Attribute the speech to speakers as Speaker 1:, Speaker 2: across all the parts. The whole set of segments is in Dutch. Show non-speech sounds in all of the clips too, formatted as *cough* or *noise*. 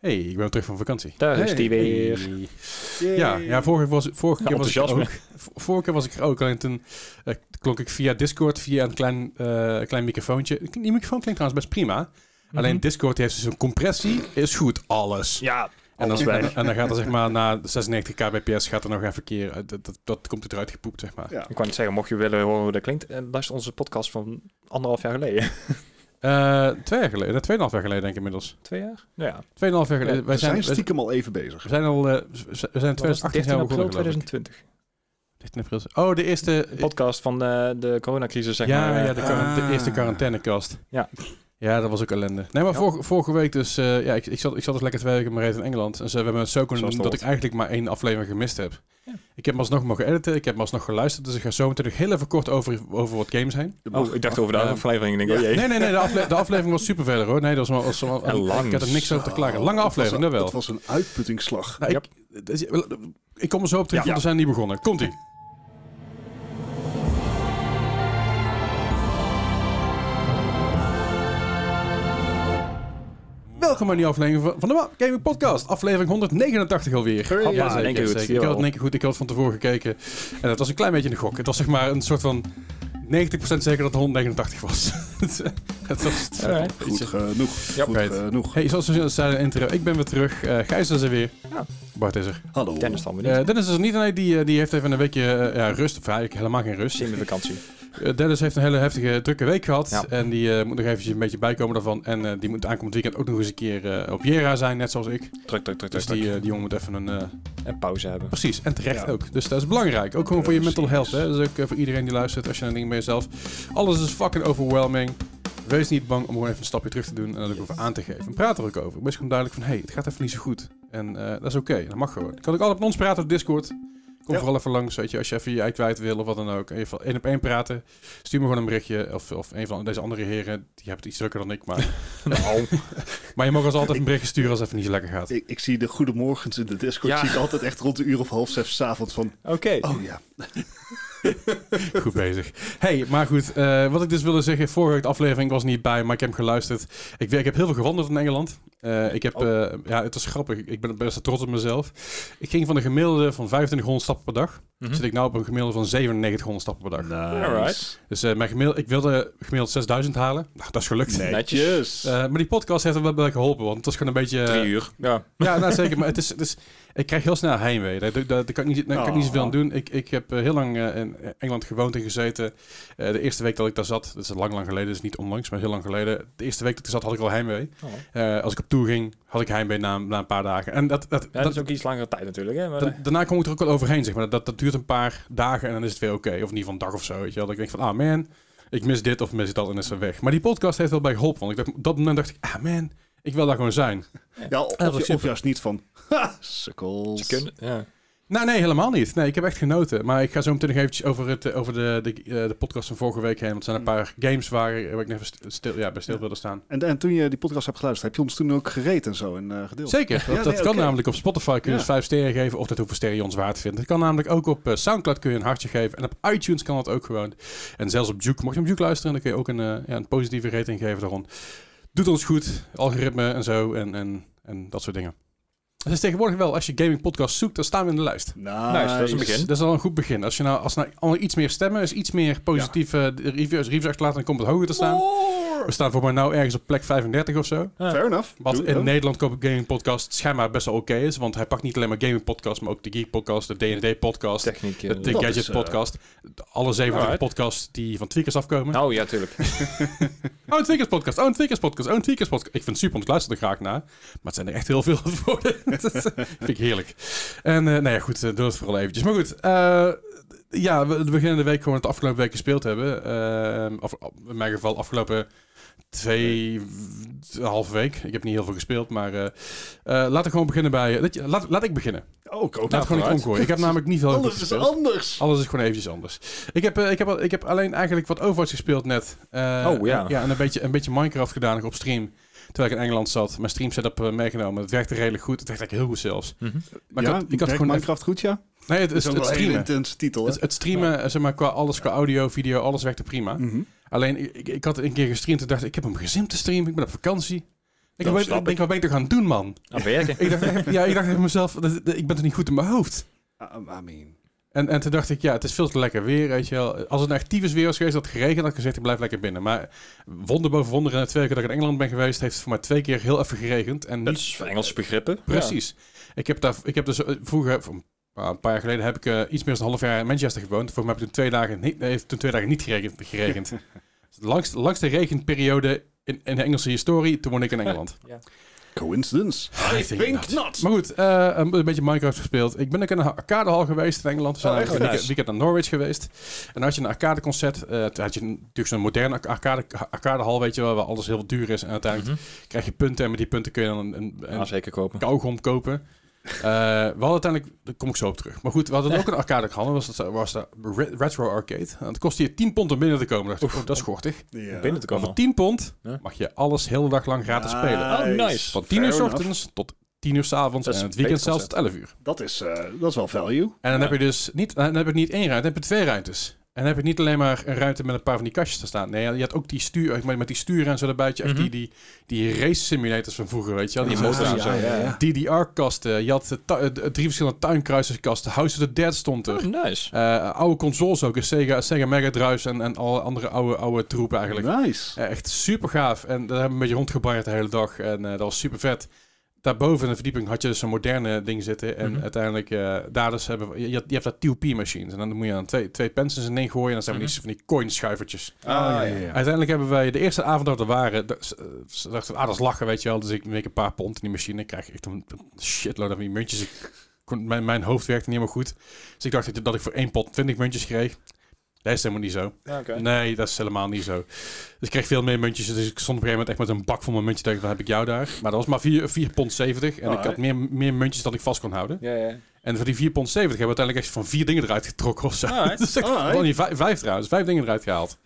Speaker 1: Hey, ik ben terug van vakantie.
Speaker 2: Daar is die weer.
Speaker 1: Hey. Ja, ja vorige, was, vorige keer was ik er
Speaker 2: Enthousiasme.
Speaker 1: ook. *laughs* Vo- Vorige keer was ik er ook. Alleen toen eh, klonk ik via Discord, via een klein, eh, klein microfoontje. Die microfoon klinkt trouwens best prima. Mhm. Alleen Discord heeft dus een compressie. Is goed, alles.
Speaker 2: Mhm. Ja,
Speaker 1: en, dan,
Speaker 2: alles weg.
Speaker 1: en dan gaat er zeg maar na 96 kbps gaat er nog even keer. eh, Dat, dat, dat komt eruit gepoept, zeg maar.
Speaker 3: Ja.
Speaker 2: Ik kan niet zeggen, mocht je willen horen hoe dat klinkt, eh, luister onze podcast van anderhalf jaar
Speaker 1: *laughs*
Speaker 2: geleden.
Speaker 1: Eh, twee jaar geleden, eh, tweeënhalf jaar geleden denk ik inmiddels.
Speaker 2: Twee jaar? Nou ja.
Speaker 1: Tweeënhalf jaar geleden.
Speaker 2: Ja,
Speaker 1: wij
Speaker 3: We zijn
Speaker 1: zijn, wij-
Speaker 3: stiekem al even bezig.
Speaker 1: we zijn al, eh, we zijn 2018 zijn we
Speaker 2: april
Speaker 1: begonnen, geloof ik.
Speaker 2: 2020.
Speaker 1: 13 april. Oh, de eerste,
Speaker 2: Podcast van eh, de coronacrisis, zeg
Speaker 1: ja,
Speaker 2: maar.
Speaker 1: ja, de,
Speaker 2: Eh,
Speaker 1: quaran- de
Speaker 3: Ah.
Speaker 1: eerste quarantainekast.
Speaker 2: Ja.
Speaker 1: Ja, dat was ook ellende. Nee, maar
Speaker 2: Ja.
Speaker 1: vorige, vorige week dus... eh, ja, ik, ik, zat, ik zat dus lekker twee weken maar reed in Engeland. En ze hebben me het zo kunnen
Speaker 2: Zoals
Speaker 1: doen
Speaker 2: het
Speaker 1: dat ik
Speaker 2: hoort.
Speaker 1: eigenlijk maar één aflevering gemist heb.
Speaker 2: Ja.
Speaker 1: Ik heb hem alsnog mogen editen. Ik heb hem alsnog geluisterd. Dus ik ga zo meteen nog heel even kort over, over wat games heen.
Speaker 2: oh, ik dacht over de
Speaker 1: Ja.
Speaker 2: aflevering en ik denk, oh jee.
Speaker 1: Nee, nee, nee. De, afle- de aflevering was super verder hoor. Nee, dat was maar... Was maar
Speaker 2: En lang.
Speaker 1: Ik had er niks over te klagen. Lange
Speaker 3: Oh,
Speaker 1: aflevering, dat
Speaker 3: dat was,
Speaker 1: wel.
Speaker 3: Dat was een uitputtingsslag.
Speaker 1: Nou, ik, dus- ik kom er zo op terug,
Speaker 2: Ja.
Speaker 1: want we zijn niet begonnen. Komt-ie. Welkom bij een nieuwe aflevering van- van de Wa- Gaming Podcast. Aflevering 189 alweer.
Speaker 3: Hurray.
Speaker 2: Hoppa,
Speaker 1: zeker,
Speaker 2: in één keer goed.
Speaker 1: zeker. Ik had het
Speaker 2: Jawel.
Speaker 1: in één keer goed. Ik had het van tevoren gekeken. En dat was een klein beetje een gok. Het was zeg maar een soort van 90% zeker dat het 189 was. *laughs* het was
Speaker 2: Alright.
Speaker 3: Goed genoeg.
Speaker 2: Ja,
Speaker 3: Goed
Speaker 1: right.
Speaker 3: genoeg.
Speaker 1: Hey, zoals we zeiden in de intro, ik ben weer terug. Eh Gijs is er weer.
Speaker 2: Ja.
Speaker 1: Bart is er.
Speaker 3: Hallo.
Speaker 2: Dennis dan weer
Speaker 1: Eh,
Speaker 2: niet.
Speaker 1: Dennis is er niet alleen, die, eh, die heeft even een weekje eh, ja, rust, of eigenlijk helemaal geen rust.
Speaker 2: Zin in vakantie.
Speaker 1: Eh, Dennis heeft een hele heftige, drukke week gehad
Speaker 2: Ja.
Speaker 1: en die eh, moet nog eventjes een beetje bijkomen daarvan. En eh, die moet aankomend weekend ook nog eens een keer eh, op Jera zijn, net zoals ik.
Speaker 2: Druk, druk, druk, druk.
Speaker 1: Dus die, eh, die jongen moet even een... eh,
Speaker 2: En pauze hebben.
Speaker 1: *laughs* precies, en terecht
Speaker 3: Ja.
Speaker 1: ook. Dus dat is belangrijk, ook gewoon voor je mental health.
Speaker 3: Precies.
Speaker 1: Hè? Dus ook eh, voor iedereen die luistert, als je een ding bij jezelf... Alles is fucking overwhelming. Wees niet bang om gewoon even een stapje terug te doen en dat ook over aan te geven. En praat er ook over. Wees gewoon duidelijk van, hey, het gaat even niet zo goed. En eh, dat is oké, dat mag gewoon. Je kan ook altijd met ons praten op Discord. Kom
Speaker 3: Ja.
Speaker 1: vooral even langs, weet je, als je even je ei kwijt wil of wat dan ook. Even één op één praten. Stuur me gewoon een berichtje. Of, of een van deze andere heren, die hebben het iets drukker dan ik.
Speaker 3: *laughs*
Speaker 1: Maar,
Speaker 2: Nou,
Speaker 1: maar je mag ons altijd een berichtje sturen als het even niet zo lekker gaat.
Speaker 3: Ik, ik zie de goedemorgens in de Discord.
Speaker 2: Ja.
Speaker 3: Zie ik altijd echt rond de uur of half zes 's avonds van...
Speaker 2: oké.
Speaker 3: Oh ja,
Speaker 1: *laughs* Goed bezig. Hey, maar goed, eh, wat ik dus wilde zeggen, vorige week de aflevering ik was er niet bij, maar ik heb hem geluisterd. Ik, weet- ik heb heel veel gewandeld in Engeland. Eh, ik heb,
Speaker 2: Oh.
Speaker 1: eh, ja, het was grappig. Ik ben best wel trots op mezelf. Ik ging van een gemiddelde van 2500 stappen per dag.
Speaker 2: Mhm.
Speaker 1: Zit ik nou op een gemiddelde van 9700 stappen per dag.
Speaker 2: Alright.
Speaker 1: Dus eh, mijn gemiddelde, ik wilde gemiddeld 6000 halen. Nou, dat is gelukt.
Speaker 3: Netjes.
Speaker 1: Eh, maar die podcast heeft me wel geholpen, want het was gewoon een beetje... eh,
Speaker 2: Drie uur. Ja.
Speaker 1: Ja, nou zeker. Maar het is, het is, ik krijg heel snel heimwee. Daar, daar, daar kan ik niet, daar kan ik niet
Speaker 2: Oh,
Speaker 1: zoveel aan doen. Ik, ik heb eh, heel lang eh, in Engeland gewoond en gezeten. Eh, de eerste week dat ik daar zat, dat is lang, lang geleden, dus niet onlangs, maar heel lang geleden. De eerste week dat ik zat had ik al heimwee.
Speaker 2: Oh.
Speaker 1: Eh, als ik op tour ging, had ik heimwee na, na een paar dagen. En dat, dat,
Speaker 2: Ja, dat
Speaker 1: dat-
Speaker 2: is ook iets langere tijd natuurlijk. Hè? Maar, eh,
Speaker 1: da- daarna kom ik er ook wel overheen, zeg maar. Dat, dat duurt een paar dagen en dan is het weer oké. Of niet van dag of zo, weet je wel. Dat ik denk van, ah man, ik mis dit of mis dat en is het weg. Maar die podcast heeft wel bij geholpen, want ik dacht, op dat moment dacht ik, ah man, ik wil daar gewoon zijn.
Speaker 3: Ja, of,
Speaker 1: dat was
Speaker 3: of ju- of
Speaker 1: super.
Speaker 3: juist niet van... Ha, sukkels.
Speaker 2: Ze kunnen- ja.
Speaker 1: Nou, nee, helemaal niet. Nee, ik heb echt genoten. Maar ik ga zo meteen nog eventjes over, het, eh, over de, de, eh, de podcast van vorige week heen. Want er zijn
Speaker 3: Mm.
Speaker 1: een paar games waar, eh, waar ik even st- stil, ja, bij stil wilde staan.
Speaker 3: En, en toen je die podcast hebt geluisterd, heb je ons toen ook gereed en zo en eh, gedeeld?
Speaker 1: Zeker. Dat,
Speaker 3: nee,
Speaker 1: dat kan
Speaker 3: oké.
Speaker 1: namelijk op Spotify kun je
Speaker 3: Ja.
Speaker 1: dus vijf sterren geven. Of dat hoeveel sterren je ons waard vindt. Het kan namelijk ook op eh, Soundcloud kun je een hartje geven. En op iTunes kan dat ook gewoon. En zelfs op Juke. Mocht je op Juke luisteren, dan kun je ook een, eh, ja, een positieve rating geven daarom. Doet ons goed. Algoritme en zo. En, en, en dat soort dingen. Het is tegenwoordig wel, als je gaming podcast zoekt, dan staan we in de lijst.
Speaker 3: Nice.
Speaker 2: Nice, dat is een begin.
Speaker 1: Dus Dat is al een goed begin. Als je nou, als nou allemaal iets meer stemmen, is iets meer positieve eh, reviews, reviews achterlaten, dan komt het hoger te staan. We staan voor mij nou ergens op plek 35 of zo.
Speaker 3: Fair enough.
Speaker 1: Wat
Speaker 3: Doe-
Speaker 1: in
Speaker 3: doe.
Speaker 1: Nederland Koop ik Gaming Podcast schijnbaar best wel oké is. Want hij pakt niet alleen maar Gaming Podcast, maar ook de Geek Podcast, de D&D Podcast,
Speaker 2: Techniek. eh,
Speaker 1: de, de
Speaker 3: dat
Speaker 1: Gadget
Speaker 3: is, eh,
Speaker 1: Podcast. Alle 37
Speaker 2: alright.
Speaker 1: podcasts die van Tweakers afkomen.
Speaker 2: Nou
Speaker 1: *laughs*
Speaker 2: ja, tuurlijk.
Speaker 1: Oh, een Tweakers Podcast, oh, een Tweakers Podcast, oh, een Tweakers Podcast. Ik vind het super, want ik luister er graag naar. Maar het zijn er echt heel veel *laughs* voor. Dat is- eh, vind ik heerlijk. En eh nou ja, goed, eh, doe het vooral eventjes. Maar goed, eh, ja, we we beginnen de week gewoon het afgelopen week gespeeld hebben. Ehm, of, of in mijn geval afgelopen twee, w- halve week. Ik heb niet heel veel gespeeld, maar eh, eh, laten we gewoon beginnen bij... eh, dat je- laat, laat ik beginnen.
Speaker 3: Oh, ik ook.
Speaker 1: Laat het gewoon niet
Speaker 2: vooruit.
Speaker 1: omgooien. Ik heb namelijk
Speaker 3: *laughs*
Speaker 1: niet heel veel
Speaker 3: Alles is
Speaker 1: gespeeld. Oh,
Speaker 3: anders.
Speaker 1: Alles is gewoon eventjes anders. Ik heb, eh, ik heb, al- ik heb alleen eigenlijk wat Overwatch gespeeld net. Eh,
Speaker 2: Oh, ja.
Speaker 1: Ja, en een beetje, een beetje Minecraft gedaan nog op stream. Terwijl ik in Engeland zat. Mijn stream setup eh, meegenomen. Het werkte redelijk goed. Het werkte eigenlijk heel goed zelfs.
Speaker 2: Mhm.
Speaker 1: Maar
Speaker 3: ja,
Speaker 1: ik had, ik had
Speaker 3: werkt
Speaker 1: gewoon...
Speaker 3: Minecraft goed, ja?
Speaker 1: even- nee, het,
Speaker 3: Dat is
Speaker 1: het,
Speaker 3: wel
Speaker 1: het
Speaker 3: een hele
Speaker 1: streamen.
Speaker 3: intense titel, hè?
Speaker 1: Het, het streamen, eh, zeg maar, qua alles, qua audio, video, alles werkte prima.
Speaker 3: Mhm.
Speaker 1: Alleen, ik, ik- ik had een keer gestreamd en dacht ik, ik heb hem gezimd te streamen. Ik ben op vakantie. Ik
Speaker 2: Dat
Speaker 1: weet-
Speaker 2: snap
Speaker 1: ik denk, wat ben ik toch aan het doen, man?
Speaker 2: Aan Nou, werken.
Speaker 1: Ik dacht, ja, ik dacht tegen mezelf, dat- dat- ik ben er niet goed in mijn hoofd.
Speaker 3: Ah, I mean.
Speaker 1: En, en toen dacht ik, ja, het is veel te lekker weer, weet je wel. Als het een actief is weer was geweest, dat het geregend, had ik gezegd, ik blijf lekker binnen. Maar wonder boven wonder, en de twee keer dat ik in Engeland ben geweest, heeft het voor mij twee keer heel even geregend. En
Speaker 2: Dat
Speaker 1: niet
Speaker 2: is voor Engelse begrippen.
Speaker 1: Precies. Ik heb daar, ik heb dus eh, vroeger, voor een paar- een paar jaar geleden, heb ik eh, iets meer dan een half jaar in Manchester gewoond. Volgens mij heb ik toen twee dagen niet, nee, heeft toen twee dagen niet geregend. geregend. Dus Langs, langste regenperiode in, in de Engelse historie, toen woon ik in Engeland.
Speaker 3: Coincidence.
Speaker 1: I
Speaker 3: Think not.
Speaker 1: Maar goed, eh, een een beetje Minecraft gespeeld. Ik ben ook in een arcadehal geweest in Engeland. We zijn
Speaker 2: Oh, echt?
Speaker 1: eigenlijk een
Speaker 2: Nice.
Speaker 1: weekend naar Norwich geweest. En dan had je een arcadeconcert. eh toen had je een- natuurlijk zo'n moderne arc- arcade, arcadehal, weet je wel, waar alles heel duur is. En uiteindelijk
Speaker 2: Mhm.
Speaker 1: krijg je punten en met die punten kun je dan een, een, een
Speaker 2: Ja, zeker kopen.
Speaker 1: kauwgom kopen. Eh, we hadden uiteindelijk, daar kom ik zo op terug. Maar goed, we hadden ook een arcade gehad. Was dat was de Re- Retro Arcade. En het kostte je 10 pond om binnen te komen. Dacht ik, oh, dat is gortig.
Speaker 3: Ja.
Speaker 2: Binnen te
Speaker 1: Maar
Speaker 2: komen.
Speaker 1: voor 10 pond
Speaker 2: Oh. Ja.
Speaker 1: mag je alles heel de dag lang gratis spelen.
Speaker 2: Oh, nice.
Speaker 1: Van 10 uur s
Speaker 3: Ah, fair
Speaker 1: ochtends tot 10 uur s avonds
Speaker 2: Dat
Speaker 1: en
Speaker 2: is
Speaker 1: het
Speaker 2: een
Speaker 1: weekend
Speaker 2: beter
Speaker 1: zelfs tot 11 uur.
Speaker 3: Dat is, eh, dat is wel value.
Speaker 1: En dan
Speaker 2: Ja.
Speaker 1: heb je dus niet, dan heb ik niet één ruimte, dan heb je twee ruimtes. En dan heb je niet alleen maar een ruimte met een paar van die kastjes te staan. Nee, je had ook die stuur, eh, met met die sturen en zo erbuiten. Echt
Speaker 2: Mhm.
Speaker 1: die, die, die race simulators van vroeger, weet je wel. Die
Speaker 2: Ah,
Speaker 1: motor
Speaker 2: ja,
Speaker 1: en zo.
Speaker 2: ja, ja.
Speaker 1: DDR-kasten. Je had eh, tu- eh, drie verschillende tuinkruiserskasten. House of the Dead stond er.
Speaker 2: Oh, nice.
Speaker 1: Eh, oude consoles ook. een Sega, Sega Mega Drive en, en alle andere oude, oude troepen eigenlijk.
Speaker 3: Nice.
Speaker 1: Eh, echt super gaaf. En daar hebben we een beetje rondgebracht de hele dag. En eh, dat was super vet. Daarboven in de verdieping had je dus een moderne ding zitten. En
Speaker 2: Mhm.
Speaker 1: uiteindelijk, eh, daar dus hebben we, je, je hebt dat TOP-machines. En dan moet je dan twee, twee pencils in één gooien. En dan zijn we die, van die coinschuivertjes.
Speaker 3: Ah, ja, ja, ja.
Speaker 1: Uiteindelijk hebben wij de eerste avond dat we er waren, da- s- eh, ze dachten, ah, dat is lachen, weet je wel. Dus ik maak een paar pond in die machine. Ik krijg echt een een shitload aan die muntjes. Ik kon, mijn, mijn hoofd werkte niet helemaal goed. Dus ik dacht dat, dat ik voor één pot 20 muntjes kreeg. Dat is helemaal niet zo. Nee, dat is helemaal niet zo. Dus ik kreeg veel meer muntjes. Dus ik stond op een gegeven moment echt met een bak vol mijn muntjes. Dacht, ik, dan heb ik jou daar. Maar dat was maar 4, 4 pond 70. En ik
Speaker 3: Alright.
Speaker 1: had meer, meer muntjes dan ik vast kon houden.
Speaker 2: Ja, ja.
Speaker 1: En voor die 4 pond 70 hebben we uiteindelijk echt van vier dingen eruit getrokken of zo. *laughs*
Speaker 2: Alright.
Speaker 1: Dus ik
Speaker 3: Alright.
Speaker 1: wel niet vijf, vijf trouwens, vijf dingen eruit gehaald.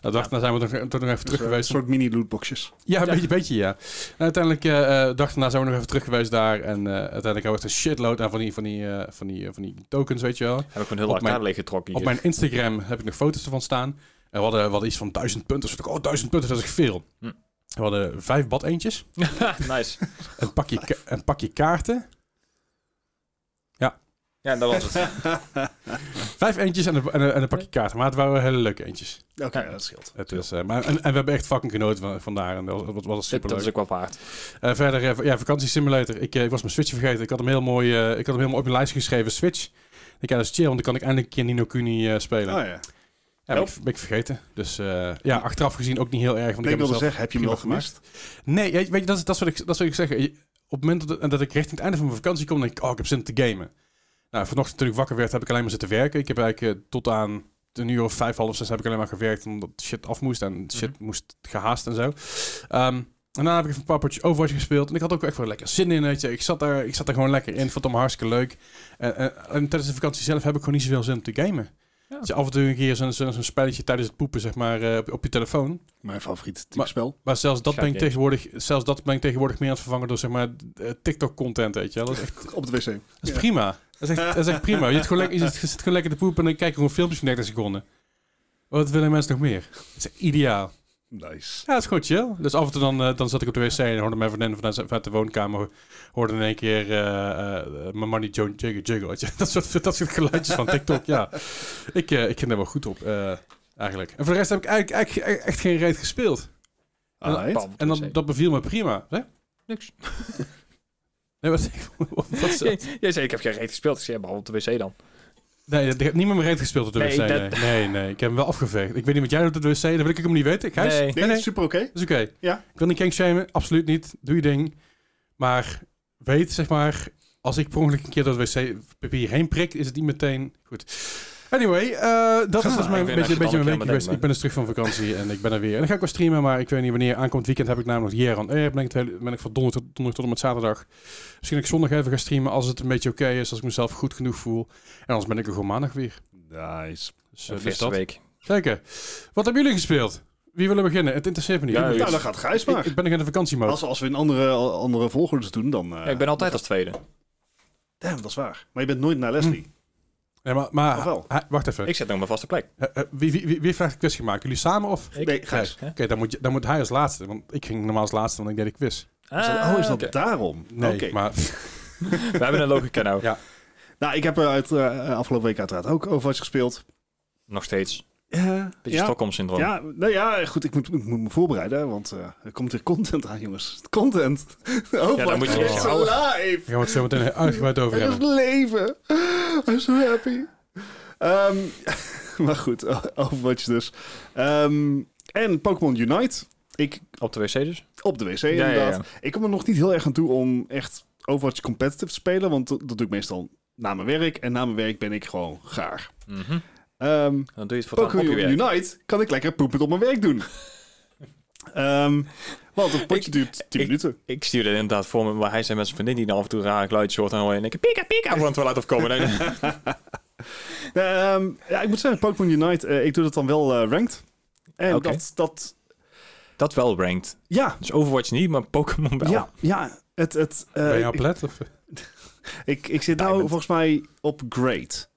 Speaker 1: Nou, dacht, nou zijn we toch- toch nog even terug
Speaker 3: Dus, eh,
Speaker 1: geweest.
Speaker 3: Een soort mini lootboxjes.
Speaker 1: Ja, een beetje, beetje ja. En uiteindelijk eh eh, dacht ik, nou zijn we nog even terug geweest daar. En eh uiteindelijk hebben we echt een shitload aan van die, van die, eh, van die, eh, van die tokens, weet je wel.
Speaker 2: Heb ik gewoon heel
Speaker 1: Op mijn-
Speaker 2: arcade leeggetrokken
Speaker 1: Op
Speaker 2: hier.
Speaker 1: mijn Instagram heb ik nog foto's ervan staan. En we hadden, we hadden iets van duizend punten. Dus ik dacht, oh, duizend punten, dat is echt veel.
Speaker 2: Hm.
Speaker 1: We hadden vijf bad eentjes.
Speaker 2: *laughs* nice.
Speaker 1: Een pakje, ka- een pakje kaarten.
Speaker 2: Ja, *laughs* dat was het.
Speaker 1: Vijf eentjes en een, en, een, en een pakje kaarten. Maar het waren wel hele leuke eentjes.
Speaker 3: Oké,
Speaker 2: Ja.
Speaker 3: dat scheelt.
Speaker 1: Het is, eh, maar, en, en we hebben echt fucking genoten van, vandaar. En dat was, dat was
Speaker 2: Dat,
Speaker 1: superleuk.
Speaker 2: is ook wel waard.
Speaker 1: Eh, verder, eh, v- ja, vakantiesimulator. Ik, eh, ik was mijn Switch vergeten. Ik had hem heel mooi, eh, ik had hem helemaal op mijn lijst geschreven. Switch. Ik ja, dat is chill, want dan kan ik eindelijk een keer Nino Kuni eh,
Speaker 2: Ah,
Speaker 1: spelen.
Speaker 3: Oh, ja.
Speaker 1: ja, ben, ik, ben ik vergeten. Dus eh, ja, achteraf gezien ook niet heel erg. Want
Speaker 3: Nee, ik
Speaker 1: ik heb
Speaker 3: wilde
Speaker 1: mezelf-
Speaker 3: zeggen, heb je hem wel
Speaker 1: prima
Speaker 3: gemist?
Speaker 1: Nee, ja, weet je, dat is, dat is wat ik, dat is wat ik zeg. Je- Op het moment dat, dat ik richting het einde van mijn vakantie kom, denk ik, oh, ik heb zin om te gamen. Nou, vanochtend toen ik wakker werd, heb ik alleen maar zitten werken. Ik heb eigenlijk eh, tot aan een uur of vijf, half zes heb ik alleen maar gewerkt omdat shit af moest en shit moest gehaast en zo. Ehm, en daarna heb ik even een paar potjes Overwatch gespeeld. En ik had ook echt wel lekker zin in, weet je. Ik zat daar, ik zat daar gewoon lekker in. Vond het allemaal hartstikke leuk. En, en, en tijdens de vakantie zelf heb ik gewoon niet zoveel zin om te gamen.
Speaker 2: Ja.
Speaker 1: Dus af en toe een keer zo'n zo'n- zo'n spelletje tijdens het poepen, zeg maar, eh, op, op je telefoon.
Speaker 3: Mijn favoriet type
Speaker 1: Maar-
Speaker 3: spel.
Speaker 1: Maar zelfs dat,
Speaker 2: Ga
Speaker 1: ben ik
Speaker 2: ik
Speaker 1: tegenwoordig, zelfs dat ben ik tegenwoordig meer aan het vervangen door zeg maar eh, TikTok-content, weet je wel. Dat is, echt, dat
Speaker 3: Op de wc.
Speaker 1: is
Speaker 3: Ja.
Speaker 1: prima. Dat is echt, dat is echt prima. Je zit, gewoon lekker, je, zit, je zit gewoon lekker te poepen en dan kijk je gewoon filmpjes van 30 seconden. Wat willen mensen nog meer? Dat is ideaal.
Speaker 3: Nice.
Speaker 1: Ja, dat is gewoon chill. Dus af en toe dan, eh, dan zat ik op de wc en hoorde mijn vriendin vanuit, vanuit de woonkamer... hoorde in één keer eh eh, mijn money Joan jiggle jiggle. weet je. *laughs* Dat soort, dat soort geluidjes van TikTok, ja. Ik, eh, ik ging daar wel goed op, eh, eigenlijk. En voor de rest heb ik eigenlijk, eigenlijk echt geen reet gespeeld.
Speaker 3: Alright.
Speaker 2: Bam,
Speaker 1: En dan,
Speaker 2: wc.
Speaker 1: dat beviel me prima. Hè?
Speaker 2: Niks.
Speaker 1: Nee, wat, *laughs* wat, wat-
Speaker 2: Jij, *laughs* jij zei, ik heb geen reet gespeeld. Ik zei, ja, maar op de wc dan.
Speaker 1: nee, ik heb niet met mijn reet gespeeld op de
Speaker 2: Nee,
Speaker 1: wc. Nee.
Speaker 2: dat-
Speaker 1: nee, nee, ik heb hem wel afgeveegd. Ik weet niet wat jij doet op de wc, dat wil ik ook hem niet weten. Gijs?
Speaker 2: Nee.
Speaker 3: Nee,
Speaker 1: nee.
Speaker 3: super oké.
Speaker 1: Dat is oké.
Speaker 3: Ja.
Speaker 1: Ik wil niet kankshamen, absoluut niet. Doe je ding. Maar weet, zeg maar, als ik per ongeluk een keer door het wc-papier heen prik, is het niet meteen goed. Anyway, eh, dat is dus
Speaker 2: ik weet
Speaker 1: mijn
Speaker 2: niet
Speaker 1: beetje,
Speaker 2: of je het
Speaker 1: beetje
Speaker 2: allemaal
Speaker 1: mijn week geweest.
Speaker 2: kan bedenken,
Speaker 1: Ik ben dus terug van vakantie en ik ben er weer. En dan ga ik wel streamen, maar ik weet niet wanneer. Aankomend weekend heb ik namelijk Year on Air. Ben ik, het hele, ben ik van donderdag, tot- donderdag tot en met zaterdag. Misschien dat ik zondag even ga streamen als het een beetje oké is. Als ik mezelf goed genoeg voel. En anders ben ik er gewoon maandag weer.
Speaker 3: Nice.
Speaker 1: Dus, eh,
Speaker 2: Een
Speaker 1: dus
Speaker 2: verse
Speaker 1: dat.
Speaker 2: week.
Speaker 1: Zeker. Wat hebben jullie gespeeld? Wie willen beginnen? Het interesseert me niet.
Speaker 2: Ja,
Speaker 1: ik,
Speaker 3: Nou, dan gaat Gijs
Speaker 1: ik,
Speaker 3: maar.
Speaker 1: ik ben nog in de vakantiemodus.
Speaker 3: Als, als we in andere, andere volgordes doen, dan... eh,
Speaker 2: Ja, ik ben altijd als tweede.
Speaker 3: Damn, dat is waar. Maar je bent nooit naar
Speaker 1: Hm.
Speaker 3: Leslie.
Speaker 1: Nee, maar,
Speaker 3: Of
Speaker 1: maar
Speaker 3: wel?
Speaker 1: hij- wacht even.
Speaker 2: Ik zit nog op mijn vaste plek.
Speaker 1: Eh, eh, wie, wie, wie, wie heeft de quiz gemaakt? Jullie samen of?
Speaker 2: Ik-
Speaker 3: Nee, Gijs.
Speaker 1: Ah, Oké, dan, moet je- dan moet hij als laatste. Want ik ging normaal als laatste, want ik deed de quiz.
Speaker 3: Is dat- oh, is dat
Speaker 2: Ah, oké.
Speaker 3: daarom?
Speaker 1: Nee,
Speaker 3: Oké.
Speaker 1: maar *laughs*
Speaker 2: We hebben een logica nou.
Speaker 1: Ja.
Speaker 3: Nou, ik heb eh, uit, eh, afgelopen week uiteraard ook Overwatch gespeeld.
Speaker 2: Nog steeds.
Speaker 3: Ja,
Speaker 2: Beetje
Speaker 3: Eh, ja,
Speaker 2: Stockholm-syndroom.
Speaker 3: ja, nou ja, goed, ik moet, ik moet me voorbereiden, hè, want eh, er komt weer content aan, jongens. Content. *laughs* Overwatch
Speaker 2: dan moet je
Speaker 3: is
Speaker 2: echt-
Speaker 3: alive.
Speaker 1: daar
Speaker 2: *laughs*
Speaker 1: gaan we het zo meteen uitgebreid over
Speaker 3: Het
Speaker 1: hebben.
Speaker 3: is leven. I'm so happy. Ehm, *laughs* maar goed, Overwatch dus. Ehm, en Pokémon Unite. Ik
Speaker 2: Op de wc dus.
Speaker 3: op de wc
Speaker 2: ja, ja.
Speaker 3: inderdaad. Ik kom er nog niet heel erg aan toe om echt Overwatch competitive te spelen. Want dat, dat doe ik meestal na mijn werk. En na mijn werk ben ik gewoon gaar.
Speaker 2: Mhm.
Speaker 3: Ehm,
Speaker 2: Dan doe je het voor
Speaker 3: Pokémon
Speaker 2: op je werk.
Speaker 3: Unite kan ik lekker poepend op mijn
Speaker 1: *laughs*
Speaker 3: werk doen. Ehm, want een potje duurt 10
Speaker 2: ik-
Speaker 3: minuten.
Speaker 2: Ik stuurde het inderdaad voor me, maar hij zei met zijn vriendin die dan af en toe raar geluidjes hoort. En dan hoor je en ik pika pika van het toilet afkomen. En dan-
Speaker 3: Eh, ehm, ja, ik moet zeggen, Pokémon Unite, eh, ik doe dat dan wel eh, ranked. En
Speaker 2: Oké.
Speaker 3: dat, dat,
Speaker 2: dat wel ranked.
Speaker 3: ja,
Speaker 2: Dus Overwatch niet, maar Pokémon wel.
Speaker 3: ja, ja. Het, het, eh,
Speaker 1: Ben je
Speaker 3: ik,
Speaker 1: applet? Of?
Speaker 3: ik, ik zit nou
Speaker 2: Diamond.
Speaker 3: volgens mij op Great.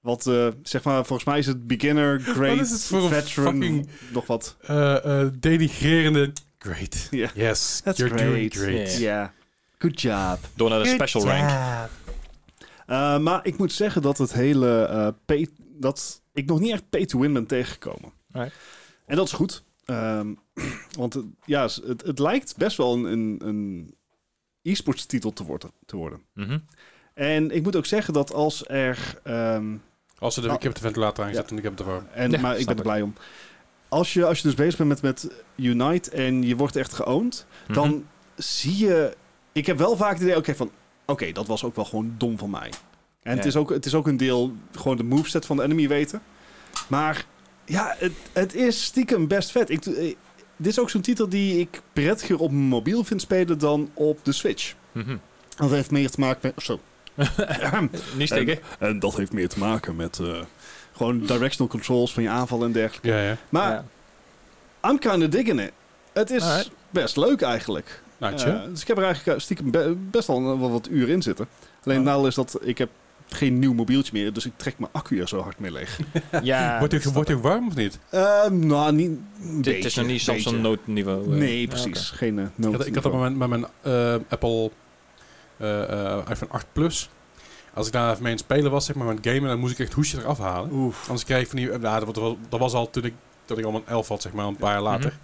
Speaker 3: Wat, eh, zeg maar, volgens mij is het beginner, great,
Speaker 1: is het voor een
Speaker 3: veteran,
Speaker 1: fucking-
Speaker 3: nog wat.
Speaker 1: eh eh denigrerende. Great.
Speaker 3: Ja.
Speaker 1: Yes,
Speaker 3: That's
Speaker 1: you're doing
Speaker 3: great.
Speaker 1: great.
Speaker 2: Ja.
Speaker 3: Ja. Good job.
Speaker 2: Door naar de special rank.
Speaker 3: Eh, maar ik moet zeggen dat het hele eh, pay, dat ik nog niet echt pay to win ben tegengekomen.
Speaker 2: Alright.
Speaker 3: En dat is goed. Ehm, *clears throat* want het, ja, het, het lijkt best wel een, een, een e-sports titel te worden, te worden.
Speaker 2: Mhm.
Speaker 3: En ik moet ook zeggen dat als er. ehm,
Speaker 1: Als ze de, ik heb de ventilator aangezet en ik heb het warm.
Speaker 3: en,
Speaker 2: Ja,
Speaker 3: maar ik
Speaker 2: snap
Speaker 3: ben
Speaker 2: ik.
Speaker 3: er blij om. Als je, als je dus bezig bent met, met Unite en je wordt echt geowned, dan
Speaker 2: Mhm.
Speaker 3: zie je. Ik heb wel vaak het idee oké, van. Oké, dat was ook wel gewoon dom van mij. En het,
Speaker 2: Ja.
Speaker 3: is ook, het is ook een deel gewoon de moveset van de enemy weten. Maar ja, het, het is stiekem best vet. Ik, eh, dit is ook zo'n titel die ik prettiger op mijn mobiel vind spelen dan op de Switch.
Speaker 2: Mhm.
Speaker 3: Dat heeft meer te maken
Speaker 2: *laughs*
Speaker 3: met. Zo.
Speaker 2: Niet
Speaker 3: Eh,
Speaker 2: steken.
Speaker 3: En dat heeft meer te maken met eh, gewoon directional controls van je aanval en dergelijke.
Speaker 1: Ja, ja.
Speaker 3: Maar
Speaker 2: Ja.
Speaker 3: I'm kinda digging it. Het is
Speaker 2: Alright.
Speaker 3: best leuk eigenlijk.
Speaker 1: Nou, tja.
Speaker 3: Eh, dus ik heb er eigenlijk eh, stiekem be- best al een- wel wat uren in zitten.
Speaker 1: Oh.
Speaker 3: Alleen het nadeel is dat ik heb geen nieuw mobieltje meer, dus ik trek mijn accu er zo hard mee leeg. eh,
Speaker 2: ja.
Speaker 1: wordt,
Speaker 3: dus
Speaker 1: je, wordt je warm of niet?
Speaker 3: Ehm, nou, niet een
Speaker 2: Dit is
Speaker 3: beetje,
Speaker 2: nog niet Samsung
Speaker 3: beetje.
Speaker 2: noodniveau. eh.
Speaker 3: Nee,
Speaker 2: Ja,
Speaker 3: precies.
Speaker 2: oké.
Speaker 3: Geen eh,
Speaker 1: Ik
Speaker 3: nood
Speaker 1: had, ik had op het moment met mijn eh, Apple eh, eh, iPhone 8 Plus. Als ik daar even mee aan het spelen was, zeg maar, met gamen, dan moest ik echt het hoesje eraf halen.
Speaker 3: Oef.
Speaker 1: Anders kreeg ik van die... eh, nou, dat, was, dat was al toen ik, dat ik al mijn 11 had, zeg maar, een paar jaar later.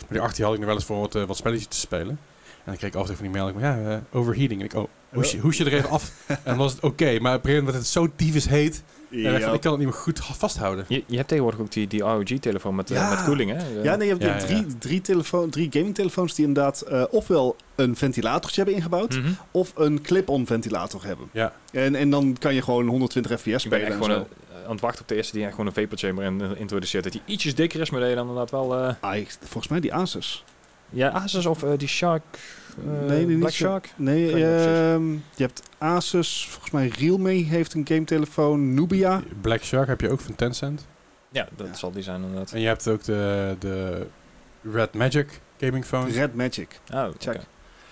Speaker 1: Maar die 18 had ik nog wel eens voor wat, eh, wat spelletjes te spelen. En dan kreeg ik altijd van die mail, ik maar ja, eh, overheating. En ik, oh, hoesje, hoesje er even af. en dan was het oké. Maar op een gegeven moment werd het zo tyfus heet. En ik dacht van, ik kan het niet meer goed vasthouden.
Speaker 2: Je, je hebt tegenwoordig ook die, die ROG-telefoon met, eh,
Speaker 3: Ja.
Speaker 2: met koeling, hè?
Speaker 3: Ja, nee, je hebt
Speaker 1: Ja,
Speaker 3: je hebt
Speaker 1: ja, ja.
Speaker 3: drie, drie, telefoon, drie gamingtelefoons die inderdaad eh, ofwel een ventilatortje hebben ingebouwd,
Speaker 2: Mhm.
Speaker 3: of een clip-on ventilator hebben.
Speaker 1: Ja.
Speaker 3: En, en dan kan je gewoon 120 fps
Speaker 2: Ik ben
Speaker 3: spelen
Speaker 2: echt
Speaker 3: en
Speaker 2: gewoon
Speaker 3: zo.
Speaker 2: eh, aan het wachten op de eerste die echt gewoon een vapor chamber in, eh, introduceert. Dat die ietsjes dikker is, maar dat je dan inderdaad wel... eh,
Speaker 3: Ah, ik- volgens mij die Asus.
Speaker 2: ja, Asus of eh, die Shark... eh,
Speaker 3: Nee, die
Speaker 2: Black
Speaker 3: niet.
Speaker 2: Shark?
Speaker 3: Nee,
Speaker 2: Ik weet niet precies.
Speaker 3: ehm, je hebt Asus, volgens mij Realme heeft een gametelefoon, Nubia.
Speaker 1: Black Shark heb je ook van Tencent.
Speaker 2: Ja, dat
Speaker 3: Ja.
Speaker 2: zal die zijn inderdaad.
Speaker 1: En je hebt ook de, de Red Magic gaming phone.
Speaker 3: Red Magic.
Speaker 2: Oh,
Speaker 3: Check.
Speaker 2: oké.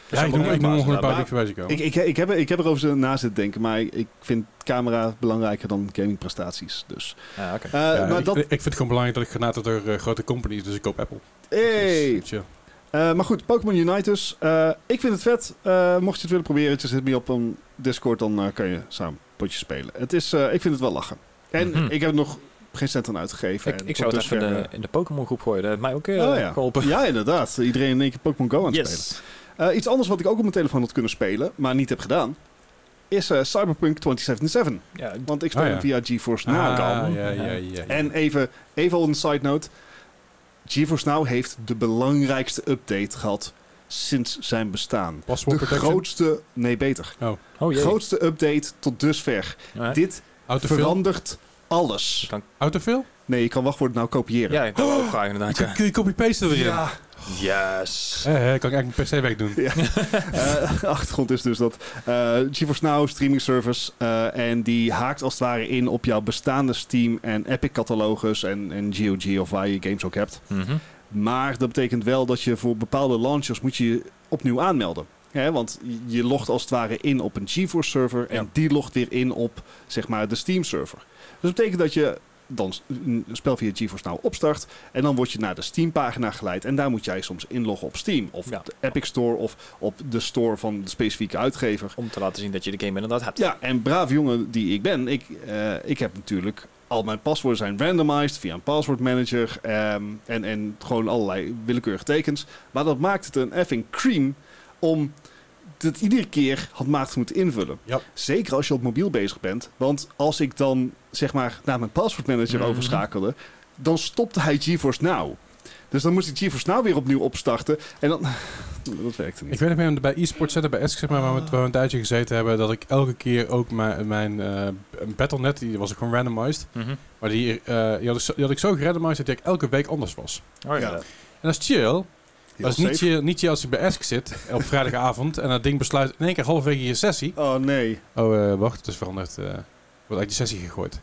Speaker 1: Ja, ik
Speaker 2: wel
Speaker 1: noem, ik noem
Speaker 2: een
Speaker 1: ongeveer een paar
Speaker 2: basis,
Speaker 1: dingen voorbij zien komen.
Speaker 3: Ik, eh, ik, ik, heb, er- ik heb erover na zitten denken, maar ik vind camera belangrijker dan gamingprestaties. Dus.
Speaker 2: Ja, Ah, oké.
Speaker 3: Eh,
Speaker 1: Ja,
Speaker 3: maar
Speaker 1: ik,
Speaker 3: dat...
Speaker 1: ik vind het gewoon belangrijk dat ik genaamd door eh, grote companies, dus ik koop Apple.
Speaker 3: Hey!
Speaker 1: Dus, chill.
Speaker 3: Eh, maar goed, Pokémon Unite dus. Eh, ik vind het vet. Eh, mocht je het willen proberen, just hit me op een Discord, dan eh, kan je samen potjes spelen. Het is, eh, ik vind het wel lachen. En
Speaker 2: Mhm.
Speaker 3: ik heb er nog geen cent aan uitgegeven.
Speaker 2: Ik,
Speaker 3: en
Speaker 2: ik zou
Speaker 3: tot
Speaker 2: het even in
Speaker 3: dusver,
Speaker 2: de, in de Pokémon groep gooien. Dat heeft mij ook eh,
Speaker 3: eh. Oh, ja.
Speaker 2: geholpen.
Speaker 3: eh, Ja, inderdaad. Iedereen in één keer Pokémon Go aan het
Speaker 2: *laughs*
Speaker 3: spelen. Eh, iets anders wat ik ook op mijn telefoon had kunnen spelen, maar niet heb gedaan, is eh, Cyberpunk 2077.
Speaker 2: Ja,
Speaker 3: Want ik speel
Speaker 1: Ah, ja.
Speaker 3: hem via GeForce Now.
Speaker 1: Ah,
Speaker 2: kan.
Speaker 1: ja, ja, ja.
Speaker 3: En even, even al een side note. GeForce Now heeft de belangrijkste update gehad sinds zijn bestaan.
Speaker 1: Password
Speaker 3: De
Speaker 1: protection,
Speaker 3: grootste, nee beter,
Speaker 2: oh jee. Eh,
Speaker 3: grootste update tot dusver.
Speaker 2: Ja,
Speaker 3: Dit
Speaker 1: autofill.
Speaker 3: verandert alles.
Speaker 1: Autofill?
Speaker 3: Nee, je kan wachtwoorden nou kopiëren.
Speaker 2: ja, ik kan wel vragen inderdaad. *laughs* ja.
Speaker 1: Kun je copy-pasten erin?
Speaker 3: Ja.
Speaker 2: Yes.
Speaker 1: Eh, eh, kan ik eigenlijk mijn PC wegdoen?
Speaker 3: Eh, *laughs* achtergrond is dus dat eh GeForce Now streaming service eh, en die haakt als het ware in op jouw bestaande Steam en Epic catalogus en, en GOG of waar je games ook hebt.
Speaker 2: Mhm.
Speaker 3: Maar dat betekent wel dat je voor bepaalde launchers moet je je opnieuw aanmelden. Hè, want je logt als het ware in op een GeForce server en
Speaker 2: Ja.
Speaker 3: die logt weer in op zeg maar de Steam server. Dus dat betekent dat je dan s- een spel via GeForce Now opstart. En dan word je naar de Steam-pagina geleid. En daar moet jij soms inloggen op Steam. Of
Speaker 2: Ja.
Speaker 3: op de Epic Store. Of op de store van de specifieke uitgever.
Speaker 2: Om te laten zien dat je de game inderdaad hebt.
Speaker 3: Ja, en braaf jongen die ik ben, ik, eh, ik heb natuurlijk al mijn paswoorden zijn randomized via een password manager ehm, en, en gewoon allerlei willekeurige tekens. Maar dat maakt het een effing cream om dat iedere keer had maat moeten invullen.
Speaker 1: Ja.
Speaker 3: Zeker als je op mobiel bezig bent, want als ik dan zeg maar naar mijn password manager
Speaker 2: Mhm.
Speaker 3: overschakelde, dan stopte hij GeForce Now. Dus dan moest ik GeForce Now weer opnieuw opstarten en dan *laughs* dat werkte
Speaker 1: Ik
Speaker 3: niet.
Speaker 1: weet nog meer bij e-sport zetten, bij ESC, zeg maar, waar we, waar we een tijdje gezeten hebben, dat ik elke keer ook mijn, mijn eh, Battle.net, die was ook gewoon randomized,
Speaker 2: Mhm.
Speaker 1: maar die, eh, die, had ik zo, die had ik zo gerandomized dat ik elke week anders was.
Speaker 2: Oh,
Speaker 3: Ja.
Speaker 2: ja.
Speaker 1: En dat is chill,
Speaker 3: Heel
Speaker 1: dat is
Speaker 3: safe.
Speaker 1: niet chill, niet chill als je bij ESC zit op vrijdagavond en dat ding besluit in één keer halverwege je sessie.
Speaker 3: Oh nee.
Speaker 1: Oh, eh, wacht, het is veranderd. eh wordt uit je sessie gegooid.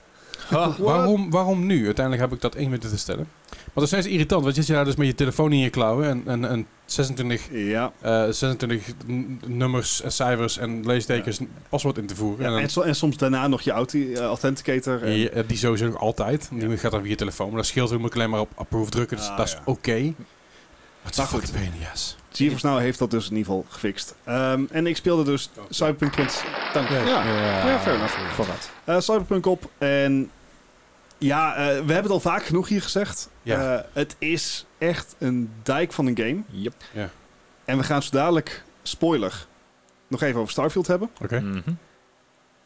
Speaker 2: Ah,
Speaker 1: Waarom, waarom nu? Uiteindelijk heb ik dat één minuut te stellen. Maar dat is steeds irritant, want je zit daar dus met je telefoon in je klauwen en, en, en 26
Speaker 3: Ja.
Speaker 1: eh 26 n- nummers en cijfers en leestekens een paswoord in te voeren.
Speaker 3: Ja,
Speaker 1: en
Speaker 3: en, so- en soms daarna nog je auto- eh, authenticator.
Speaker 1: dan-
Speaker 3: En,
Speaker 1: je- eh, die sowieso nog altijd. Die gaat dan via je telefoon. Maar dat scheelt weer, moet ik alleen maar op approve drukken. Dus
Speaker 3: Ah,
Speaker 1: dat is
Speaker 3: ja.
Speaker 1: oké. Maar het is
Speaker 3: Maar
Speaker 1: een
Speaker 3: goed.
Speaker 1: fucking pain in the ass.
Speaker 3: GeForce Now heeft dat dus in ieder geval gefixt. Ehm, en ik speelde dus Cyberpunk... 20 Dank. Ja, ja. fair enough.
Speaker 2: vooruit.
Speaker 3: Eh, Cyberpunk op en... Ja, eh, we hebben het al vaak genoeg hier gezegd.
Speaker 1: Ja.
Speaker 3: Eh, het is echt een dijk van een game.
Speaker 2: Yep.
Speaker 3: En we gaan zo dadelijk, spoiler, nog even over Starfield hebben.
Speaker 1: Oké,
Speaker 2: Mhm.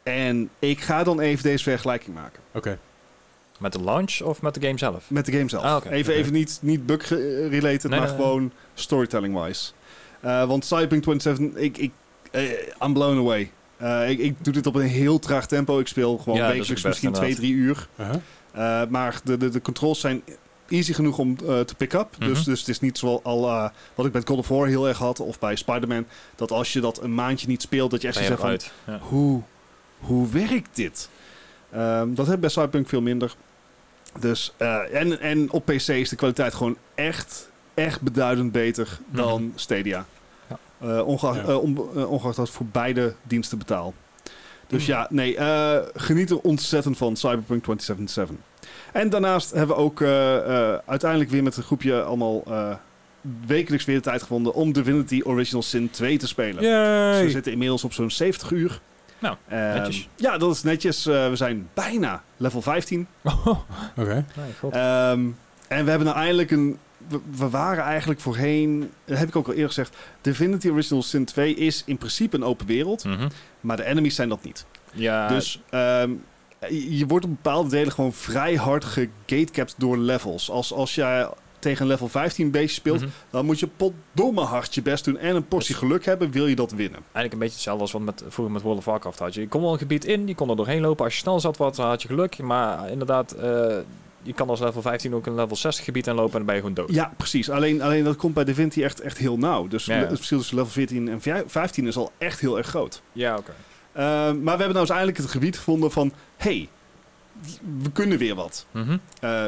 Speaker 3: En ik ga dan even deze vergelijking maken.
Speaker 1: oké.
Speaker 2: Met de launch of met de game zelf?
Speaker 3: Met de game zelf.
Speaker 2: Ah, oké.
Speaker 3: Even,
Speaker 1: Oké.
Speaker 3: even niet, niet bug-related,
Speaker 2: Nee,
Speaker 3: maar
Speaker 2: nee,
Speaker 3: gewoon storytelling-wise. Eh, want Cyberpunk 27, ik, ik, eh, I'm blown away. Eh, ik, ik doe dit op een heel traag tempo. Ik speel gewoon
Speaker 2: Ja, dat is
Speaker 3: wekelijks
Speaker 2: het beste,
Speaker 3: misschien twee, drie uur.
Speaker 1: Aha.
Speaker 3: Eh, maar de, de, de controls zijn easy genoeg om eh, te pick up.
Speaker 2: Mhm.
Speaker 3: dus, dus het is niet zoals al eh, wat ik bij God of War heel erg had. Of bij Spider-Man. Dat als je dat een maandje niet speelt, dat je echt
Speaker 2: Ben
Speaker 3: zo
Speaker 2: je
Speaker 3: zegt van
Speaker 2: eruit? Ja.
Speaker 3: eh, hoe, hoe werkt dit? Ehm, dat heb ik bij Cyberpunk veel minder. Dus, eh, en, en op PC is de kwaliteit gewoon echt, echt beduidend beter dan Stadia.
Speaker 2: Ja.
Speaker 3: Eh, ongeacht,
Speaker 1: Ja.
Speaker 3: eh, onbe- eh, ongeacht dat ik voor beide diensten betaal. Dus ja, nee, eh, geniet er ontzettend van Cyberpunk 2077. En daarnaast hebben we ook eh, eh, uiteindelijk weer met een groepje allemaal eh, wekelijks weer de tijd gevonden om Divinity Original Sin 2 te spelen. Dus we
Speaker 1: Yay!
Speaker 3: zitten inmiddels op zo'n 70 uur.
Speaker 2: Nou,
Speaker 3: Ehm,
Speaker 2: netjes.
Speaker 3: Ja, dat is netjes. Eh, we zijn bijna level 15.
Speaker 1: Oké.
Speaker 2: Nee, god.
Speaker 3: Ehm, en we hebben nou eindelijk een... We, we waren eigenlijk voorheen... Dat heb ik ook al eerder gezegd. Divinity Original Sin 2 is in principe een open wereld.
Speaker 2: Mhm.
Speaker 3: Maar de enemies zijn dat niet.
Speaker 2: Ja,
Speaker 3: dus ehm, je je wordt op bepaalde delen gewoon vrij hard gegatecapt door levels. Als, als jij tegen een level 15 beestje speelt...
Speaker 2: mhm.
Speaker 3: dan moet je potdomme hard je best doen... en een portie geluk hebben, wil je dat winnen.
Speaker 2: Eigenlijk een beetje hetzelfde als wat met, vroeger met World of Warcraft had. Je Je kon wel een gebied in, je kon er doorheen lopen. Als je snel zat, wat, dan had je geluk. Maar inderdaad, eh, je kan als level 15 ook een level 60 gebied inlopen en dan ben je gewoon dood.
Speaker 3: Ja, precies. Alleen, alleen dat komt bij Divinity echt, echt heel nauw. Dus
Speaker 2: Ja, ja.
Speaker 3: le- het verschil tussen level 14 en vij- 15 is al echt heel erg groot.
Speaker 2: Ja, oké.
Speaker 3: Ehm, maar we hebben nou eens eindelijk het gebied gevonden van... hey, we kunnen weer wat.
Speaker 2: Mhm.
Speaker 3: Eh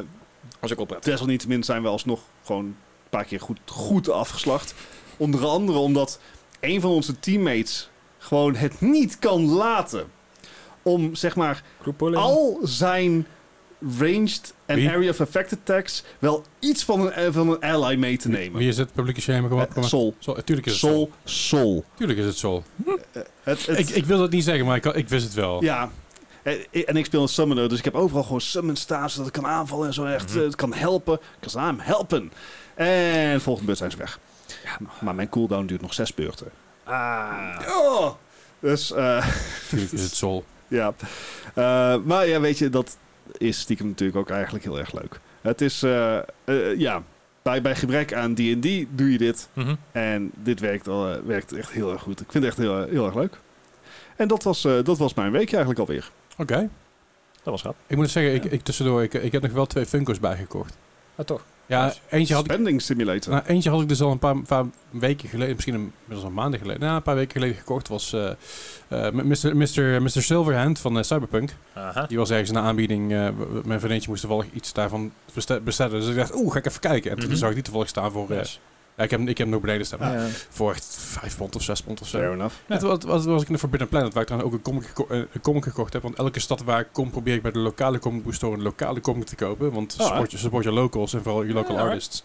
Speaker 2: Als ik opret.
Speaker 3: desalniettemin zijn we alsnog gewoon een paar keer goed, goed afgeslacht. Onder andere omdat een van onze teammates gewoon het niet kan laten... om, zeg maar,
Speaker 2: Group pulling.
Speaker 3: al zijn ranged en
Speaker 1: Wie?
Speaker 3: area of effect attacks... wel iets van een, van een ally mee te nemen.
Speaker 1: Wie is het publieke shaming
Speaker 3: Eh,
Speaker 1: geworden? Kom maar.
Speaker 3: Sol.
Speaker 1: Sol. eh, Tuurlijk is het Sol.
Speaker 3: Sol, Sol.
Speaker 1: Tuurlijk is het Sol.
Speaker 3: Het, het-
Speaker 1: Ik, ik wil dat niet zeggen, maar ik, ik wist het wel.
Speaker 3: Ja. En en ik speel een summoner, dus ik heb overal gewoon summon staan, zodat ik kan aanvallen en zo echt.
Speaker 1: Mhm.
Speaker 3: eh, Het kan helpen. Ik kan hem helpen. En volgende beurt zijn ze weg. Maar mijn cooldown duurt nog zes beurten. Ah. Dus, eh, *laughs*
Speaker 1: Tuurlijk is het Sol.
Speaker 3: ja. Eh, maar ja, weet je, dat is stiekem natuurlijk ook eigenlijk heel erg leuk. Het is, eh, eh, ja, bij, bij gebrek aan D&D doe je dit.
Speaker 2: Mhm.
Speaker 3: En dit werkt, al, eh, werkt echt heel erg goed. Ik vind het echt heel, heel erg leuk. En dat was, eh, dat was mijn weekje eigenlijk alweer.
Speaker 1: Oké.
Speaker 2: Dat was grap.
Speaker 1: Ik moet zeggen, ik,
Speaker 2: Ja.
Speaker 1: ik tussendoor, ik, ik heb nog wel twee Funko's bijgekocht.
Speaker 2: Maar toch.
Speaker 1: Ja, eentje had ik
Speaker 3: Spending Simulator.
Speaker 1: Nou, eentje had ik dus al een paar, een paar weken geleden, misschien een, inmiddels al maanden geleden, nou, een paar weken geleden gekocht. was eh eh, Mr., Mr., Mr. Silverhand van eh, Cyberpunk.
Speaker 2: Aha.
Speaker 1: Die was ergens in de aanbieding. eh, w- w- mijn vriendje moest toevallig iets daarvan verste- bestellen. Dus ik dacht, oeh, ga ik even kijken. En toen
Speaker 2: Mhm.
Speaker 1: zag ik die toevallig staan voor eh,
Speaker 2: Yes.
Speaker 1: Ja, ik, heb, ik heb hem nog beneden
Speaker 3: Ah,
Speaker 1: staan.
Speaker 2: Ah, Ja.
Speaker 1: Voor echt 5 pond of 6 pond of zo.
Speaker 3: Fair enough.
Speaker 1: Net wat, wat was ik in de Forbidden Planet, waar ik dan ook een comic, geko- eh, een comic gekocht heb. Want elke stad waar ik kom, probeer ik bij de lokale comic book store een lokale comic te kopen. Want
Speaker 3: Ah.
Speaker 1: support, je, support je locals en vooral je local
Speaker 2: Oh, Ja,
Speaker 1: artists.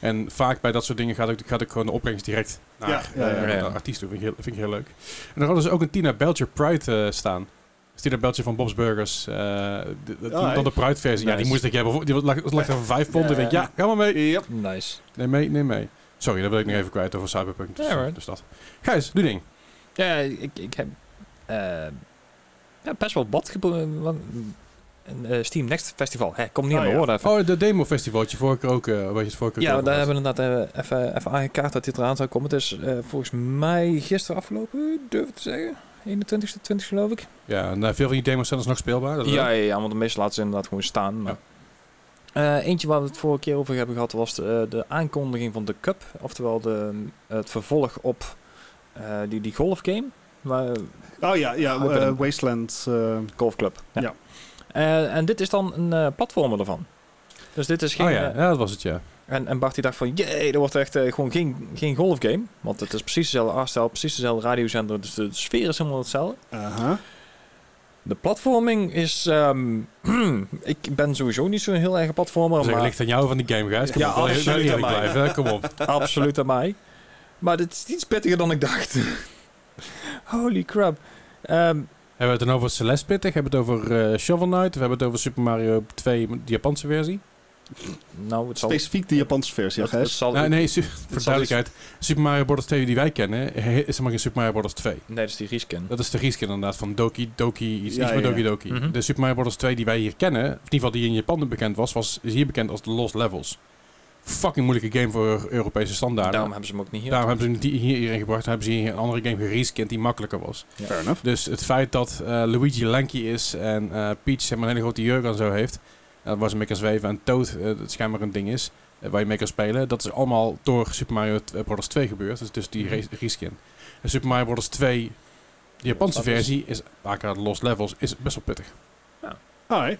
Speaker 1: En vaak bij dat soort dingen gaat ook, gaat ook gewoon de opbrengst direct naar
Speaker 3: Ja, ja,
Speaker 1: eh,
Speaker 2: ja, ja.
Speaker 1: de artiesten. Vind ik, heel, vind ik heel leuk. En dan hadden ze ook een Tina Belcher Pride eh, staan. Dus Tina Belcher van Bob's Burgers. eh, de- de-
Speaker 3: Ah,
Speaker 1: dan de Pride versie. Ja, die
Speaker 2: Oh, Nice.
Speaker 1: moest ik hebben. Die lag, lag daar voor 5 pond.
Speaker 2: Ja,
Speaker 1: Ik denk,
Speaker 2: ja.
Speaker 1: ja, ga maar mee.
Speaker 3: Yep.
Speaker 2: Nice.
Speaker 1: Neem mee, neem mee. Sorry, dat wil ik nog even kwijt over Cyberpunk. Dus,
Speaker 2: Ja, hoor.
Speaker 1: dus dat. Gijs, doe ding.
Speaker 2: Ja, ik, ik heb eh, ja, best wel wat gebo- wat- Een eh, Steam Next Festival. Hè, kom niet
Speaker 3: Oh,
Speaker 2: aan mijn
Speaker 3: ja.
Speaker 2: woorden even.
Speaker 1: Oh, de demo festivaltje vorige keer ook, eh weet je het vorige keer
Speaker 2: ja,
Speaker 1: ook
Speaker 2: daar
Speaker 1: over
Speaker 2: hebben we inderdaad eh, even, even aangekaart dat dit eraan zou komen. Het is eh, volgens mij gisteren afgelopen, durf ik te zeggen. 21ste, 20 geloof ik.
Speaker 1: gehad. Ja, en eh, veel van die demos zijn dus nog speelbaar. Dat
Speaker 2: Ja,
Speaker 1: wel.
Speaker 2: ja, ja, want de meeste laten ze inderdaad gewoon staan. Maar. Eh, eentje waar we het vorige keer over hebben gehad was de, eh, de aankondiging van de Cup. Oftewel de, het vervolg op eh, die, die golfgame. Maar,
Speaker 3: Oh ja, ja
Speaker 2: Ah, ik ben
Speaker 3: eh,
Speaker 2: hem.
Speaker 3: Wasteland. eh,
Speaker 2: golfclub. Ja.
Speaker 3: Ja.
Speaker 2: Eh, en dit is dan een eh, platformer ervan. Dus dit is geen...
Speaker 1: Oh ja,
Speaker 2: eh,
Speaker 1: ja, dat was het, ja.
Speaker 2: en, en Bart die dacht van, jee, dat wordt echt eh, gewoon geen, geen golfgame. Want het is precies dezelfde artstijl, precies dezelfde radiozender. Dus de sfeer is helemaal hetzelfde.
Speaker 3: aha.
Speaker 2: De platforming is... ehm, *clears throat* ik ben sowieso niet zo'n heel erg platformer.
Speaker 1: Dus het
Speaker 2: maar...
Speaker 1: *laughs* ligt aan jou van die game, Gijs. Kom
Speaker 2: Ja,
Speaker 1: op, wel heel-
Speaker 2: absoluut
Speaker 1: eerlijk
Speaker 2: aan mij.
Speaker 1: blijven, hè. Kom
Speaker 2: *laughs*
Speaker 1: op.
Speaker 2: Absoluut aan mij. Maar dit is iets pittiger dan ik dacht. *laughs* Holy crap. Ehm,
Speaker 1: Hebben we het dan over Celeste Pittig? Hebben we het over eh, Shovel Knight? We hebben het over Super Mario 2, de Japanse versie?
Speaker 2: nou, het zal...
Speaker 3: Specifiek de Japanse versie, ja,
Speaker 2: het, het
Speaker 3: Gijs.
Speaker 2: zal
Speaker 1: Nou,
Speaker 2: nee.
Speaker 1: nee,
Speaker 2: *laughs*
Speaker 1: su- voor
Speaker 2: dus-
Speaker 1: duidelijkheid. Super Mario Bros. 2 die wij kennen, he- is helemaal geen Super Mario Bros. 2.
Speaker 2: dat is die reskin.
Speaker 1: Dat is de reskin inderdaad van Doki Doki, iets,
Speaker 3: Ja,
Speaker 1: iets met
Speaker 3: ja,
Speaker 1: Doki
Speaker 3: ja.
Speaker 1: Doki.
Speaker 2: Mhm.
Speaker 1: De Super Mario Bros. 2 die wij hier kennen, of in ieder geval die in Japan bekend was, was is hier bekend als de Lost Levels. Fucking moeilijke game voor Europese standaarden.
Speaker 2: Daarom hebben ze hem ook niet hier.
Speaker 1: Daarom hebben ze hem die- hier- hierin gebracht. Dan hebben ze hier een andere game gereskind die makkelijker was.
Speaker 3: Fair enough.
Speaker 1: Dus het feit dat eh, Luigi lanky is en eh Peach zeg maar, een hele grote jurk en zo heeft. En dat was een mee kan zweven. En Toad eh, dat schijnbaar een ding is eh, waar je mee kan spelen. Dat is allemaal door Super Mario t- eh, Bros. 2 gebeurd. Dus, dus die
Speaker 2: Mhm.
Speaker 1: re- reskin. En Super Mario Bros. 2, de Japanse
Speaker 2: Levels.
Speaker 1: versie, is aka Lost Levels, is best wel pittig.
Speaker 3: Alright.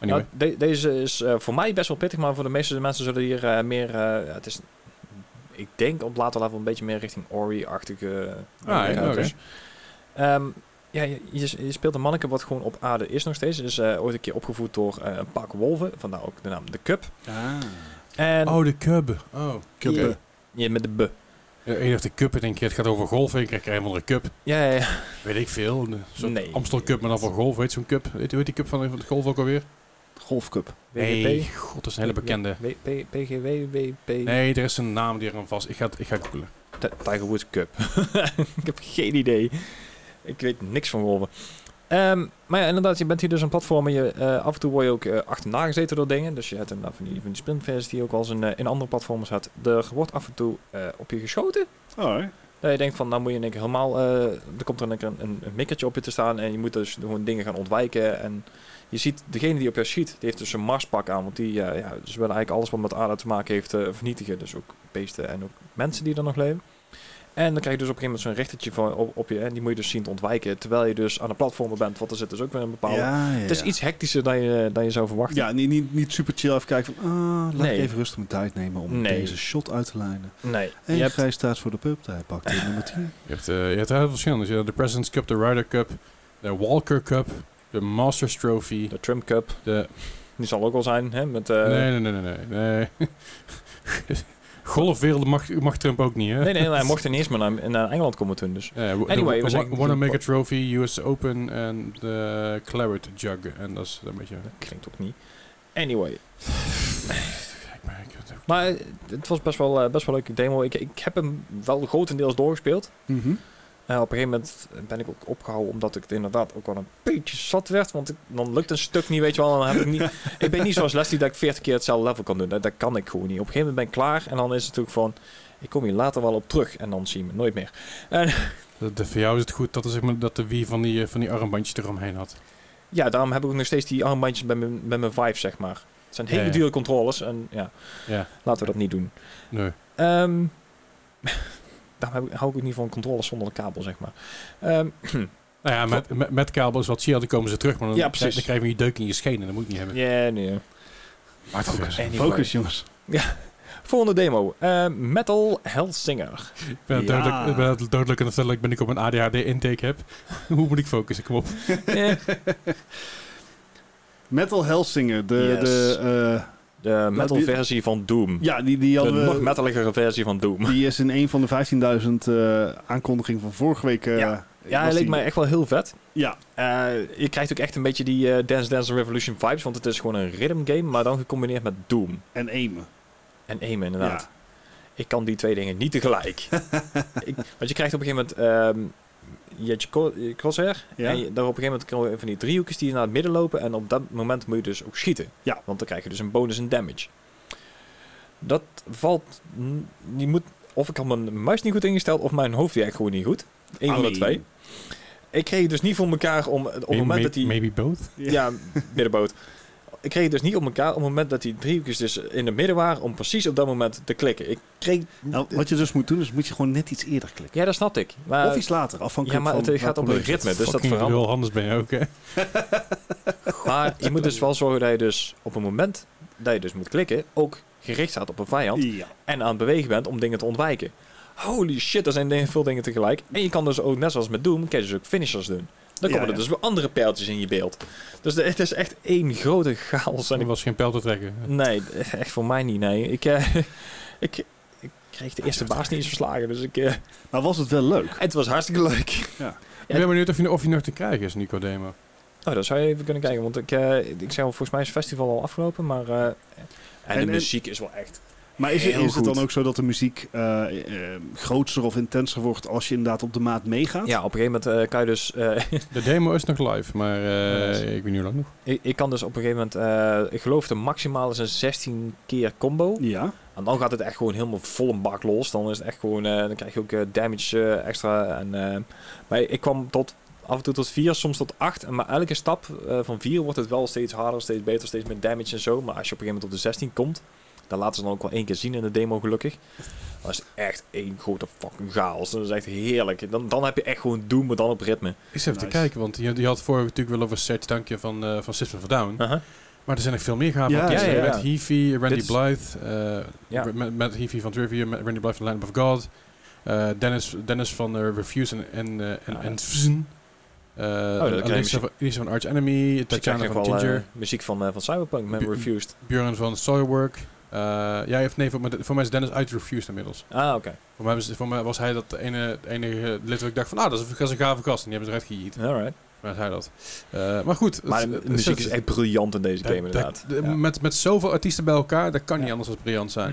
Speaker 1: Anyway.
Speaker 2: Nou, de- deze is eh, voor mij best wel pittig, maar voor de meeste mensen zullen hier eh, meer... eh, ja, het is, ik denk op later level een beetje meer richting Ori-achtige...
Speaker 1: Ah, ja,
Speaker 2: eh,
Speaker 1: oké.
Speaker 2: dus. Ehm, ja, je, je- je speelt een manneke wat gewoon op aarde is nog steeds. Is eh, ooit een keer opgevoed door eh, een pak wolven, vandaar ook de naam de Cup. Ah. En
Speaker 1: Oh, de cub. Oh.
Speaker 3: Cup, eh,
Speaker 2: Ja, met de B.
Speaker 1: Ja, ik dacht de cup, ik denk, het gaat over golf. En ik krijg er een of andere cup.
Speaker 2: Ja, ja, ja.
Speaker 1: Weet ik veel. Een soort
Speaker 2: Nee.
Speaker 1: Amstel Cup, maar dan voor golf. Weet je zo'n cup? Weet je die cup van, van het golf ook alweer?
Speaker 3: Golfcup.
Speaker 1: Nee,
Speaker 2: WWP.
Speaker 1: god, dat is een hele bekende.
Speaker 2: W- P- PGW, WP.
Speaker 1: Nee, er is een naam die eraan vast. Ik ga, het- ik ga googlen.
Speaker 2: T- Tiger Woods Cup. *laughs* ik heb geen idee. Ik weet niks van wolven. Ehm, maar ja, inderdaad, je bent hier dus een platform. en Je, eh, af en toe word je ook eh, achterna gezeten door dingen. Dus je hebt een van die, van die sprintversie die ook wel eens in, eh, in andere platformen zat. Er wordt af en toe eh, op je geschoten.
Speaker 3: Alright.
Speaker 2: Dat je denkt van, nou moet je in één keer helemaal... eh er komt er in één keer een, een, een mikkertje op je te staan en je moet dus gewoon dingen gaan ontwijken. En je ziet, degene die op jou schiet, die heeft dus een marspak aan. Want die, eh, ja, ze willen eigenlijk alles wat met aarde te maken heeft eh, vernietigen. Dus ook beesten en ook mensen die er nog leven. En dan krijg je dus op een gegeven moment zo'n richtertje van, op, op je en die moet je dus zien te ontwijken. Terwijl je dus aan de platformen bent, want er zit dus ook weer een bepaalde...
Speaker 3: Ja, ja,
Speaker 2: Het is
Speaker 3: ja.
Speaker 2: iets hectischer dan je, dan je zou verwachten.
Speaker 3: Ja, niet, niet, niet super chill even kijken van... ah, laat
Speaker 2: Nee.
Speaker 3: ik even rustig mijn tijd nemen om
Speaker 2: Nee.
Speaker 3: deze shot uit te lijnen.
Speaker 2: Nee,
Speaker 3: En
Speaker 2: je
Speaker 3: jij
Speaker 2: hebt...
Speaker 3: Gijs staat voor de pub. Hij pakt de nummer 10.
Speaker 1: Je hebt, eh, je hebt heel veel verschillende. Dus je hebt de President's Cup, de Ryder Cup, de Walker Cup, de Masters Trophy,
Speaker 2: De Trump Cup,
Speaker 1: de...
Speaker 2: die zal ook wel zijn, hè, met... eh,
Speaker 1: nee, nee, nee, nee, nee. nee. *laughs* Golfwereld mag, mag Trump ook niet, hè?
Speaker 2: nee, nee, hij mocht er niet eens meer naar, naar Engeland komen toen, dus...
Speaker 1: Ja, de-
Speaker 2: Anyway, we
Speaker 1: de,
Speaker 2: zijn-
Speaker 1: Wanamaker Trophy, US Open en de Claret Jug. En dat is een beetje...
Speaker 2: Klinkt ook niet. Anyway.
Speaker 1: Kijk maar, ik-
Speaker 2: Maar eh, het was best wel, eh, best wel een leuke demo. Ik, ik heb hem wel grotendeels doorgespeeld.
Speaker 3: Mhm.
Speaker 2: Eh, op een gegeven moment ben ik ook opgehouden omdat ik het inderdaad ook wel een beetje zat werd. Want ik- dan lukt een stuk niet, weet je wel. en Dan heb ik,
Speaker 1: *laughs*
Speaker 2: niet, ik ben niet zoals Leslie dat ik 40 keer hetzelfde level kan doen. Dat, dat kan ik gewoon niet. Op een gegeven moment ben ik klaar en dan is het natuurlijk van... Ik kom hier later wel op terug en dan zie je me nooit meer.
Speaker 1: dat- dat- voor jou is het goed dat, er, zeg maar, dat de Wii van die, eh, van die armbandjes eromheen had.
Speaker 2: Ja, daarom heb ik ook nog steeds die armbandjes bij mijn, bij mijn Vive, zeg maar. Het zijn hele
Speaker 1: Ja, ja.
Speaker 2: dure controllers en ja,
Speaker 1: Ja,
Speaker 2: laten we dat niet doen.
Speaker 1: nee.
Speaker 2: Ehm *laughs* daarom heb ik, hou ik ook niet van controllers zonder een kabel, zeg maar. Ehm,
Speaker 1: Nou ja, met, met, met kabels wat zie je, dan komen ze terug. Maar dan,
Speaker 2: Ja, precies.
Speaker 1: dan krijg je die deuk in je schenen. Dat moet ik niet hebben.
Speaker 2: Ja, nee.
Speaker 1: Maar het
Speaker 3: Focus,
Speaker 2: anyway.
Speaker 3: focus jongens.
Speaker 2: Volgende demo. eh, Metal
Speaker 3: *laughs*
Speaker 2: Hellsinger.
Speaker 1: Ik ben,
Speaker 3: Ja.
Speaker 1: duidelijk, ik ben het dodelijk aan het stellen dat ik ben ik op een ADHD-intake heb. *laughs* Hoe moet ik focussen? Kom op.
Speaker 2: Eh,
Speaker 3: Metal Hellsinger, de...
Speaker 2: Yes.
Speaker 3: de eh,
Speaker 2: de metal
Speaker 3: die-
Speaker 2: versie van Doom.
Speaker 3: ja, eh, die, die
Speaker 2: de
Speaker 3: hadden we-
Speaker 2: nog metaligere versie van
Speaker 3: *laughs*
Speaker 2: Doom.
Speaker 3: Die is in een van de 15.000 eh aankondigingen van vorige week... eh,
Speaker 2: Ja.
Speaker 3: was
Speaker 2: Ja, hij leek
Speaker 3: die-
Speaker 2: mij echt wel heel vet.
Speaker 3: Ja,
Speaker 2: Eh, je krijgt ook echt een beetje die eh, Dance Dance Revolution vibes, want het is gewoon een rhythm game, maar dan gecombineerd met Doom.
Speaker 3: en Emen.
Speaker 2: En aim
Speaker 3: Ja.
Speaker 2: inderdaad. Ik kan die twee dingen niet
Speaker 3: *laughs*
Speaker 2: tegelijk. ik, want je krijgt op een gegeven moment ehm, je hebt je cro- je crosshair.
Speaker 3: Ja.
Speaker 2: En je- daar op een gegeven moment komen van die driehoekjes die naar het midden lopen. En op dat moment moet je dus ook schieten.
Speaker 3: Ja.
Speaker 2: Want dan krijg je dus een bonus in damage. Dat valt... n- Je moet, of ik had mijn muis niet goed ingesteld of mijn hoofd werkt gewoon niet goed. Eén van de
Speaker 3: Amen.
Speaker 2: twee. Ik kreeg het dus niet voor elkaar om... Op het
Speaker 1: May-
Speaker 2: moment
Speaker 1: may-
Speaker 2: dat die...
Speaker 1: Maybe both?
Speaker 3: *laughs*
Speaker 2: Ja, middenboot. Ik kreeg het dus niet op elkaar op het moment dat die driehoekjes dus in het midden waren om precies op dat moment te klikken. Ik kreeg...
Speaker 3: Nou, wat je dus moet doen, is moet je gewoon net iets eerder klikken.
Speaker 2: Ja, dat snap ik. Maar,
Speaker 3: of iets later, afhankelijk
Speaker 2: Eh, ja, maar
Speaker 3: van...
Speaker 2: het eh, gaat om
Speaker 3: welk
Speaker 2: een
Speaker 3: probleem.
Speaker 2: ritme, dus dat
Speaker 1: Fucking
Speaker 2: verandert.
Speaker 1: lul, anders ben je ook, hè?
Speaker 2: *laughs* Maar je moet dus wel zorgen dat je dus op het moment dat je dus moet klikken, ook gericht staat op een vijand
Speaker 3: Ja.
Speaker 2: en aan het bewegen bent om dingen te ontwijken. Holy shit, er zijn dingen- veel dingen tegelijk. En je kan dus ook, net zoals met Doom, kan je dus ook finishers doen. Dan
Speaker 3: Ja,
Speaker 2: komen er
Speaker 3: ja.
Speaker 2: dus weer andere pijltjes in je beeld. Dus de- het is echt één grote chaos. En
Speaker 1: Er
Speaker 2: ik
Speaker 1: was geen pijl te trekken.
Speaker 2: Nee, echt voor mij niet, nee. Ik, eh, *laughs* ik, ik kreeg de eerste baas niet eens verslagen, dus ik... eh,
Speaker 3: Maar was het wel leuk?
Speaker 2: het was hartstikke leuk.
Speaker 1: Ik ben benieuwd of je, of je nog te krijgen is, Nico Demo.
Speaker 2: Oh, dat zou je even kunnen kijken, want ik, eh, ik zei al, volgens mij is het festival al afgelopen, maar... eh, en,
Speaker 3: en-
Speaker 2: de muziek is wel echt...
Speaker 3: Maar is, het-
Speaker 2: Heel
Speaker 3: is het dan
Speaker 2: goed.
Speaker 3: ook zo dat de muziek eh, eh, grootser of intenser wordt als je inderdaad op de maat meegaat?
Speaker 2: Ja, op een gegeven moment eh, kan je dus... eh, *laughs*
Speaker 1: De demo is nog live, maar eh,
Speaker 2: Nice.
Speaker 1: ik weet niet hoe lang nog.
Speaker 2: ik, ik kan dus op een gegeven moment... eh, ik geloof de maximaal is een 16 keer combo.
Speaker 3: Ja.
Speaker 2: En dan gaat het echt gewoon helemaal vol een bak los. Dan is het echt gewoon... eh, dan krijg je ook eh, damage eh, extra. En, eh, maar ik kwam tot, af en toe tot 4, soms tot 8. En maar elke stap eh, van 4 wordt het wel steeds harder, steeds beter, steeds meer damage en zo. Maar als je op een gegeven moment op de 16 komt... Dan laten ze dan ook wel één keer zien in de demo, gelukkig. Dat is echt één grote fucking chaos. Dat is echt heerlijk. Dan, dan heb je echt gewoon doen, maar dan op ritme.
Speaker 1: Ik zit even te
Speaker 3: Nice.
Speaker 1: kijken, want je, je had vorige natuurlijk wel over Serge Dankje van, eh, van System of a Down.
Speaker 2: Uh-huh.
Speaker 1: Maar er zijn echt veel meer gaven.
Speaker 3: Ja,
Speaker 1: Ja, ja,
Speaker 2: ja, ja.
Speaker 1: Met Heafy, Randy
Speaker 2: Dit is-
Speaker 1: Blythe, eh,
Speaker 2: Ja.
Speaker 1: met, met Heafy van Trivia, met Randy Blythe van Land of God, eh, Dennis, Dennis van eh, Refuse en, en, eh, en,
Speaker 2: Ah, Ja.
Speaker 1: en Vzn. Eh,
Speaker 2: krijg je
Speaker 1: Elisa
Speaker 2: misschien-
Speaker 1: van, Elisa van Arch Enemy,
Speaker 2: Dus ik krijg
Speaker 1: Tatjana
Speaker 2: nog
Speaker 1: van
Speaker 2: wel
Speaker 1: Ginger,
Speaker 2: eh, muziek van, eh, van Cyberpunk, Man
Speaker 1: Bu-
Speaker 2: Refused.
Speaker 1: Björn van Soilwork. Eh, ja, heeft, nee, voor, mij- voor mij is Dennis uit Refused inmiddels.
Speaker 2: Ah, oké.
Speaker 1: Voor mij, was- voor mij was hij dat ene, enige lid dat ik dacht van, ah, dat is een, dat is een gave gast. En die hebben ze eruit geëat.
Speaker 2: Alright.
Speaker 1: Maar hij dat. Eh, maar goed.
Speaker 2: Maar
Speaker 1: het-
Speaker 2: de
Speaker 1: het-
Speaker 2: muziek
Speaker 1: het-
Speaker 2: is echt briljant in deze
Speaker 1: dat-
Speaker 2: game,
Speaker 1: dat-
Speaker 2: inderdaad.
Speaker 1: de-
Speaker 2: Ja.
Speaker 1: met, met zoveel artiesten bij elkaar, dat kan niet
Speaker 2: Ja. Mhm.
Speaker 1: anders dan briljant zijn.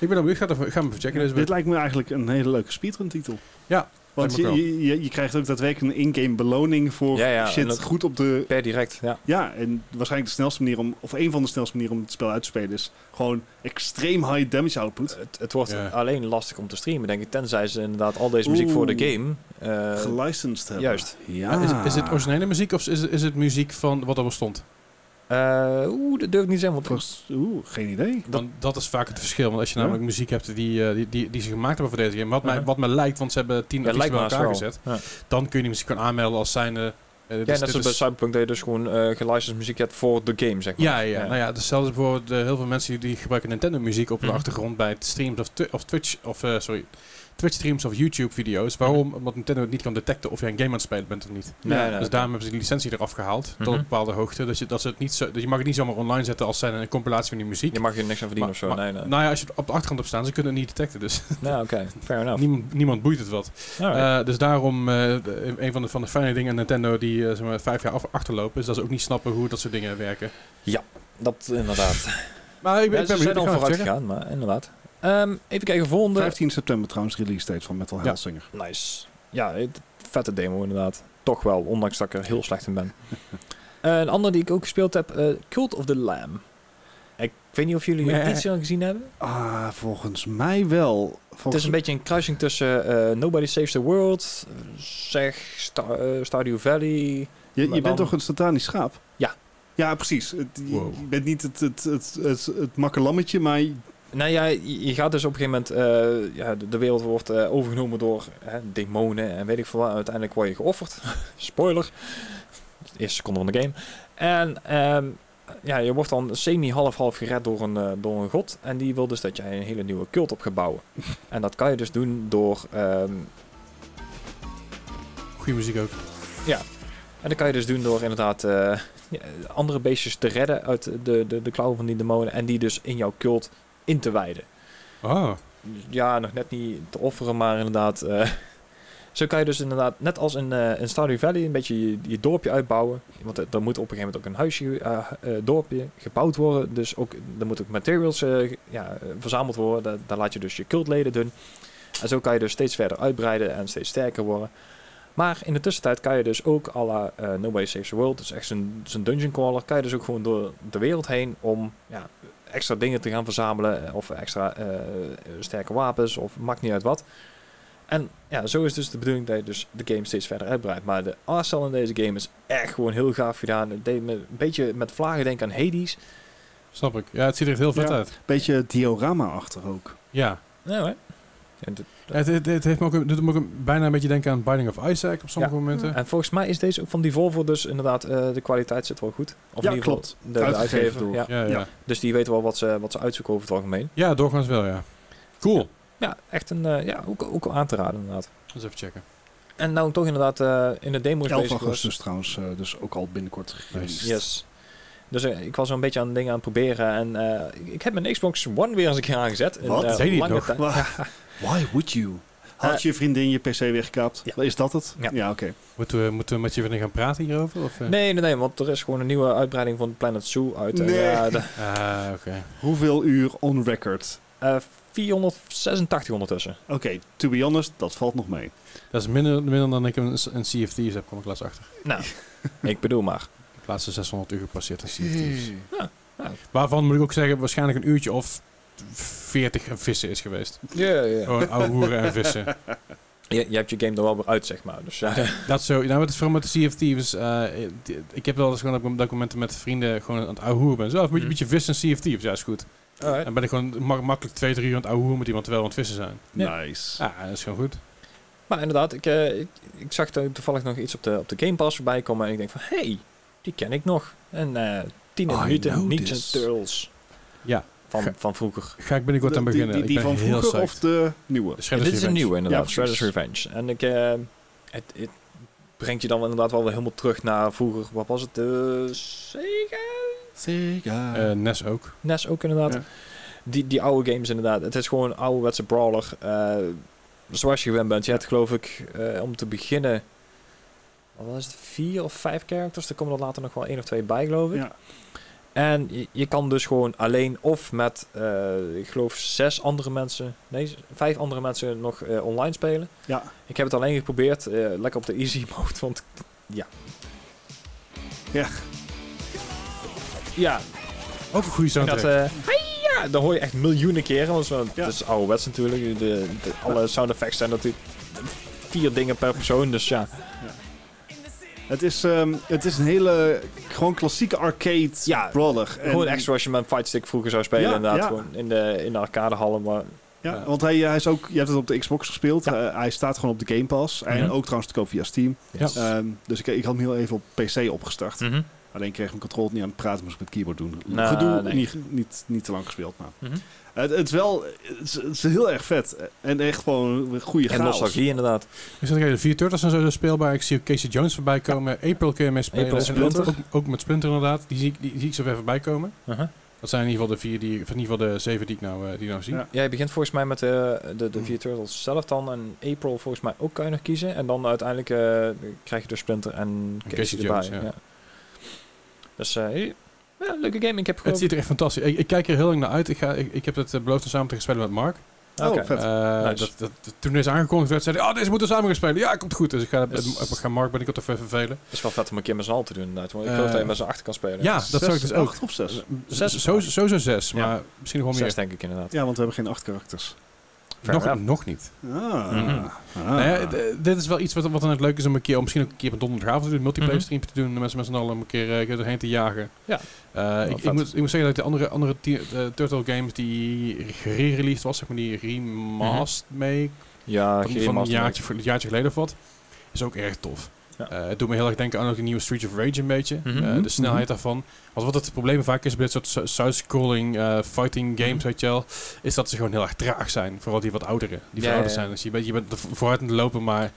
Speaker 1: Ik ben dan benieuwd, ga, het even- ga hem even checken deze
Speaker 3: Dit
Speaker 1: week.
Speaker 3: lijkt me eigenlijk een hele leuke speedrun titel.
Speaker 1: Ja,
Speaker 3: Want
Speaker 1: lijkt me
Speaker 3: je,
Speaker 1: ook
Speaker 3: je, je- je krijgt ook daadwerkelijk een in-game beloning voor
Speaker 2: Ja, ja, en
Speaker 3: shit
Speaker 2: dat-
Speaker 3: goed op de...
Speaker 2: Per direct, ja.
Speaker 3: Ja, en waarschijnlijk de snelste manier om... Of een van de snelste manieren om het spel uit te spelen is gewoon extreem high damage output.
Speaker 2: Het, het wordt
Speaker 1: Ja.
Speaker 2: alleen lastig om te streamen, denk ik. Tenzij ze inderdaad al deze muziek
Speaker 3: Oeh.
Speaker 2: voor de game... eh,
Speaker 3: gelicensed hebben.
Speaker 2: juist.
Speaker 3: Ja.
Speaker 1: Is, is
Speaker 2: Ah.
Speaker 1: het originele muziek of is, is het muziek van wat er bestond?
Speaker 2: eh, Oeh, dat durf ik niet te zeggen, want
Speaker 3: Volgens- Oeh, geen idee.
Speaker 1: Dat, dat is vaak het verschil. Want als je
Speaker 3: Ja.
Speaker 1: namelijk muziek hebt die, eh, die, die, die ze gemaakt hebben voor deze game, wat, mij,
Speaker 2: Ja.
Speaker 1: wat me lijkt, want ze hebben tien
Speaker 2: ja,
Speaker 1: artiesten
Speaker 2: lijkt me
Speaker 1: bij elkaar
Speaker 2: haast wel.
Speaker 1: gezet,
Speaker 2: Ja.
Speaker 1: dan kun je die muziek gewoon aanmelden als zijn... eh, eh, dit
Speaker 2: Ja,
Speaker 1: is-
Speaker 2: net
Speaker 1: dit
Speaker 2: zoals bij
Speaker 1: is-
Speaker 2: Cyberpunk, dat je dus gewoon eh gelicensed muziek hebt voor de game, zeg maar.
Speaker 1: Ja, ja. Nou ja, dus zelfs bijvoorbeeld eh, heel veel mensen die gebruiken Nintendo muziek op de
Speaker 2: Mhm.
Speaker 1: achtergrond bij het streams of, Twi- of Twitch of eh, sorry, Twitch streams of YouTube video's. Waarom? Omdat Nintendo het niet kan detecten of jij een game aan het spelen bent of niet.
Speaker 2: Nee,
Speaker 3: Ja,
Speaker 2: nee,
Speaker 1: dus
Speaker 2: oké.
Speaker 1: daarom hebben ze die licentie eraf gehaald tot
Speaker 2: Mhm.
Speaker 1: een bepaalde hoogte. Dus je, dat ze het niet zo, dus je mag het niet zomaar online zetten als zijn een compilatie van die muziek.
Speaker 2: Je mag je niks aan verdienen of zo.
Speaker 1: Maar-
Speaker 2: nee, nee.
Speaker 1: Nou ja, als je op de achtergrond hebt staan, ze kunnen het niet detecten. Dus
Speaker 2: nou, oké. Fair enough.
Speaker 1: *laughs* niemand, niemand boeit het wat.
Speaker 2: Alright.
Speaker 1: Eh, dus daarom, eh, de- een van de, van de fijne dingen aan Nintendo die eh, zeg maar, vijf jaar af- achterlopen, is dat ze ook niet snappen hoe dat soort dingen werken.
Speaker 2: dat inderdaad.
Speaker 1: Maar ik ben,
Speaker 2: Ja,
Speaker 1: ik
Speaker 2: ze
Speaker 1: ben
Speaker 2: zijn
Speaker 1: benieuwd. Ik
Speaker 2: al
Speaker 1: ga
Speaker 2: vooruit
Speaker 1: het checken.
Speaker 2: gegaan, maar inderdaad. Ehm, even kijken, volgende.
Speaker 3: 15 september trouwens release date van Metal Hellsinger.
Speaker 2: Nice. Ja, het- vette demo inderdaad. Toch wel, ondanks dat ik er heel slecht in ben. Eh, een ander die ik ook gespeeld heb, eh, Cult of the Lamb. Ik weet niet of jullie
Speaker 1: Nee.
Speaker 2: er iets aan gezien hebben.
Speaker 3: Ah, volgens mij wel.
Speaker 2: Het is
Speaker 3: Volgens
Speaker 2: een beetje een kruising tussen eh, Nobody Saves the World, eh, zeg Sta- eh, Stardew Valley.
Speaker 3: Je, je
Speaker 2: Maar dan-
Speaker 3: bent toch een satanisch schaap?
Speaker 2: Ja.
Speaker 3: Ja, precies. Het, je,
Speaker 1: Wow.
Speaker 3: je bent niet het, het, het, het, het makkelammetje, maar je-
Speaker 2: Nou ja, je je gaat dus op een gegeven moment, eh, ja, de, de wereld wordt eh, overgenomen door hè, demonen en weet ik veel wat. Uiteindelijk *laughs* word je geofferd. Spoiler. De eerste seconde van de game. En ehm, ja, je wordt dan semi-half-half gered door een, eh, door een god. En die wil dus dat jij een hele nieuwe cult op gaat bouwen. en dat kan je dus doen door... ehm,
Speaker 1: Goede muziek ook.
Speaker 2: en dat kan je dus doen door inderdaad eh, ja, andere beestjes te redden uit de, de, de klauwen van die demonen. En die dus in jouw cult in te wijden.
Speaker 1: Ah,
Speaker 2: ja, nog net niet te offeren, maar inderdaad. eh, zo kan je dus inderdaad, net als in, eh in Stardew Valley, een beetje je, je dorpje uitbouwen. Want er er moet op een gegeven moment ook een huisje, eh, eh, dorpje gebouwd worden. Dus ook, er moeten ook materials eh, ja, eh, verzameld worden. Daar, daar laat je dus je cultleden doen. En zo kan je dus steeds verder uitbreiden en steeds sterker worden. Maar in de tussentijd kan je dus ook, à la eh, Nobody Saves the World, dus echt zo'n zo'n dungeon crawler, kan je dus ook gewoon door de wereld heen om ja, extra dingen te gaan verzamelen. eh, Of extra eh, sterke wapens. Of maakt niet uit wat. En ja, zo is dus de bedoeling dat je dus de game steeds verder uitbreidt. Maar de artstyle in deze game is echt gewoon heel gaaf gedaan. Het deed me een beetje met vlagen denken aan Hades.
Speaker 1: snap ik. Ja, het ziet er echt heel vet
Speaker 3: Ja.
Speaker 1: uit.
Speaker 3: Beetje diorama-achtig ook.
Speaker 1: Ja.
Speaker 2: Ja, hè? En, d-
Speaker 1: Het, het, het heeft me ook, een- doet me ook een- bijna een beetje denken aan Binding of Isaac op sommige momenten.
Speaker 2: en volgens mij is deze ook van Devolver dus inderdaad, eh, de kwaliteit zit wel goed. Of
Speaker 3: Ja,
Speaker 2: in ieder geval
Speaker 3: klopt.
Speaker 2: De, de
Speaker 3: Uitgegeven
Speaker 2: uitgever.
Speaker 3: door-
Speaker 2: Ja.
Speaker 1: Ja, ja. ja.
Speaker 3: Ja.
Speaker 2: Dus die weten wel wat ze, wat ze uitzoeken over het algemeen.
Speaker 1: doorgaans wel, ja. Cool.
Speaker 2: Ja, echt een, eh, ja, ook, ook wel aan te raden inderdaad.
Speaker 1: Eens even checken.
Speaker 2: En nou ik toch inderdaad eh, in de demo is
Speaker 3: 11
Speaker 2: bezig was.
Speaker 3: augustus trouwens, eh, dus ook al binnenkort gereleased.
Speaker 2: Yes. Dus eh, ik was er een beetje aan dingen aan het proberen. En eh, ik- ik heb mijn Xbox One weer eens een keer aangezet.
Speaker 3: Wat?
Speaker 2: eh,
Speaker 1: Zei die
Speaker 2: lange
Speaker 1: nog?
Speaker 2: tijd.
Speaker 3: Wa- Why would you? Had je vriendin je PC weer gekaapt?
Speaker 2: Ja.
Speaker 3: Is dat het?
Speaker 2: Ja.
Speaker 3: oké.
Speaker 1: Moeten we, moeten we met je vriendin gaan praten hierover? Of, eh?
Speaker 2: Nee, nee, nee, want er is gewoon een nieuwe uitbreiding van Planet Zoo uit. eh,
Speaker 3: Nee.
Speaker 2: ja, de-
Speaker 1: Ah, oké.
Speaker 3: Hoeveel uur on record?
Speaker 2: eh, 486 ondertussen.
Speaker 3: Oké, to be honest, dat valt nog mee.
Speaker 1: Dat is minder, minder dan ik een, een CFT's heb, kwam ik laatst achter.
Speaker 2: Nou, ik bedoel maar.
Speaker 1: Ik heb de laatste 600 uur gepasseerd aan CFT's.
Speaker 2: Nou,
Speaker 1: Waarvan moet ik ook zeggen, waarschijnlijk een uurtje of 40 aan vissen is geweest.
Speaker 2: ja, ja.
Speaker 1: Gewoon ouwe hoeren en vissen.
Speaker 2: Je, je hebt je game er wel weer uit, zeg maar. Dus, ja.
Speaker 1: Dat zo. Nou, het is vooral met de Sea of Thieves. eh, die- ik heb wel eens gewoon op documenten met vrienden gewoon aan het ouwehoeren ben. Zo, of moet je een
Speaker 2: Mhm.
Speaker 1: beetje vissen en Sea of Thieves? dus Ja, is goed. Dan ben ik gewoon mak- makkelijk twee, drie uur aan het ouwehoeren met iemand terwijl we aan het vissen zijn.
Speaker 2: Ja.
Speaker 3: Nice.
Speaker 1: Ja, Ah, dat is gewoon goed.
Speaker 2: Maar inderdaad, ik, eh, ik, ik zag toen toevallig nog iets op de, op de Game Pass voorbij komen. En ik denk van, hé, hey, die ken ik nog. En eh Teen
Speaker 3: I
Speaker 2: Mutant
Speaker 3: know
Speaker 2: Ninja
Speaker 3: this.
Speaker 2: Turtles.
Speaker 1: Ja.
Speaker 2: Van, van vroeger.
Speaker 1: Ga ik binnenkort aan
Speaker 3: Die- die
Speaker 1: beginnen.
Speaker 3: die
Speaker 1: ik ben
Speaker 3: van
Speaker 1: heel
Speaker 3: vroeger of
Speaker 1: psyched.
Speaker 3: de nieuwe?
Speaker 1: De
Speaker 2: Ja,
Speaker 1: Shredder's
Speaker 2: dit is een
Speaker 1: Revenge.
Speaker 2: nieuwe inderdaad,
Speaker 3: Ja,
Speaker 2: Shredder's
Speaker 3: precies.
Speaker 2: Revenge. En ik, eh, het, het brengt je dan wel inderdaad wel weer helemaal terug naar vroeger. Wat was het? De Sega?
Speaker 3: Sega.
Speaker 1: Eh, NES ook.
Speaker 2: NES ook inderdaad.
Speaker 3: Ja.
Speaker 2: Die, die oude games inderdaad. Het is gewoon een ouderwetse brawler. eh, zoals je gewend bent. Je hebt geloof ik, eh, om te beginnen... Wat was het? Vier of vijf characters. Er komen er later nog wel één of twee bij, geloof ik.
Speaker 3: ja.
Speaker 2: En je, je kan dus gewoon alleen of met, eh, ik geloof, zes andere mensen... Nee, vijf andere mensen nog eh, online spelen.
Speaker 3: ja,
Speaker 2: Ik heb het alleen geprobeerd, eh, lekker op de easy *laughs* mode, want ja.
Speaker 3: Ja.
Speaker 2: Ja,
Speaker 1: Ook een goede
Speaker 2: en dat,
Speaker 1: soundtrack.
Speaker 2: eh ja, dan hoor je echt miljoenen keren, want zo-
Speaker 3: Ja.
Speaker 2: het is ouderwets natuurlijk. De, de- alle sound effects zijn natuurlijk vier dingen per persoon, dus ja.
Speaker 3: het is, ehm, het is een hele gewoon klassieke arcade
Speaker 2: Ja,
Speaker 3: brawler. En-
Speaker 2: gewoon echt zoals je met een fightstick vroeger zou spelen,
Speaker 3: Ja,
Speaker 2: inderdaad.
Speaker 3: ja.
Speaker 2: Gewoon in de, in de arcadehallen, maar
Speaker 3: Ja,
Speaker 1: Ja.
Speaker 3: want hij, hij is ook, je hebt het op de Xbox gespeeld. Eh, hij staat gewoon op de Game Pass. En
Speaker 2: Mhm.
Speaker 3: ook trouwens te koop via Steam.
Speaker 2: eh,
Speaker 1: Ja.
Speaker 3: Ehm, dus ik, ik had hem heel even op PC opgestart.
Speaker 2: Mhm.
Speaker 3: Alleen kreeg mijn controle niet aan het praten, moest ik met keyboard doen.
Speaker 2: Nou,
Speaker 3: Gedoe,
Speaker 2: nee.
Speaker 3: niet, niet, niet te lang gespeeld. Maar.
Speaker 2: Mhm.
Speaker 3: Het, het is wel het is, het is heel erg vet. En echt gewoon een goede
Speaker 2: en
Speaker 3: chaos.
Speaker 2: nostalgie inderdaad.
Speaker 1: Ik zat de vier Turtles en zo speelbaar. Ik zie ook Casey Jones voorbij komen. April kun je mee spelen.
Speaker 2: April
Speaker 1: En
Speaker 2: Splinter.
Speaker 1: Ook, ook met Splinter inderdaad. Die zie, ik- die zie ik zo ver voorbij komen. Dat zijn in ieder geval de vier, die, of in ieder geval de zeven die ik nou, eh, die ik nou zie.
Speaker 3: Ja.
Speaker 2: Jij begint volgens mij met eh, de, de vier Turtles zelf dan. En April volgens mij ook kan je nog kiezen. En dan uiteindelijk eh, krijg je dus Splinter en Casey,
Speaker 1: Casey
Speaker 2: erbij.
Speaker 1: Jones, ja.
Speaker 2: ja. Dus eh, ja, leuke game. Ik heb
Speaker 1: Het
Speaker 2: gewoon...
Speaker 1: ziet er echt fantastisch uit. Ik, ik kijk er heel lang naar uit. Ik, ga, ik, ik heb het eh, beloofd om samen te gaan spelen met Mark.
Speaker 3: Oh,
Speaker 2: Oké.
Speaker 3: vet.
Speaker 1: Eh,
Speaker 2: Nice.
Speaker 1: dat, dat, toen deze aangekondigd werd, zei hij, oh, deze moeten we samen gaan spelen. Ja, komt goed. Dus ik ga,
Speaker 2: Dus-
Speaker 1: ik ga Mark ben ik op even vervelen.
Speaker 2: Het is wel vet om een keer met z'n allen te doen inderdaad. Want ik
Speaker 1: Eh,
Speaker 2: geloof dat je met z'n achter kan spelen.
Speaker 1: Ja, dat zou ik dus ook.
Speaker 3: Acht of zes?
Speaker 2: Zes
Speaker 1: Zes,
Speaker 2: is
Speaker 1: zo,
Speaker 2: wel.
Speaker 1: zo, zo zes,
Speaker 2: Ja.
Speaker 1: maar misschien nog wel
Speaker 2: Zes
Speaker 1: meer.
Speaker 2: denk ik inderdaad.
Speaker 3: Ja, want we hebben geen acht karakters.
Speaker 2: Fair
Speaker 1: Nog,
Speaker 2: enough.
Speaker 1: nog niet.
Speaker 3: Ah.
Speaker 2: Mhm.
Speaker 3: Ah.
Speaker 1: Nou ja, d- dit is wel iets wat, wat dan het leuk is om een keer, om misschien ook een keer op een donderdagavond te doen, een multiplayer
Speaker 2: Mhm.
Speaker 1: stream te doen, mensen met z'n allen om een keer eh, doorheen te jagen.
Speaker 2: Ja. Nou,
Speaker 1: Eh, ik, ik,
Speaker 2: vet.
Speaker 1: moet, ik moet zeggen dat ik de andere, andere ti- eh, Turtle games die gereleased was, zeg maar die remastered mee
Speaker 2: Ja,
Speaker 1: van, van een
Speaker 2: geremasterd.
Speaker 1: jaartje, een jaartje geleden of wat, is ook erg tof.
Speaker 2: Ja.
Speaker 1: Eh, het doet me heel erg denken aan ook de nieuwe Street of Rage een beetje.
Speaker 2: Mhm.
Speaker 1: Eh, de snelheid daarvan. Want wat het probleem vaak is bij dit soort si- side-scrolling eh, fighting
Speaker 2: Mhm.
Speaker 1: games, weet je wel, is dat ze gewoon heel erg traag zijn. Vooral die wat oudere. Die
Speaker 2: Ja,
Speaker 1: wat ouder
Speaker 2: ja, ja.
Speaker 1: zijn. Dus je bent, je bent er vo- vooruit aan het lopen, maar je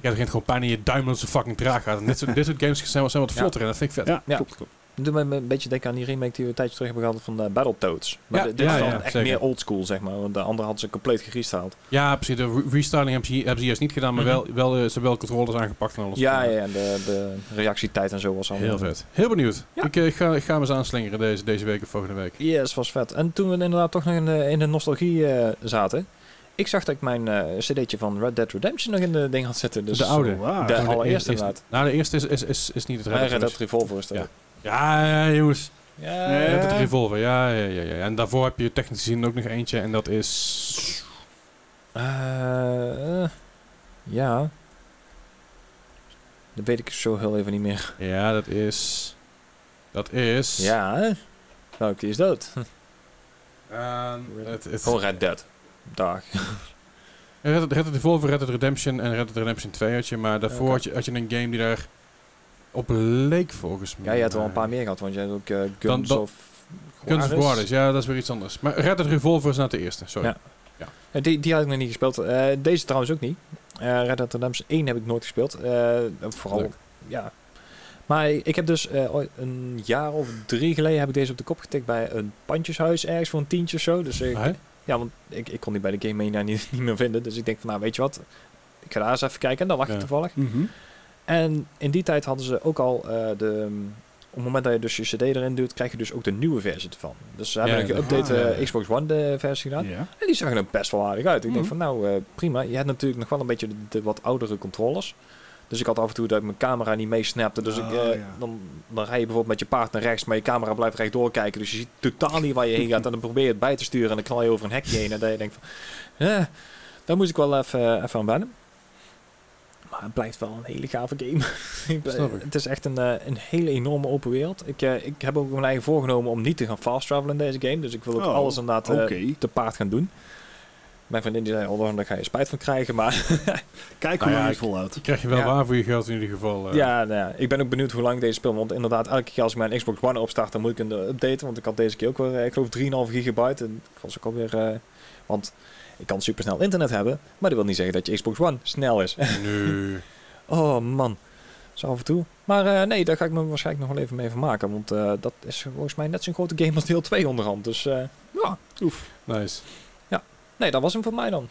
Speaker 1: hebt er geen gewoon pijn in je duim omdat ze fucking traag gaat. En dit soort, dit soort games zijn, wel- zijn wat
Speaker 2: Ja.
Speaker 1: vlotter en dat vind ik vet.
Speaker 3: Ja,
Speaker 2: Ja.
Speaker 3: klopt. klopt.
Speaker 2: Het doet me een beetje denken aan die remake die we een tijdje terug hebben gehad van eh, Battletoads. Maar
Speaker 1: Ja,
Speaker 2: dit dit
Speaker 1: ja,
Speaker 2: is dan
Speaker 1: ja,
Speaker 2: echt
Speaker 1: zeker.
Speaker 2: meer oldschool, zeg maar. Want de andere hadden ze compleet gerestyled.
Speaker 1: Ja, precies. De re- restyling hebben ze, hier- hebben ze juist niet gedaan, maar
Speaker 2: Mhm.
Speaker 1: wel, wel, eh, ze hebben wel controllers aangepakt en alles.
Speaker 2: Ja, ja, en de, de reactietijd en zo was allemaal.
Speaker 1: Heel vet. Heel benieuwd.
Speaker 2: Ja.
Speaker 1: Ik, eh, ga, ik ga hem eens aanslingeren deze, deze week of volgende week.
Speaker 2: Yes, was vet. En toen we inderdaad toch nog in de, in de nostalgie eh, zaten. Ik zag dat ik mijn eh, cd'tje van Red Dead Redemption nog in de ding had zitten. Dus
Speaker 1: De oude.
Speaker 3: Wow.
Speaker 2: De
Speaker 1: Maar
Speaker 2: allereerste
Speaker 1: eerste is-
Speaker 2: inderdaad.
Speaker 1: Nou, de eerste is, is, is, is niet het
Speaker 2: Nee, Red
Speaker 1: redden.
Speaker 2: Dead Revolver is dat.
Speaker 1: Ja. Ja, ja, jongens.
Speaker 2: Ja,
Speaker 3: Nee.
Speaker 1: Red
Speaker 2: ja.
Speaker 1: Dead Revolver, ja, ja, ja, ja. En daarvoor heb je technisch gezien ook nog eentje. En dat is...
Speaker 2: Eh, eh, ja. Dat weet ik zo heel even niet meer.
Speaker 1: Ja, dat is... Dat is...
Speaker 2: Ja, hè? Welke is dat?
Speaker 1: ehm, het, het,
Speaker 2: Gewoon Red Dead. Dag.
Speaker 1: Red Dead, Red Dead Revolver, Red Dead Redemption en Red Dead Redemption 2 had je. Maar daarvoor
Speaker 2: Oké.
Speaker 1: had, je, had je een game die daar op leek, volgens mij.
Speaker 2: Ja, je had er wel een paar meer gehad, want je had ook eh, Guns
Speaker 1: Dan- dan-
Speaker 2: of...
Speaker 1: Guns of
Speaker 2: Juarez.
Speaker 1: Juarez, ja, dat is weer iets anders. Maar Red Dead Revolver is nou de eerste, sorry.
Speaker 2: Ja. Eh, Die, die had ik nog niet gespeeld. Eh, deze trouwens ook niet. Eh Red Dead Redemption 1 heb ik nooit gespeeld. Eh, vooral,
Speaker 1: Leuk.
Speaker 2: ja. Maar ik heb dus eh, ooit een jaar of drie geleden heb ik deze op de kop getikt bij een pandjeshuis ergens voor een tientje of zo. Dus ik,
Speaker 1: Ah, hè?
Speaker 2: ja, want ik, ik kon die bij de Game Mania niet, *laughs* niet meer vinden. Dus ik denk van, nou weet je wat, ik ga daar eens even kijken. En dan lag
Speaker 1: Ja.
Speaker 2: ik toevallig.
Speaker 3: Mhm.
Speaker 2: En in die tijd hadden ze ook al eh, de... Op het moment dat je dus je cd erin doet, krijg je dus ook de nieuwe versie ervan. Dus ze hebben
Speaker 1: Ja,
Speaker 2: een geüpdate
Speaker 3: ah, ja.
Speaker 2: eh, Xbox One de versie gedaan.
Speaker 3: Ja.
Speaker 2: En die zagen er best wel aardig uit. Ik denk
Speaker 3: Mhm.
Speaker 2: van, nou, eh, prima. Je hebt natuurlijk nog wel een beetje de, de wat oudere controllers. Dus ik had af en toe dat ik mijn camera niet meesnapte. Dus ik,
Speaker 3: Ah,
Speaker 2: eh,
Speaker 3: ja.
Speaker 2: dan, dan rij je bijvoorbeeld met je paard naar rechts, maar je camera blijft rechtdoor kijken. Dus je ziet totaal niet waar je heen gaat. En dan probeer je het bij te sturen en dan knal je over een hekje heen. En dan denk je van, eh, daar moest ik wel even, eh, even aan wennen. Maar het blijft wel een hele gave game. *laughs* Ik ben-
Speaker 1: Snap ik.
Speaker 2: het is echt een, eh, een hele enorme open wereld. Ik, eh, ik heb ook mijn eigen voorgenomen om niet te gaan fast travelen in deze game. Dus ik wil ook
Speaker 3: Oh,
Speaker 2: alles inderdaad eh,
Speaker 3: Oké.
Speaker 2: te paard gaan doen. Mijn vriendin die zei, oh, daar ga je spijt van krijgen. Maar
Speaker 1: Nou ja,
Speaker 3: Kijk hoe lang je
Speaker 1: ik-
Speaker 3: het volhoudt.
Speaker 1: Die krijg je wel
Speaker 2: Ja.
Speaker 1: waar voor je geld in ieder geval. eh.
Speaker 2: *laughs* ja, nou ja, ik ben ook benieuwd hoe lang deze speel. Want inderdaad, elke keer als ik mijn Xbox One opstart, dan moet ik hem eh, updaten. Want ik had deze keer ook weer, eh, ik geloof, 3,5 gigabyte. En ik was ook alweer... eh want ik kan supersnel internet hebben. Maar dat wil niet zeggen dat je Xbox One snel is. *laughs*
Speaker 1: Nu.
Speaker 2: oh man, zo af en toe. Maar eh, nee, daar ga ik me waarschijnlijk nog wel even mee vermaken. Want eh, dat is volgens mij net zo'n grote game als deel 2 onderhand. Dus eh, ja,
Speaker 1: Nice.
Speaker 2: nee, dat was hem voor mij dan.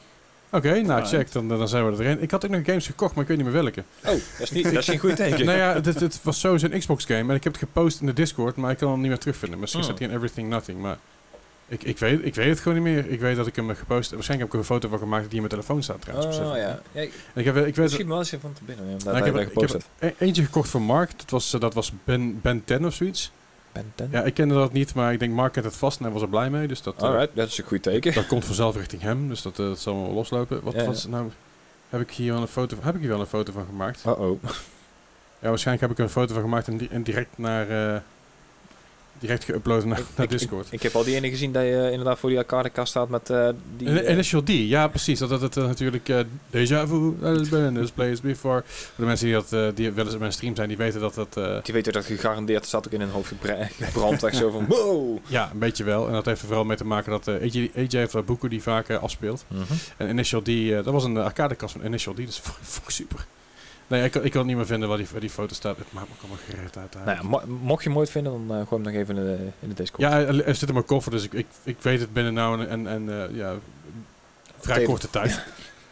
Speaker 1: Oké, nou
Speaker 3: Alright.
Speaker 1: check, dan, dan zijn we er erin. Ik had ook nog games gekocht, maar ik weet niet meer welke.
Speaker 2: Oh, *laughs* dat is, niet, dat is geen goed
Speaker 1: *laughs*
Speaker 2: teken.
Speaker 1: nou ja, dit, dit was sowieso een Xbox game en ik heb het gepost in de Discord, maar ik kan hem niet meer terugvinden. Misschien
Speaker 2: Hmm.
Speaker 1: staat hij in Everything Nothing, maar ik, ik, weet, ik weet het gewoon niet meer. Ik weet dat ik hem heb gepost Waarschijnlijk heb ik er een foto van gemaakt die in mijn telefoon staat trouwens.
Speaker 2: Oh
Speaker 1: besef ik.
Speaker 2: ja. ja ik,
Speaker 1: En ik, heb, ik weet
Speaker 2: schiet me wel eens even van te binnen. Ja,
Speaker 1: nou, ik, heb, ik heb e- eentje gekocht voor Mark, dat was, eh, dat was ben, ben 10 of zoiets.
Speaker 2: ben ten.
Speaker 1: Ja, ik kende dat niet, maar ik denk Mark had het vast en hij was er blij mee, dus dat... eh,
Speaker 2: Alright, dat is een
Speaker 1: *laughs*
Speaker 2: goed teken.
Speaker 1: Dat komt vanzelf richting hem, dus dat, eh, dat zal wel loslopen. Wat
Speaker 2: Ja, ja.
Speaker 1: was het nou? Heb ik hier wel een foto van, heb ik hier wel een foto van gemaakt?
Speaker 2: Uh-oh.
Speaker 1: Ja, waarschijnlijk heb ik er een foto van gemaakt en, di- en direct naar eh, direct geüpload naar, naar Discord.
Speaker 2: Ik heb al die ene gezien dat je eh, inderdaad voor die arcadekast staat met eh, die...
Speaker 1: En-
Speaker 2: eh,
Speaker 1: Initial D, ja precies. Dat dat het eh, natuurlijk eh déjà vu, that has been in this place before. Voor de mensen die, dat, eh, die wel eens op mijn stream zijn, die weten dat dat... eh,
Speaker 2: die weet dat gegarandeerd zat ook in hun hoofd gebra- *laughs* gebrand. Echt zo van, wow!
Speaker 1: ja, een beetje wel. En dat heeft er vooral mee te maken dat eh, AJ, AJ heeft dat boeken die vaak eh, afspeelt.
Speaker 2: Mhm.
Speaker 1: En Initial D, eh, dat was een arcadekast van Initial D, dus *laughs* vond vond ik super. Nee, ik, kan- ik kan het niet meer vinden waar die, waar die foto staat. Het maakt me ook allemaal gereed uit.
Speaker 2: Nou ja,
Speaker 1: eigenlijk.
Speaker 2: mo- mocht je hem ooit vinden, dan eh, gooi hem nog even in de, in de Discord.
Speaker 1: ja, er- er zit in mijn koffer, dus ik, ik, ik weet het binnen nou en, en, en eh, ja, vrij
Speaker 2: Tegen-
Speaker 1: korte
Speaker 2: *laughs*
Speaker 1: tijd.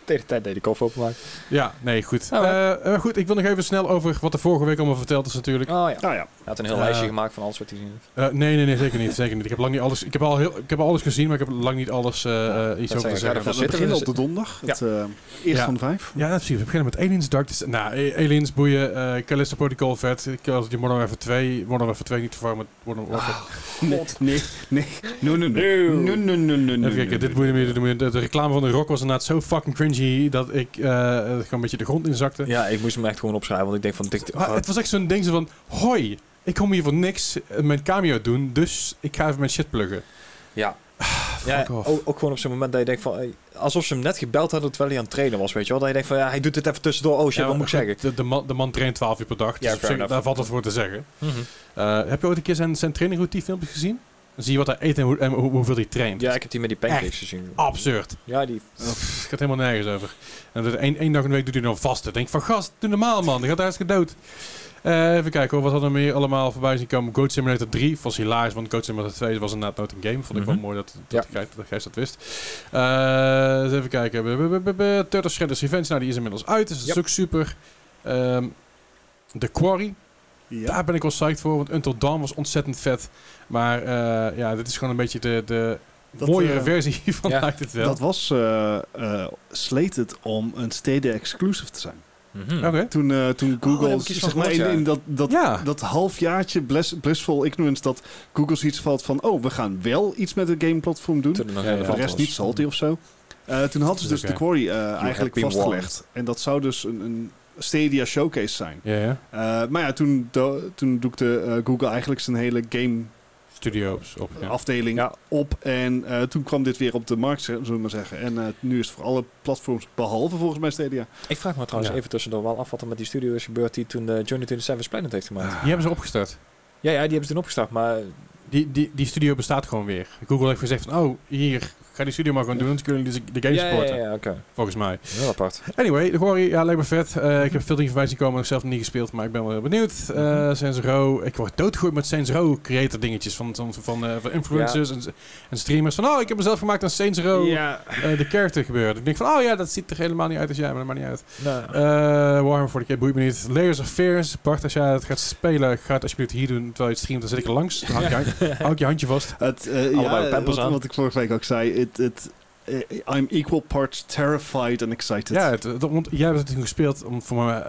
Speaker 2: Tegen de tijd dat je de koffer openmaakt.
Speaker 1: Ja, nee, goed.
Speaker 2: Oh,
Speaker 1: Eh, eh, goed, ik wil nog even snel over wat er vorige week allemaal verteld is natuurlijk.
Speaker 2: Oh ja.
Speaker 3: Nou ja.
Speaker 2: Hij had een heel
Speaker 1: Eh,
Speaker 2: lijstje gemaakt van alles wat hij gezien heeft.
Speaker 1: Eh, nee, nee, nee, zeker niet. Zeker niet. Ik heb lang niet alles, ik heb al heel, ik heb al alles gezien, maar ik heb lang niet alles eh, eh, iets
Speaker 2: dat
Speaker 1: over
Speaker 2: zei
Speaker 1: te
Speaker 2: ik,
Speaker 1: zeggen.
Speaker 2: ja, dat
Speaker 3: Nou, we
Speaker 2: zitten we
Speaker 3: beginnen op
Speaker 2: dus-
Speaker 3: de donderdag.
Speaker 2: Ja.
Speaker 3: Het eh, eerste
Speaker 1: Ja.
Speaker 3: van de vijf.
Speaker 1: Ja, dat is precies. We beginnen met Aliens, Dark Dis- Nou, eh, Aliens, boeien, eh Callisto Protocol, vet. Ik had die Modern Warfare 2, Modern Warfare 2 niet te verwarren met
Speaker 2: Ah,
Speaker 1: Modern Warfare
Speaker 3: God. Nee, nee. Nee, nee, nee.
Speaker 2: Eeuw.
Speaker 3: Nee, nee, nee, nee, nee,
Speaker 1: Even kijken,
Speaker 3: nee,
Speaker 1: dit
Speaker 3: nee.
Speaker 1: moet je meer doen. De, de reclame van de Rock was inderdaad zo fucking cringy dat ik eh, eh, gewoon een beetje de grond inzakte.
Speaker 2: Ja, ik moest hem echt gewoon opschrijven, want ik denk van... Dit,
Speaker 1: Maar het was echt zo'n ding zo van, hoi, ik kom hier voor niks eh, mijn cameo doen, dus ik ga even mijn shit pluggen.
Speaker 2: ja, Ja,
Speaker 1: off.
Speaker 2: ook, ook gewoon op zo'n moment dat je denkt van... eh, Alsof ze hem net gebeld hadden terwijl hij aan het trainen was, weet je wel. Dat je denkt van, ja, hij doet het even tussendoor. Oh shit,
Speaker 1: Ja,
Speaker 2: wat moet ik
Speaker 1: maar
Speaker 2: zeggen?
Speaker 1: goed, De, de, man, de man traint 12 uur per dag,
Speaker 2: Ja,
Speaker 1: dus op
Speaker 2: fair
Speaker 1: zich,
Speaker 2: enough.
Speaker 1: daar valt het voor te zeggen.
Speaker 2: Mhm.
Speaker 1: Eh, heb je ooit een keer zijn, zijn trainingroutine gezien? Dan zie je wat hij eet en, hoe, en hoe- hoeveel hij traint.
Speaker 2: Ja, ik heb die met die pancakes gezien.
Speaker 1: Absurd.
Speaker 2: Ja, die...
Speaker 1: Het gaat helemaal nergens over. En dat één, één dag in de week doet hij dan vasten. Denk van, gast, doe normaal man. Die gaat hartstikke dood. Eh, even kijken hoor, wat hadden we meer allemaal voorbij zien komen. Goat Simulator 3 was hilarisch, want Goat Simulator 2 was inderdaad nooit een game. Vond ik wel
Speaker 2: Mhm.
Speaker 1: mooi dat, dat,
Speaker 2: Ja.
Speaker 1: de Gijs, dat Gijs dat wist. Eh, eens even kijken. B- b- b- b- Turtle Shredder's Revenge, nou die is inmiddels uit, dus dat is
Speaker 2: Yep.
Speaker 1: ook super. Ehm The Quarry,
Speaker 3: Ja.
Speaker 1: daar ben ik wel psyched voor, want Until Dawn was ontzettend vet. Maar eh, ja, dit is gewoon een beetje de, de
Speaker 3: Dat,
Speaker 1: mooiere
Speaker 3: eh,
Speaker 1: versie *laughs* van
Speaker 2: ja,
Speaker 1: lijkt het wel.
Speaker 3: Dat was eh eh, slated om een steden exclusive te zijn.
Speaker 1: Oké.
Speaker 3: Toen, eh, toen
Speaker 2: daar
Speaker 3: Google,
Speaker 2: heb ik iets van
Speaker 3: zeg maar, in,
Speaker 2: gehoord, ja.
Speaker 3: in dat, dat,
Speaker 1: Ja.
Speaker 3: dat halfjaartje bless, blissful ignorance, dat Google zoiets valt van, oh, we gaan wel iets met het gameplatform doen.
Speaker 2: Toen er nog
Speaker 1: Ja, ja.
Speaker 2: relevant
Speaker 3: Voor de rest
Speaker 2: was.
Speaker 3: niet Salty of zo. Eh, toen hadden ze
Speaker 1: Dat is
Speaker 3: dus
Speaker 1: oké.
Speaker 3: de quarry eh, eigenlijk
Speaker 2: been
Speaker 3: vastgelegd. En dat zou dus een, een Stadia showcase zijn.
Speaker 1: Ja, ja.
Speaker 3: Eh, maar ja, toen, do- toen doekte eh, Google eigenlijk zijn hele game
Speaker 1: Studios op. Ja.
Speaker 3: afdeling
Speaker 2: Ja.
Speaker 3: op. En eh, toen kwam dit weer op de markt, zullen we maar zeggen. En eh, nu is het voor alle platforms, behalve volgens mij Stadia.
Speaker 2: Ik vraag me trouwens
Speaker 1: Ja.
Speaker 2: even tussendoor wel af wat er met die studio is gebeurd die toen de Journey to the Savage Planet heeft gemaakt.
Speaker 3: Ah.
Speaker 1: Die hebben ze opgestart.
Speaker 2: Ja, ja, die hebben ze toen opgestart, maar...
Speaker 1: Die, die, die studio bestaat gewoon weer. Google heeft gezegd van, oh, hier, ga die studio maar gewoon doen, want dan kunnen jullie dus de games
Speaker 2: ja, ja,
Speaker 1: supporten.
Speaker 2: ja, ja, oké.
Speaker 1: Volgens mij.
Speaker 2: Heel apart.
Speaker 1: Anyway, de Quarry, ja, lijkt me vet. Eh, ik heb veel dingen voorbij zien komen, nog zelf niet gespeeld, maar ik ben wel heel benieuwd.
Speaker 2: Mhm.
Speaker 1: Eh Saints Row, ik word doodgegooid met Saints Row creator dingetjes van, van, van, eh, van influencers en, en streamers. Van, oh, ik heb mezelf gemaakt aan Saints
Speaker 2: Nou,
Speaker 1: Row,
Speaker 3: Ja.
Speaker 1: eh, de character gebeurde. Ik denk van, oh ja, dat ziet er helemaal niet uit als jij, maar dat maakt niet uit.
Speaker 2: Nou,
Speaker 1: Eh Warhammer voor de keer boeit me niet. Layers of Fears. Bart, als jij het gaat spelen, ga het alsjeblieft hier doen terwijl je het streamt. Dan zit ik er langs. Dan hou ik
Speaker 3: *laughs*
Speaker 1: je, hand- hou ik je handje vast.
Speaker 3: Het, eh,
Speaker 2: Allebei
Speaker 3: ja,
Speaker 2: pampers
Speaker 3: wat,
Speaker 2: aan.
Speaker 3: wat ik vorige week ook zei. Het, het, eh, I'm equal parts terrified and excited.
Speaker 1: Ja, het, het- want jij hebt het toen gespeeld. Om, voor mij, eh,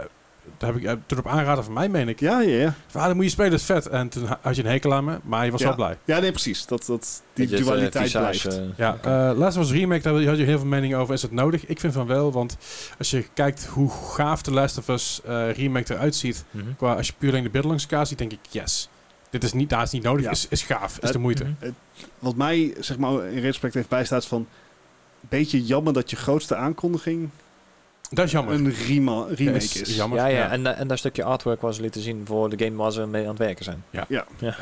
Speaker 1: daar heb ik eh, toen op aanraden van mij, meen ik.
Speaker 3: ja, ja, ja.
Speaker 1: Van, ah, dan moet je spelen, dat is vet. En toen ha- had je een hekel aan me, maar je was
Speaker 3: Ja.
Speaker 1: wel blij.
Speaker 3: Ja, nee, precies. Dat, dat, die
Speaker 2: eh,
Speaker 3: dualiteit blijft.
Speaker 1: Ja, eh Last of Us Remake, daar had je heel veel mening over. Is het nodig? Ik vind van wel, want als je kijkt hoe gaaf de Last of Us eh, Remake eruit ziet,
Speaker 2: Mhm.
Speaker 1: qua als je puur alleen de beelden langs elkaar ziet, denk ik, yes. Dit is niet, daar is niet nodig,
Speaker 3: Ja.
Speaker 1: is, is gaaf, is
Speaker 3: Het- Mhm.
Speaker 1: de moeite.
Speaker 2: Mhm.
Speaker 3: Wat mij zeg maar, in retrospect heeft bijstaat is van... Beetje jammer dat je grootste aankondiging
Speaker 1: Dat is jammer.
Speaker 3: een rema- remake
Speaker 1: Ja,
Speaker 3: is.
Speaker 1: Jammer.
Speaker 2: Ja, ja,
Speaker 1: En,
Speaker 2: En, eh, en dat stukje artwork was lieten zien voor de game waar ze mee aan het werken zijn.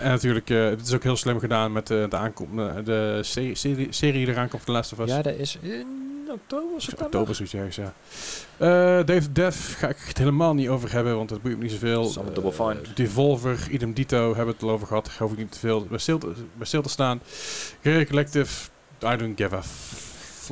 Speaker 1: natuurlijk, eh het is ook heel slim gedaan met eh, de, aankom eh, de se- serie, serie die eraan komt van The Last of Us.
Speaker 2: Ja, dat is in oktober, september.
Speaker 1: Oktober zoiets ergens, ja. Eh, Dave Def ga ik het helemaal niet over hebben, want dat boeit me niet zoveel.
Speaker 2: Dat is allemaal Double
Speaker 1: Eh,
Speaker 2: Fine.
Speaker 1: Devolver, Idem Dito hebben we het al over gehad. Daar hoef ik niet te veel bij stil te, bij stil te staan. Guerrilla Collective, I don't give a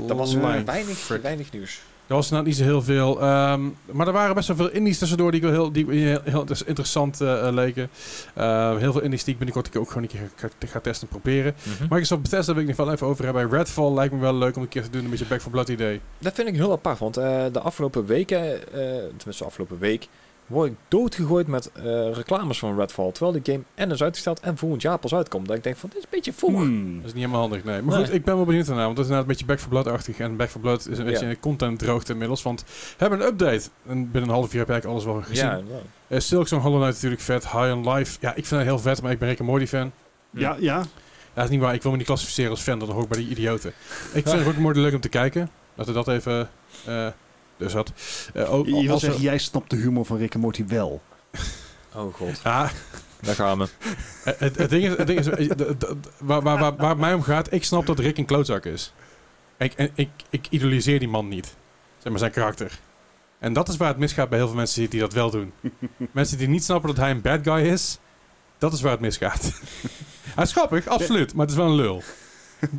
Speaker 2: Dat was
Speaker 1: flying
Speaker 2: maar weinig,
Speaker 1: frick.
Speaker 2: weinig nieuws.
Speaker 1: Er was nou niet zo heel veel. ehm, maar er waren best wel veel indies tussendoor die ik wel heel, die, die heel, heel interessant eh, eh, leken. Eh, heel veel indies die ik binnenkort ook gewoon een keer ga, ga testen en proberen. Microsoft Bethesda wil ik nog wel even over hebben. Redfall lijkt me wel leuk om een keer te doen. Een beetje Back for Blood idee.
Speaker 2: Dat vind ik heel apart, want eh, de afgelopen weken, eh, tenminste de afgelopen week, word ik doodgegooid met eh, reclames van Redfall. Terwijl die game en is uitgesteld en volgend jaar pas uitkomt. Dat ik denk van, dit is een beetje vroeg.
Speaker 3: Hmm.
Speaker 1: Dat is niet helemaal handig, nee. Maar
Speaker 2: Nee.
Speaker 1: goed, ik ben wel benieuwd daarna. Want dat is inderdaad een beetje Back for Blood-achtig. En Back for Blood is een beetje
Speaker 2: Ja.
Speaker 1: een contentdroogte inmiddels. Want we hebben een update. En binnen een half uur heb ik eigenlijk alles wel gezien.
Speaker 2: Ja,
Speaker 1: Eh
Speaker 2: nou.
Speaker 1: Silksong Hollow Knight natuurlijk vet. High on Life. Ja, ik vind dat heel vet. Maar ik ben Rick and Morty fan.
Speaker 3: Ja, ja.
Speaker 1: Ja, dat is niet waar. Ik wil me niet klassificeren als fan, dan hoor ik bij die idioten. Ik vind het ook mooi leuk om te kijken. Laten we dat even... eh dus had. Eh, ook,
Speaker 3: Je wil
Speaker 1: als er-
Speaker 3: zeggen, jij snapt de humor van Rick en Morty wel.
Speaker 2: Oh god,
Speaker 1: Ja,
Speaker 2: daar gaan we.
Speaker 1: eh, het, het ding is, het ding is eh, d- d- d- waar, waar, waar, waar het mij om gaat, ik snap dat Rick een klootzak is. Ik, en ik, ik idoliseer die man niet. Zeg maar zijn karakter. En dat is waar het misgaat bij heel veel mensen die dat wel
Speaker 3: *laughs*
Speaker 1: doen. mensen die niet snappen dat hij een bad guy is, dat is waar het misgaat. hij is grappig, absoluut, maar het is wel een lul.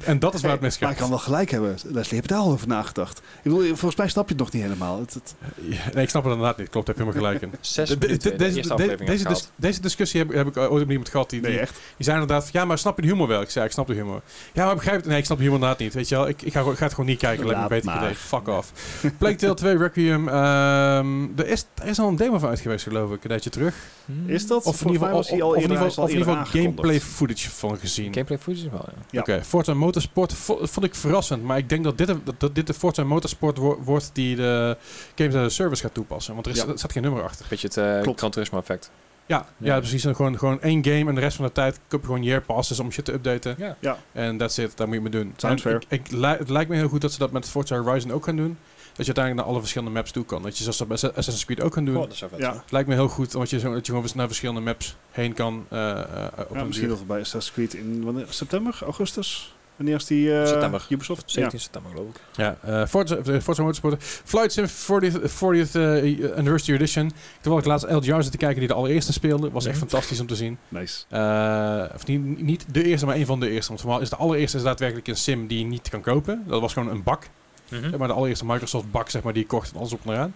Speaker 1: En dat is waar het misgaat.
Speaker 3: Maar ik kan wel gelijk hebben. Leslie, heb je daar al over nagedacht? Ik bedoel, volgens mij snap je het nog niet helemaal. Het, het-
Speaker 1: Ja, nee, ik snap het inderdaad niet. Klopt, heb je helemaal gelijk
Speaker 3: *laughs*
Speaker 1: in.
Speaker 2: Zes
Speaker 1: De- de-
Speaker 2: minuten
Speaker 1: de-
Speaker 2: in de
Speaker 1: deze-
Speaker 2: eerste
Speaker 1: de-
Speaker 2: aflevering
Speaker 1: deze
Speaker 2: heb ik
Speaker 1: dis- Deze discussie heb, heb ik ooit met iemand gehad. Die,
Speaker 3: nee,
Speaker 1: die,
Speaker 3: echt.
Speaker 1: die zei inderdaad van, ja, maar snap je de humor wel? Ik zei, ik snap de humor. Ja, maar begrijp het? Nee, ik snap de humor inderdaad niet. Weet je wel, ik, ik ga, gewoon- ik ga het gewoon niet kijken. Lijkt me een
Speaker 3: Laat
Speaker 1: beter
Speaker 3: maar.
Speaker 1: idee. Fuck off. *laughs* Plague Tale 2 Requiem. ehm, er, is, er is al een demo van uit geweest, geloof ik, een tijdje terug.
Speaker 2: gehaald.
Speaker 3: Is dat?
Speaker 1: Of in
Speaker 3: Volgens
Speaker 1: ieder
Speaker 3: mij
Speaker 1: geval,
Speaker 3: was
Speaker 1: of,
Speaker 3: die al
Speaker 1: of in
Speaker 3: eerder-
Speaker 1: ieder
Speaker 3: is
Speaker 1: geval,
Speaker 3: al
Speaker 1: of in ieder
Speaker 3: eerder
Speaker 1: geval gameplay
Speaker 3: aangekondigd.
Speaker 1: footage van gezien.
Speaker 2: Gameplay footage wel, ja.
Speaker 3: Ja.
Speaker 1: Oké, Forza Motorsport vo- vond ik verrassend. Maar ik denk dat dit, de- dat dit de Forza Motorsport wo- wordt die de Games as a Service gaat toepassen. Want er, is,
Speaker 3: Ja.
Speaker 1: er staat geen nummer achter.
Speaker 2: Beetje het eh
Speaker 3: Klopt.
Speaker 2: Gran Turismo effect.
Speaker 1: Ja, ja,
Speaker 2: Ja.
Speaker 1: precies. En gewoon, gewoon één game en de rest van de tijd koop je gewoon year passes om shit te updaten.
Speaker 2: Ja.
Speaker 3: Ja.
Speaker 1: En that's it. Daar moet je me doen.
Speaker 3: Sounds
Speaker 1: En
Speaker 3: fair.
Speaker 1: Ik, ik li- het lijkt me heel goed dat ze dat met Forza Horizon ook gaan doen. Dat je uiteindelijk naar alle verschillende maps toe kan. Dat je zelfs dat bij Ass- Assassin's Creed ook kan doen.
Speaker 2: Oh, dat zou vet
Speaker 3: Ja.
Speaker 2: zijn.
Speaker 1: Het lijkt me heel goed omdat je, zo, dat je gewoon naar verschillende maps heen kan. eh, eh, op
Speaker 3: Ja,
Speaker 1: een
Speaker 3: misschien
Speaker 1: duur.
Speaker 3: nog bij Assassin's Creed in wanneer, september, augustus? Wanneer is die eh,
Speaker 2: September.
Speaker 3: Ubisoft?
Speaker 2: 17 september geloof ik.
Speaker 1: Ja, eh, Forza, eh, Forza Motorsport. Flight Sim 40th, 40th eh, Anniversary Edition. Terwijl ik laatst LGR zit te kijken die de allereerste speelde. Was echt
Speaker 2: Mhm.
Speaker 1: fantastisch om te zien.
Speaker 3: Ja, nice.
Speaker 1: Eh, of niet, niet de eerste, maar een van de eerste. Want normaal is de allereerste is daadwerkelijk een sim die je niet kan kopen. Dat was gewoon een bak.
Speaker 2: Mhm.
Speaker 1: Zeg Maar de allereerste Microsoft bak, zeg maar, die kocht en alles op en eraan.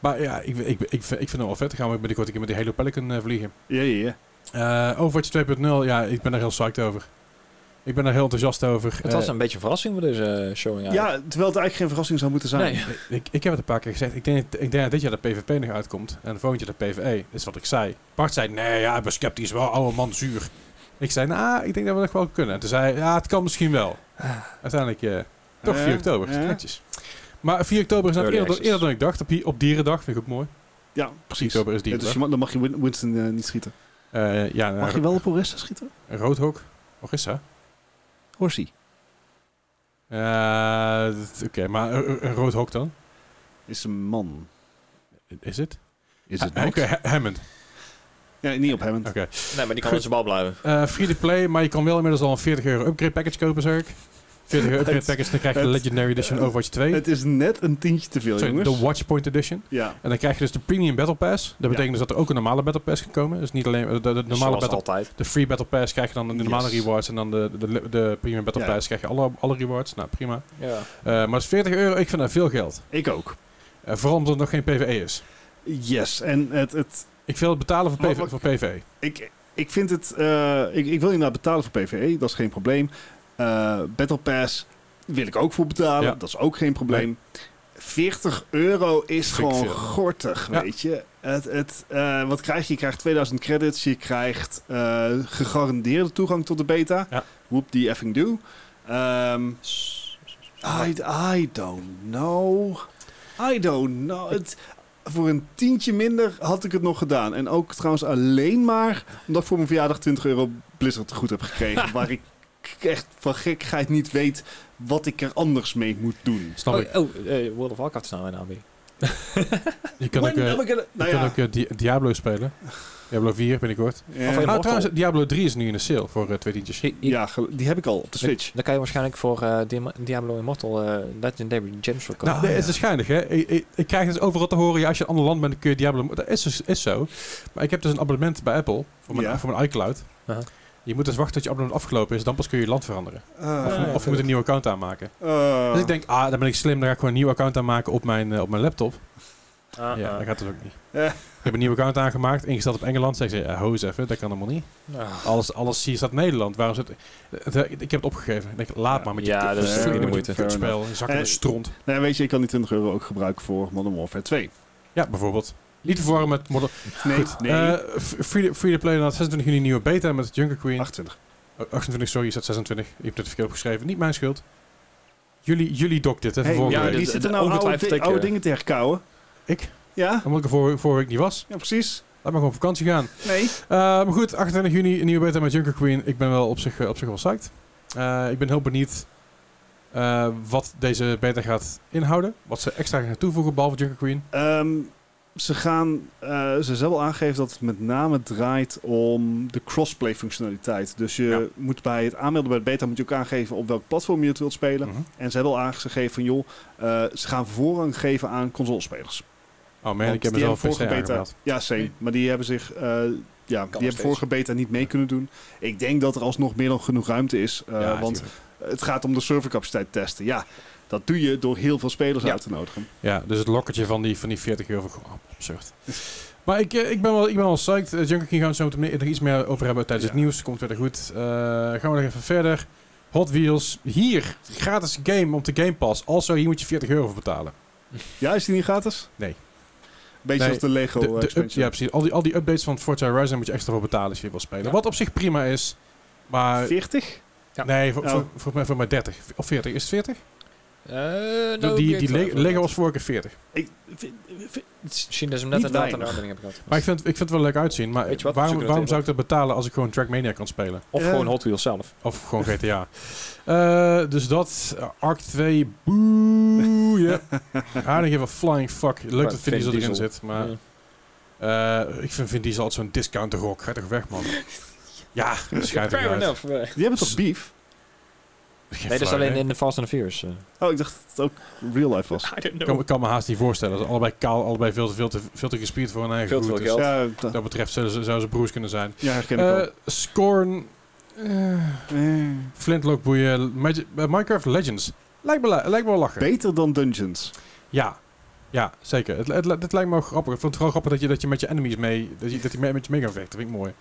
Speaker 1: Maar ja, ik, ik, ik, ik vind ik vind het wel vet. Dan gaan we binnenkort een keer met die Halo Pelican eh, vliegen.
Speaker 3: Ja, ja, ja.
Speaker 1: Eh Overwatch 2.0, ja, ik ben daar heel psyched over. Ik ben daar heel enthousiast over.
Speaker 2: Het
Speaker 1: Eh,
Speaker 2: was een beetje een verrassing voor deze eh, showing
Speaker 3: Ja, terwijl het eigenlijk geen verrassing zou moeten zijn.
Speaker 2: Nee.
Speaker 1: ik, ik heb het een paar keer gezegd. Ik denk, ik denk dat dit jaar de PvP nog uitkomt. En volgend jaar de PvE. Dat is wat ik zei. Bart zei, nee, ja, ik ben sceptisch. Wel, oude man, zuur. Ik zei, nou, ik denk dat we nog wel kunnen. En toen zei hij, ja, het kan misschien wel. Uiteindelijk... eh, Toch
Speaker 3: Eh,
Speaker 1: 4 oktober,
Speaker 3: eh.
Speaker 1: netjes. Maar 4 oktober is nou eerder,
Speaker 2: Early
Speaker 1: dan-
Speaker 2: access.
Speaker 1: eerder dan ik dacht. Op, hi- op Dierendag vind ik ook mooi.
Speaker 3: Ja,
Speaker 1: 4
Speaker 3: precies.
Speaker 1: oktober is
Speaker 3: Ja, dus
Speaker 1: Dierendag.
Speaker 3: je mag- dan mag je Win- Winston eh, niet schieten.
Speaker 1: Eh, ja,
Speaker 3: Mag je
Speaker 1: een
Speaker 3: wel op Orissa schieten?
Speaker 1: roodhok. Orissa.
Speaker 3: Horsie.
Speaker 1: Eh, dat- Oké, maar een, een roodhok dan?
Speaker 3: Is een man.
Speaker 1: Is het?
Speaker 3: Is
Speaker 1: Ah,
Speaker 3: het
Speaker 1: Oké, He- Hammond.
Speaker 3: Ja, niet op hem.
Speaker 1: Oké.
Speaker 2: Nee, maar die kan in zijn bal blijven.
Speaker 1: Eh, free to play, maar je kan wel inmiddels al een 40 euro upgrade package kopen, zeg ik. 40 euro upgrade
Speaker 3: Het-
Speaker 1: package, dan krijg je de
Speaker 3: het-
Speaker 1: Legendary Edition
Speaker 3: het-
Speaker 1: Overwatch 2.
Speaker 3: Het is net een tientje te veel,
Speaker 1: Sorry, de
Speaker 3: jongens.
Speaker 1: Watchpoint Edition.
Speaker 3: Ja.
Speaker 1: En dan krijg je dus de Premium Battle Pass. Dat betekent dus dat er ook een normale Battle Pass kan komen. Dus niet alleen de, de- de normale
Speaker 2: Zoals
Speaker 1: Battle
Speaker 2: altijd.
Speaker 1: De free battle pass krijg je dan de normale
Speaker 3: Yes.
Speaker 1: rewards. En dan de, de, de premium battle
Speaker 3: Ja.
Speaker 1: pass krijg je alle, alle rewards. Nou, prima.
Speaker 2: Ja.
Speaker 1: Eh, maar dat is 40 euro. Ik vind dat veel geld.
Speaker 3: Ik ook.
Speaker 1: Eh, vooral omdat het nog geen PvE is.
Speaker 3: Yes. En het, het,
Speaker 1: Ik wil het betalen voor,
Speaker 3: Maar
Speaker 1: PV,
Speaker 3: wat-
Speaker 1: voor E. PvE.
Speaker 3: ik, ik vind het... eh, ik, ik wil inderdaad betalen voor PvE. Dat is geen probleem. Eh, Battle Pass wil ik ook voor betalen.
Speaker 1: Ja.
Speaker 3: Dat is ook geen probleem. 40 euro is
Speaker 1: Vind ik
Speaker 3: gewoon
Speaker 1: veel.
Speaker 3: gortig,
Speaker 1: Ja.
Speaker 3: weet je. Het, het, eh, wat krijg je? Je krijgt 2000 credits. Je krijgt eh, gegarandeerde toegang tot de beta.
Speaker 1: Ja.
Speaker 3: Whoop die effing do. Ehm, I, I don't know. I don't know. Het, voor een tientje minder had ik het nog gedaan. En ook trouwens alleen maar omdat ik voor mijn verjaardag 20 euro Blizzard goed heb
Speaker 1: *laughs*
Speaker 3: gekregen. waar ik echt van gekheid niet weet wat ik er anders mee moet doen.
Speaker 1: Snap ik.
Speaker 2: Oh, oh eh, World of Warcraft is nou mijn aanbieding.
Speaker 1: Je kan ook, eh, je
Speaker 3: Nou
Speaker 1: kan
Speaker 3: ja,
Speaker 1: ook eh, Di- Diablo spelen. Diablo 4 binnenkort.
Speaker 3: ja.
Speaker 2: of een-
Speaker 1: Nou,
Speaker 2: Immortal.
Speaker 1: trouwens, Diablo 3 is nu in de sale voor eh, twee tientjes.
Speaker 3: Ja, gel- die heb ik al op de Switch.
Speaker 2: Dan kan je waarschijnlijk voor eh, Dia- Diablo Immortal eh, Legendary Gems verkopen.
Speaker 1: Nou, nee, het is schijnig, hè? Ik, ik, ik krijg dus overal te horen, ja, als je in een ander land bent, dan kun je Diablo... Dat is, dus- is zo. Maar ik heb dus een abonnement bij Apple, voor mijn,
Speaker 3: Ja.
Speaker 1: voor mijn iCloud.
Speaker 2: Aha.
Speaker 1: Je moet dus wachten tot je abonnement afgelopen is, dan pas kun je je land veranderen.
Speaker 3: Ah.
Speaker 1: Of, of je moet een nieuw account aanmaken.
Speaker 3: Ah.
Speaker 1: Dus ik denk, ah, dan ben ik slim, dan ga ik gewoon een nieuw account aanmaken op mijn, eh, op mijn laptop.
Speaker 2: Ah,
Speaker 1: Ja,
Speaker 2: ah.
Speaker 1: dat gaat dus ook niet.
Speaker 3: Eh.
Speaker 1: Ik heb een nieuw account aangemaakt, ingesteld op Engeland. Zeg ze, ja, ho eens even, dat kan allemaal niet.
Speaker 2: Ah.
Speaker 1: Alles, alles hier staat Nederland. Waarom zit... het- het- Ik heb het opgegeven. Ik denk, laat maar met eh, je
Speaker 2: Ja,
Speaker 1: kut-
Speaker 2: dat is
Speaker 1: met
Speaker 3: natuurlijk
Speaker 1: je
Speaker 3: niet de
Speaker 1: kut-
Speaker 3: moeite.
Speaker 1: kutspel, je zak in de
Speaker 3: Eh,
Speaker 1: stront.
Speaker 3: Nee, weet je, ik kan die 20 euro ook gebruiken voor Modern Warfare 2.
Speaker 1: Ja, bijvoorbeeld. Niet te verwarren met Modern...
Speaker 3: Nee,
Speaker 1: Goed,
Speaker 3: nee.
Speaker 1: eh, f- free, to- free to Play, inderdaad, 26 juni nieuwe beta met Junker Queen.
Speaker 3: 28.
Speaker 1: Oh, 28, sorry, je staat 26. Ik heb het verkeerd opgeschreven. Niet mijn schuld. Jullie, jullie dokt dit, hè, van
Speaker 3: Hey,
Speaker 1: vorige
Speaker 2: ja,
Speaker 1: week.
Speaker 2: dit-
Speaker 3: die
Speaker 2: dus
Speaker 3: zitten
Speaker 2: de
Speaker 3: nou oude,
Speaker 2: ongetwijfeld
Speaker 3: di-
Speaker 2: ik,
Speaker 3: oude
Speaker 2: eh,
Speaker 3: dingen te herkouwen.
Speaker 1: Ik?
Speaker 3: Ja,
Speaker 1: Omdat ik er vorige, vorige week niet was.
Speaker 3: ja precies.
Speaker 1: Laat maar gewoon op vakantie gaan.
Speaker 3: Nee.
Speaker 1: Eh, maar goed, 28 juni, een nieuwe beta met Junker Queen. Ik ben wel op zich, eh, op zich wel psyched. Eh, ik ben heel benieuwd eh, wat deze beta gaat inhouden. Wat ze extra gaan toevoegen, behalve Junker Queen.
Speaker 3: Ehm, ze gaan, eh, ze zelf aangeven dat het met name draait om de crossplay functionaliteit. Dus je
Speaker 1: Ja.
Speaker 3: moet bij het aanmelden bij de beta moet je ook aangeven op welk platform je het wilt spelen.
Speaker 1: Mhm.
Speaker 3: En ze hebben al aangegeven van joh, eh, ze gaan voorrang geven aan consolespelers.
Speaker 1: Oh man,
Speaker 3: Want
Speaker 1: ik heb
Speaker 3: die
Speaker 1: mezelf
Speaker 3: hebben
Speaker 1: PC
Speaker 3: vorige beta,
Speaker 1: aangemeld.
Speaker 3: Ja, same. Maar die hebben zich, eh, ja, die
Speaker 2: steeds.
Speaker 3: hebben vorige beta niet mee kunnen doen. Ik denk dat er alsnog meer dan genoeg ruimte is, eh,
Speaker 1: Ja,
Speaker 3: want
Speaker 1: tuurlijk.
Speaker 3: het gaat om de servercapaciteit testen. Ja, dat doe je door heel veel spelers
Speaker 2: Ja.
Speaker 3: uit te nodigen.
Speaker 1: Ja, dus het lokkertje van die, van die 40 euro. Oh, absurd. Maar ik, eh, ik, ben wel, ik ben wel psyched. Eh, Junker King gaan we zo meteen er iets meer over hebben tijdens het
Speaker 3: Ja.
Speaker 1: nieuws. Komt weer goed. Eh, gaan we nog even verder. Hot Wheels. Hier. Gratis game op de Game Pass. Also, hier moet je 40 euro voor betalen.
Speaker 3: Ja, is die niet gratis?
Speaker 1: Nee.
Speaker 3: Beetje
Speaker 1: Nee,
Speaker 3: als de Lego eh,
Speaker 1: De, de up,
Speaker 3: expansion.
Speaker 1: ja, precies. Al die, al die updates van Forza Horizon moet je extra voor betalen als je wil spelen.
Speaker 2: Ja.
Speaker 1: Wat op zich prima is. Maar
Speaker 3: 40?
Speaker 2: Ja.
Speaker 1: nee, voor,
Speaker 3: Oh.
Speaker 1: voor, voor, mij- voor mij 30 of 40. Is het 40?
Speaker 2: Eh,
Speaker 1: De-
Speaker 2: nou,
Speaker 1: die
Speaker 2: ik
Speaker 1: die
Speaker 2: twijfel
Speaker 1: Le- Lego was vorige keer 40.
Speaker 3: Ik, vind- vind-
Speaker 2: Misschien dat ze hem net inderdaad aan
Speaker 3: Niet
Speaker 2: de
Speaker 3: weinig.
Speaker 2: aanbieding hebben gehad.
Speaker 1: Maar ik vind, ik vind het wel leuk uitzien. Maar
Speaker 2: Weet je wat, we
Speaker 1: waarom,
Speaker 2: zoeken
Speaker 1: waarom
Speaker 2: het
Speaker 1: zou ik dat betalen als ik gewoon Trackmania kan spelen?
Speaker 2: Of
Speaker 3: Ja.
Speaker 2: gewoon Hot Wheels zelf.
Speaker 1: Of gewoon GTA. *laughs* Eh, dus dat. eh, Arc 2. Boe.
Speaker 2: *laughs*
Speaker 1: Ja. I don't give a flying fuck. Leuk dat Vin
Speaker 2: Vin
Speaker 1: Diesel erin
Speaker 2: Diesel.
Speaker 1: zit. Maar
Speaker 2: Mm.
Speaker 1: eh, ik vind Vin Diesel altijd zo'n discounter rock. Ga toch weg, man. Ja, schijnt
Speaker 2: Fair
Speaker 1: eruit.
Speaker 2: enough. eh.
Speaker 3: die hebben toch beef?
Speaker 1: Geen
Speaker 2: Nee, dat is
Speaker 1: flauw idee.
Speaker 2: alleen in de Fast and the Furious. eh.
Speaker 3: Oh, ik dacht dat het ook real life was.
Speaker 2: *laughs* I don't
Speaker 1: Ik kan, ik kan me haast niet voorstellen. Ze zijn allebei kaal, allebei veel te, veel te, veel te gespierd voor hun eigen
Speaker 2: Veel te
Speaker 1: goed.
Speaker 2: veel
Speaker 1: Dus
Speaker 2: geld.
Speaker 3: Ja, dat-
Speaker 1: wat dat betreft zouden ze, zouden ze broers kunnen zijn.
Speaker 3: ja herken ik
Speaker 1: Eh
Speaker 3: wel.
Speaker 1: Scorn. eh,
Speaker 3: Eh,
Speaker 1: Flintlockboeien. Magi- eh, Minecraft Legends. Lijkt me, la- lijkt me wel lachen.
Speaker 3: Beter dan Dungeons.
Speaker 1: Ja. Ja, zeker. Het, het, het lijkt me ook grappig. Ik vond het vooral grappig dat je, dat je met je enemies mee... Dat je, dat je mee, met je mee kan vechten. vind ik mooi.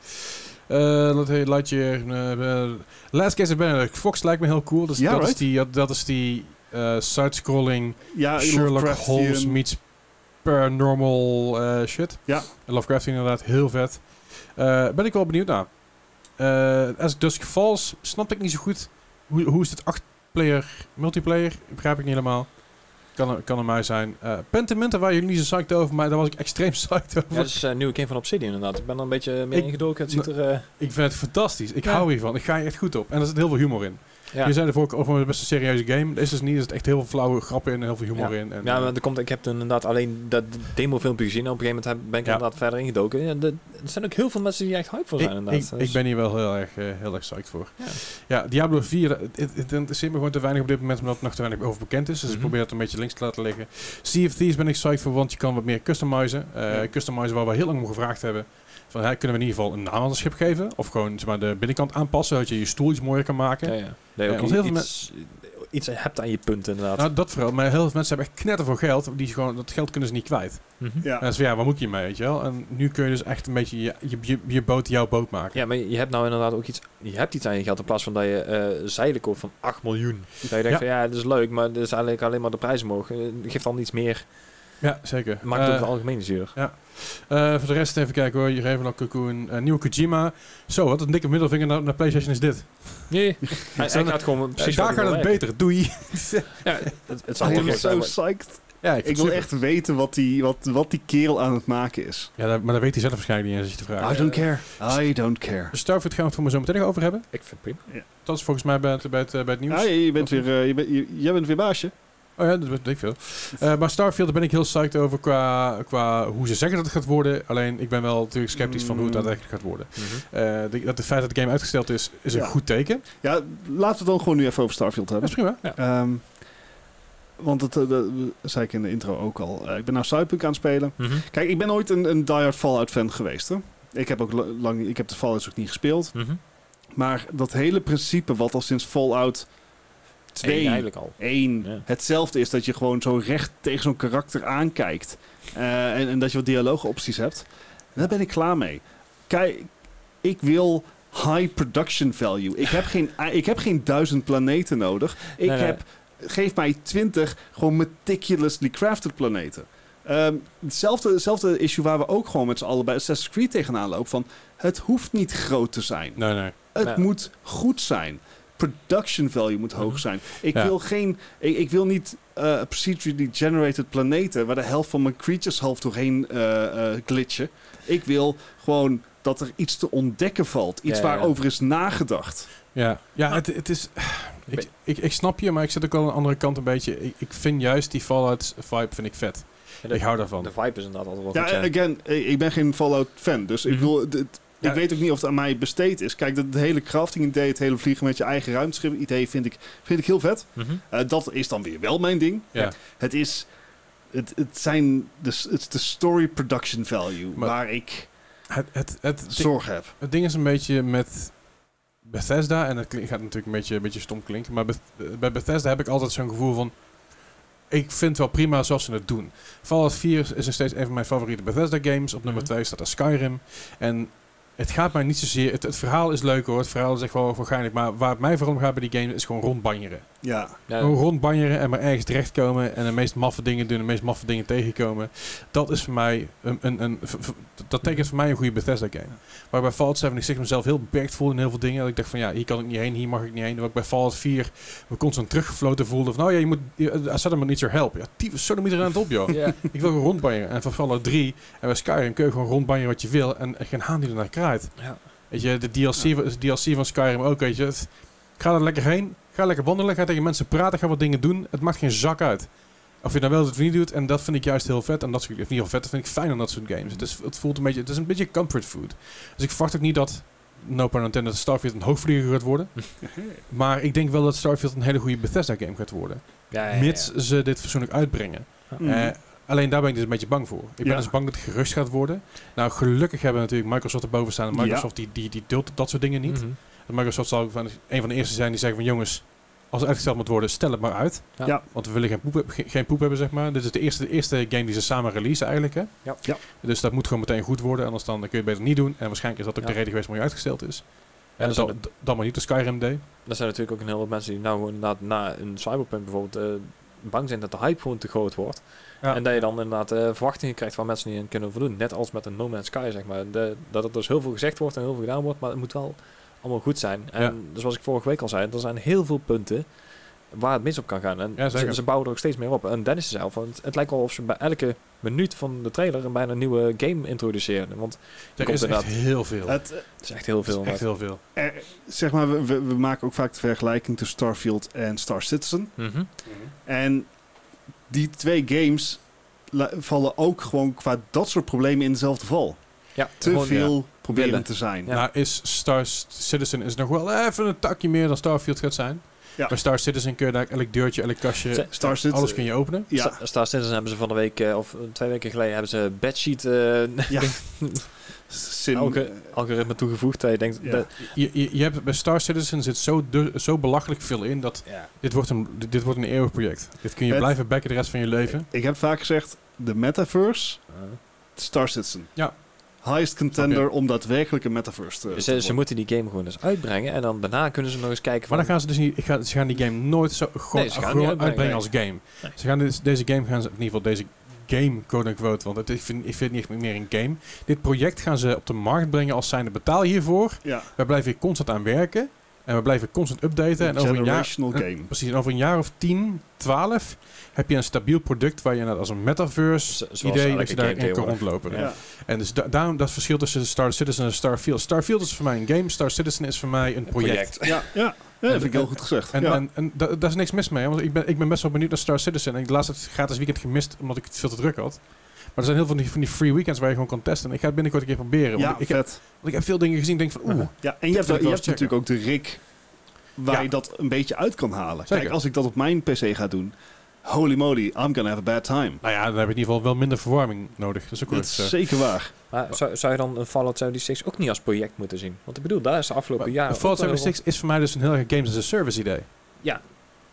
Speaker 1: Eh dat heet Lightyear... eh, eh, Last Case of Benedict Fox lijkt me heel cool. Dus
Speaker 3: Ja,
Speaker 1: dat, is
Speaker 3: right?
Speaker 1: die, dat, dat is die eh, side-scrolling
Speaker 3: Ja,
Speaker 1: Sherlock
Speaker 3: Lovecraftian.
Speaker 1: Holmes meets paranormal eh, shit.
Speaker 3: Ja.
Speaker 1: Lovecraft inderdaad. Heel vet. Eh, ben ik wel benieuwd naar. Eh As Dusk Falls snapte ik niet zo goed. Hoe, hoe is dit 8-player multiplayer? Begrijp ik niet helemaal. Kan, er- kan er mij zijn. Eh Pentimenten waar jullie niet zo psyched over, maar daar was ik extreem *laughs* psyched over.
Speaker 2: Ja, dat is een nieuwe game van Obsidian inderdaad. Ik ben er een beetje mee
Speaker 1: Ik- Nou,
Speaker 2: ingedoken. Het ziet er... eh,
Speaker 1: Ik vind het fantastisch. Ik
Speaker 2: Ja.
Speaker 1: hou hiervan. Ik ga hier echt goed op. En er zit heel veel humor in.
Speaker 2: ja.
Speaker 1: Je zei ervoor ook over het best een serieuze game. Dat is dus niet. Er zit echt heel veel flauwe grappen in en heel veel humor in. En,
Speaker 2: Ja,
Speaker 1: eh,
Speaker 2: maar er komt, ik heb inderdaad alleen dat demofilmpje gezien. En op een gegeven moment heb- ben ik
Speaker 1: Ja.
Speaker 2: inderdaad verder ingedoken. En de- er zijn ook heel veel mensen die echt hype voor zijn
Speaker 1: Ik-
Speaker 2: inderdaad.
Speaker 1: Ik,
Speaker 2: Dus-
Speaker 1: ik ben hier wel heel erg, eh, heel erg psyched voor. Ja,
Speaker 2: Ja.
Speaker 1: Diablo 4, dat- het, het, het interesseert me gewoon te weinig op dit moment, omdat het nog te weinig over bekend is. Dus ik
Speaker 2: Mhm.
Speaker 1: probeer dat een beetje links te laten liggen. Sea of Thieves ben ik psyched voor, want je kan wat meer customizen. Eh,
Speaker 2: Ja.
Speaker 1: Customizen waar we heel lang om gevraagd hebben. Van, hè, kunnen we in ieder geval een naam aan het schip geven? Of gewoon zeg maar, de binnenkant aanpassen, dat je je stoel iets mooier kan maken.
Speaker 2: Ja, ja. Nee,
Speaker 1: Ja,
Speaker 2: ook
Speaker 1: want heel
Speaker 2: i-
Speaker 1: veel
Speaker 2: iets, iets hebt aan je punt inderdaad.
Speaker 1: Nou, dat vooral. Maar heel veel mensen hebben echt knetter voor geld. Die ze gewoon, dat geld kunnen ze niet kwijt.
Speaker 2: Mhm. ja.
Speaker 1: En dan
Speaker 3: Ja.
Speaker 1: is van, ja, waar moet je mee, weet je wel? En nu kun je dus echt een beetje je, je, je, je boot jouw boot maken.
Speaker 2: maar je hebt nou inderdaad ook iets... Je hebt iets aan je geld in plaats van dat je eh zeilen koopt van 8 miljoen. Dat je denkt
Speaker 1: Ja.
Speaker 2: van ja, dat is leuk, maar dat is eigenlijk alleen maar de prijs omhoog. Eh, Geeft dan iets meer.
Speaker 1: Ja, zeker.
Speaker 2: Maakt het
Speaker 1: Eh,
Speaker 2: over het algemeen iets duurder.
Speaker 1: Eh, voor de rest even kijken hoor. Hier even nog Cocoon. eh, nieuwe Kojima. Zo, wat een dikke middelvinger naar, naar PlayStation is dit. *laughs*
Speaker 2: Nee. hij, hij gaat gewoon precies
Speaker 1: daar
Speaker 2: wat hij
Speaker 1: gaat het
Speaker 2: wil
Speaker 1: beter. Doei.
Speaker 2: werken. Ja, het, het zal
Speaker 3: Ik
Speaker 2: wel
Speaker 3: ben
Speaker 2: leuk
Speaker 3: zo
Speaker 2: zijn. maar-
Speaker 3: psyched.
Speaker 1: *laughs* ja, ik,
Speaker 3: Ik wil echt weten wat die, wat, wat die kerel aan het maken is.
Speaker 1: Ja, dat- maar dat weet hij zelf waarschijnlijk niet eens als je te vragen. Dus
Speaker 3: I don't care. I don't care.
Speaker 1: Starfield gaan we het voor me zo meteen nog over hebben.
Speaker 2: Ik vind het prima.
Speaker 1: Dat is volgens mij bij het, bij het, eh, bij het nieuws.
Speaker 3: Ah, je bent weer, eh, je bent- je- jij bent weer baasje.
Speaker 1: Oh ja, dat weet ik veel. Eh, maar Starfield daar ben ik heel psyched over qua, qua hoe ze zeggen dat het gaat worden. Alleen ik ben wel natuurlijk sceptisch van hoe het
Speaker 3: Mm.
Speaker 1: daadwerkelijk gaat worden. Eh, de- dat het feit dat de game uitgesteld is, is een
Speaker 3: Ja.
Speaker 1: goed teken.
Speaker 3: Ja, laten we het dan gewoon nu even over Starfield
Speaker 1: Dat
Speaker 3: hebben.
Speaker 1: is prima.
Speaker 3: Ehm, want dat, eh, dat zei ik in de intro ook al. Eh, ik ben nou Cyberpunk aan het spelen.
Speaker 2: Mhm.
Speaker 3: Kijk, ik ben ooit een, een diehard Fallout fan geweest. Hè? Ik heb ook la- lang, ik heb de Fallouts ook niet gespeeld.
Speaker 2: Mhm.
Speaker 3: Maar dat hele principe wat al sinds Fallout
Speaker 2: Eén
Speaker 3: 2
Speaker 2: eigenlijk al.
Speaker 3: één
Speaker 2: Ja.
Speaker 3: hetzelfde is. Dat je gewoon zo recht tegen zo'n karakter aankijkt. Eh, en, en dat je wat dialoogopties hebt. Daar ben ik klaar mee. Kijk, ik wil high production value. Ik heb geen, *laughs* ik heb geen duizend planeten nodig. Ik
Speaker 2: Nee, nee.
Speaker 3: heb, geef mij twintig gewoon meticulously crafted planeten. Ehm, hetzelfde, hetzelfde issue waar we ook gewoon met z'n allen bij Assassin's Creed tegenaan lopen. Van, het hoeft niet groot te zijn.
Speaker 1: Nee, nee.
Speaker 3: Het
Speaker 2: Ja.
Speaker 3: moet goed zijn. Production value moet hoog
Speaker 2: Mhm.
Speaker 3: zijn. Ik
Speaker 1: Ja.
Speaker 3: wil geen. Ik, ik wil niet eh procedurally generated planeten waar de helft van mijn creatures half doorheen eh, eh, glitchen. Ik wil gewoon dat er iets te ontdekken valt. Iets
Speaker 2: Ja, ja, ja.
Speaker 3: waarover is nagedacht.
Speaker 1: Ja, ja het, het is. eh, Ik, ik, ik snap je, maar ik zit ook wel aan de andere kant een beetje. Ik, ik vind juist die Fallout vibe vind ik vet.
Speaker 2: Ja,
Speaker 1: Ik
Speaker 2: de-
Speaker 1: hou daarvan.
Speaker 2: De vibe is inderdaad altijd wel
Speaker 3: Ja,
Speaker 2: goed. ja.
Speaker 3: again, eh, ik ben geen Fallout fan. Dus ik
Speaker 2: Mhm.
Speaker 3: wil. d- d- ik
Speaker 1: Ja.
Speaker 3: weet ook niet of het aan mij besteed is. Kijk, dat hele crafting idee, het hele vliegen met je eigen ruimteschip idee vind ik, vind ik heel vet.
Speaker 2: Mhm.
Speaker 3: Eh, dat is dan weer wel mijn ding.
Speaker 1: Ja.
Speaker 3: Het is. Het, het zijn. De, s- het is de story production value
Speaker 1: Maar-
Speaker 3: waar ik
Speaker 1: Het, het, het, ding,
Speaker 3: zorg heb.
Speaker 1: het ding is een beetje met Bethesda, en dat klink- gaat natuurlijk een beetje, een beetje stom klinken, maar Beth- eh, bij Bethesda heb ik altijd zo'n gevoel van. Ik vind het wel prima zoals ze het doen. Fallout 4 is nog steeds een van mijn favoriete Bethesda games. Op nummer
Speaker 2: Mhm.
Speaker 1: 2 staat er Skyrim. En het gaat mij niet zozeer. Het, het verhaal is leuk hoor. Het verhaal is echt wel waarschijnlijk. Maar waar het mij vooral om gaat bij die game is gewoon rondbanjeren.
Speaker 3: Ja.
Speaker 2: Ja,
Speaker 1: Gewoon rondbanjeren en maar ergens terechtkomen en de meest maffe dingen doen, de meest maffe dingen tegenkomen. Dat is voor mij een, een, een v- v- dat tekent voor mij een goede Bethesda game. Waar ik bij Fallout 76 mezelf heel beperkt voelde in heel veel dingen. Dat ik dacht van ja, hier kan ik niet heen, hier mag ik niet heen. Waar ik bij Fallout 4 me constant teruggefloten voelde van oh ja, je moet, I said needs your help. Ja, tyfus, zo moet er aan het op *laughs*
Speaker 2: *laughs*
Speaker 1: joh.
Speaker 2: ja.
Speaker 1: Ik wil gewoon rondbanjeren. En van Fallout 3 en bij Skyrim kun je gewoon rondbanjeren wat je wil en geen haan die ernaar kraait.
Speaker 2: Ja.
Speaker 1: Weet je, de DLC, van- de DLC van Skyrim ook, weet je. Het- ga er lekker heen. Ga lekker wandelen. Ga tegen mensen praten. Ga wat dingen doen. Het maakt geen zak uit. Of je nou wel of niet doet. En dat vind ik juist heel vet. En dat soort, of niet heel vet, dat vind ik fijn aan dat soort games. Het,
Speaker 2: Mm.
Speaker 1: is, het voelt een beetje, het is een beetje comfort food. Dus ik verwacht ook niet dat, no pun intended, dat Starfield een hoogvlieger gaat
Speaker 2: *laughs*
Speaker 1: worden. maar ik denk wel dat Starfield een hele goede Bethesda game gaat worden.
Speaker 2: Ja, ja, ja.
Speaker 1: Mits ze dit fatsoenlijk uitbrengen.
Speaker 3: Mhm.
Speaker 1: Eh, alleen daar ben ik dus een beetje bang voor. Ik ben
Speaker 3: Ja.
Speaker 1: dus bang dat het gerust gaat worden. Nou, gelukkig hebben we natuurlijk Microsoft erboven staan. En
Speaker 3: Ja.
Speaker 1: Microsoft die, die, die duldt dat soort dingen niet.
Speaker 2: Mhm.
Speaker 1: En Microsoft zal ook van, een van de eerste zijn die zeggen van... jongens, als het uitgesteld moet worden, stel het maar uit.
Speaker 2: Ja.
Speaker 3: Ja.
Speaker 1: Want we willen geen poep, ge- geen poep hebben, zeg maar. Dit is de eerste, de eerste game die ze samen releasen eigenlijk, hè?
Speaker 2: Ja.
Speaker 3: Ja.
Speaker 1: Dus dat moet gewoon meteen goed worden. Anders dan kun je het beter niet doen. En waarschijnlijk is dat ook
Speaker 2: Ja.
Speaker 1: de reden geweest waarom je uitgesteld is.
Speaker 2: Ja,
Speaker 1: En
Speaker 2: dat
Speaker 1: dan,
Speaker 2: zijn
Speaker 1: dan maar niet de Skyrim Day.
Speaker 2: Er zijn natuurlijk ook een heel veel mensen die nou gewoon inderdaad na een cyberpunk bijvoorbeeld eh, bang zijn dat de hype gewoon te groot wordt.
Speaker 1: Ja.
Speaker 2: En dat je dan inderdaad eh, verwachtingen krijgt van mensen die in kunnen voldoen. Net als met een No Man's Sky, zeg maar. De- dat er dus heel veel gezegd wordt en heel veel gedaan wordt, maar het moet wel allemaal goed zijn. En dus zoals ik vorige week al zei, er zijn heel veel punten waar het mis op kan gaan. En
Speaker 1: Ja, zeker.
Speaker 2: ze, ze bouwen er ook steeds meer op. En Dennis zei al, van, het, het lijkt wel of ze bij elke minuut van de trailer een bijna nieuwe game introduceren. Want
Speaker 1: Er
Speaker 2: Komt
Speaker 1: is echt
Speaker 2: inderdaad.
Speaker 1: heel veel.
Speaker 3: Het, eh,
Speaker 2: het is echt heel
Speaker 1: Het is
Speaker 2: veel.
Speaker 1: echt heel veel.
Speaker 3: er- zeg maar, we, we, we maken ook vaak de vergelijking tussen Starfield en Star Citizen.
Speaker 2: Mhm.
Speaker 3: En die twee games la- vallen ook gewoon qua dat soort problemen in dezelfde val.
Speaker 2: Ja,
Speaker 3: Te
Speaker 2: gewoon, ja.
Speaker 3: veel proberen
Speaker 2: Willen.
Speaker 3: te zijn.
Speaker 2: Ja.
Speaker 1: Nou, is Star Citizen is nog wel even een takje meer dan Starfield gaat zijn.
Speaker 3: Ja.
Speaker 1: Bij Star Citizen kun je daar elk deurtje, elk
Speaker 2: eh, Ze-
Speaker 1: kastje,
Speaker 3: Star Citizen.
Speaker 1: alles kun je openen.
Speaker 3: Ja.
Speaker 2: Sta- Star Citizen hebben ze van de week, eh, of eh, twee weken geleden, hebben ze bedsheet eh *laughs*
Speaker 3: Ja. Sim-
Speaker 2: Elke- algoritme toegevoegd. Dat je denkt,
Speaker 3: Ja.
Speaker 2: dat,
Speaker 1: Je, je, je hebt, bij Star Citizen zit zo, du- zo belachelijk veel in dat
Speaker 2: ja.
Speaker 1: dit wordt een, dit, dit wordt een eeuwig project. Dit kun je
Speaker 3: Het-
Speaker 1: blijven bekken de rest van je leven.
Speaker 3: Ik heb vaak gezegd, de metaverse, Star Citizen.
Speaker 1: Ja.
Speaker 3: Highest contender om daadwerkelijk een metaverse te, te
Speaker 2: ze, ze
Speaker 3: worden.
Speaker 2: moeten die game gewoon eens uitbrengen en dan daarna kunnen ze nog eens kijken van...
Speaker 1: Maar dan gaan ze dus niet, ik ga, ze gaan die game nooit zo gewoon,
Speaker 2: Nee, ze gaan
Speaker 1: gewoon
Speaker 2: niet
Speaker 1: uitbrengen
Speaker 2: uitbrengen,
Speaker 1: als game.
Speaker 2: Nee.
Speaker 1: Ze gaan dus, deze game gaan ze, in ieder geval deze game, quote unquote, want het, ik, vind, ik vind het niet echt meer een game. Dit project gaan ze op de markt brengen als zijnde betaal hiervoor.
Speaker 3: Ja.
Speaker 1: We blijven hier constant aan werken. En we blijven constant updaten. En over een jaar,
Speaker 3: Generational
Speaker 1: eh,
Speaker 3: game.
Speaker 1: precies, en over een jaar of 10, 12 heb je een stabiel product waar je inderdaad als een metaverse
Speaker 2: Zo- zoals
Speaker 1: idee
Speaker 2: elke
Speaker 1: dat je
Speaker 2: game
Speaker 1: daarin kan
Speaker 2: tegenwoordig.
Speaker 1: rondlopen.
Speaker 2: Ja.
Speaker 3: Ja.
Speaker 1: En dus da- daarom dat verschil tussen Star Citizen en Starfield. Starfield is voor mij een game, Star Citizen is voor mij een project.
Speaker 3: Ja. Ja. dat vind ik heel goed gezegd.
Speaker 1: En,
Speaker 3: ja.
Speaker 1: en, en da- daar is niks mis mee, want ik ben, ik ben best wel benieuwd naar Star Citizen. En ik heb laatst het gratis weekend gemist omdat ik het veel te druk had. Maar er zijn heel veel van die, van die free weekends waar je gewoon kan testen. En ik ga het binnenkort een keer proberen.
Speaker 3: ja,
Speaker 1: want ik, ik, heb,
Speaker 3: vet.
Speaker 1: want ik heb veel dingen gezien en denk van oeh,
Speaker 3: Ja, en je hebt,
Speaker 1: wil ik
Speaker 3: je
Speaker 1: wel
Speaker 3: hebt
Speaker 1: eens checken.
Speaker 3: natuurlijk ook de rig waar
Speaker 1: Ja.
Speaker 3: je dat een beetje uit kan halen.
Speaker 1: Zeker.
Speaker 3: Kijk, als ik dat op mijn PC ga doen, holy moly, I'm gonna have a bad time.
Speaker 1: Nou ja, dan heb je in ieder geval wel minder verwarming nodig. Dat is ook wel
Speaker 3: Dat
Speaker 1: iets,
Speaker 3: is
Speaker 1: eh,
Speaker 3: zeker waar.
Speaker 2: Maar zou, zou je dan een Fallout 76 ook niet als project moeten zien? Want ik bedoel, daar is de afgelopen
Speaker 1: maar
Speaker 2: jaren...
Speaker 1: Fallout
Speaker 2: ook wel
Speaker 1: 76 is voor mij dus een heel erg games as a service idee.
Speaker 2: Ja.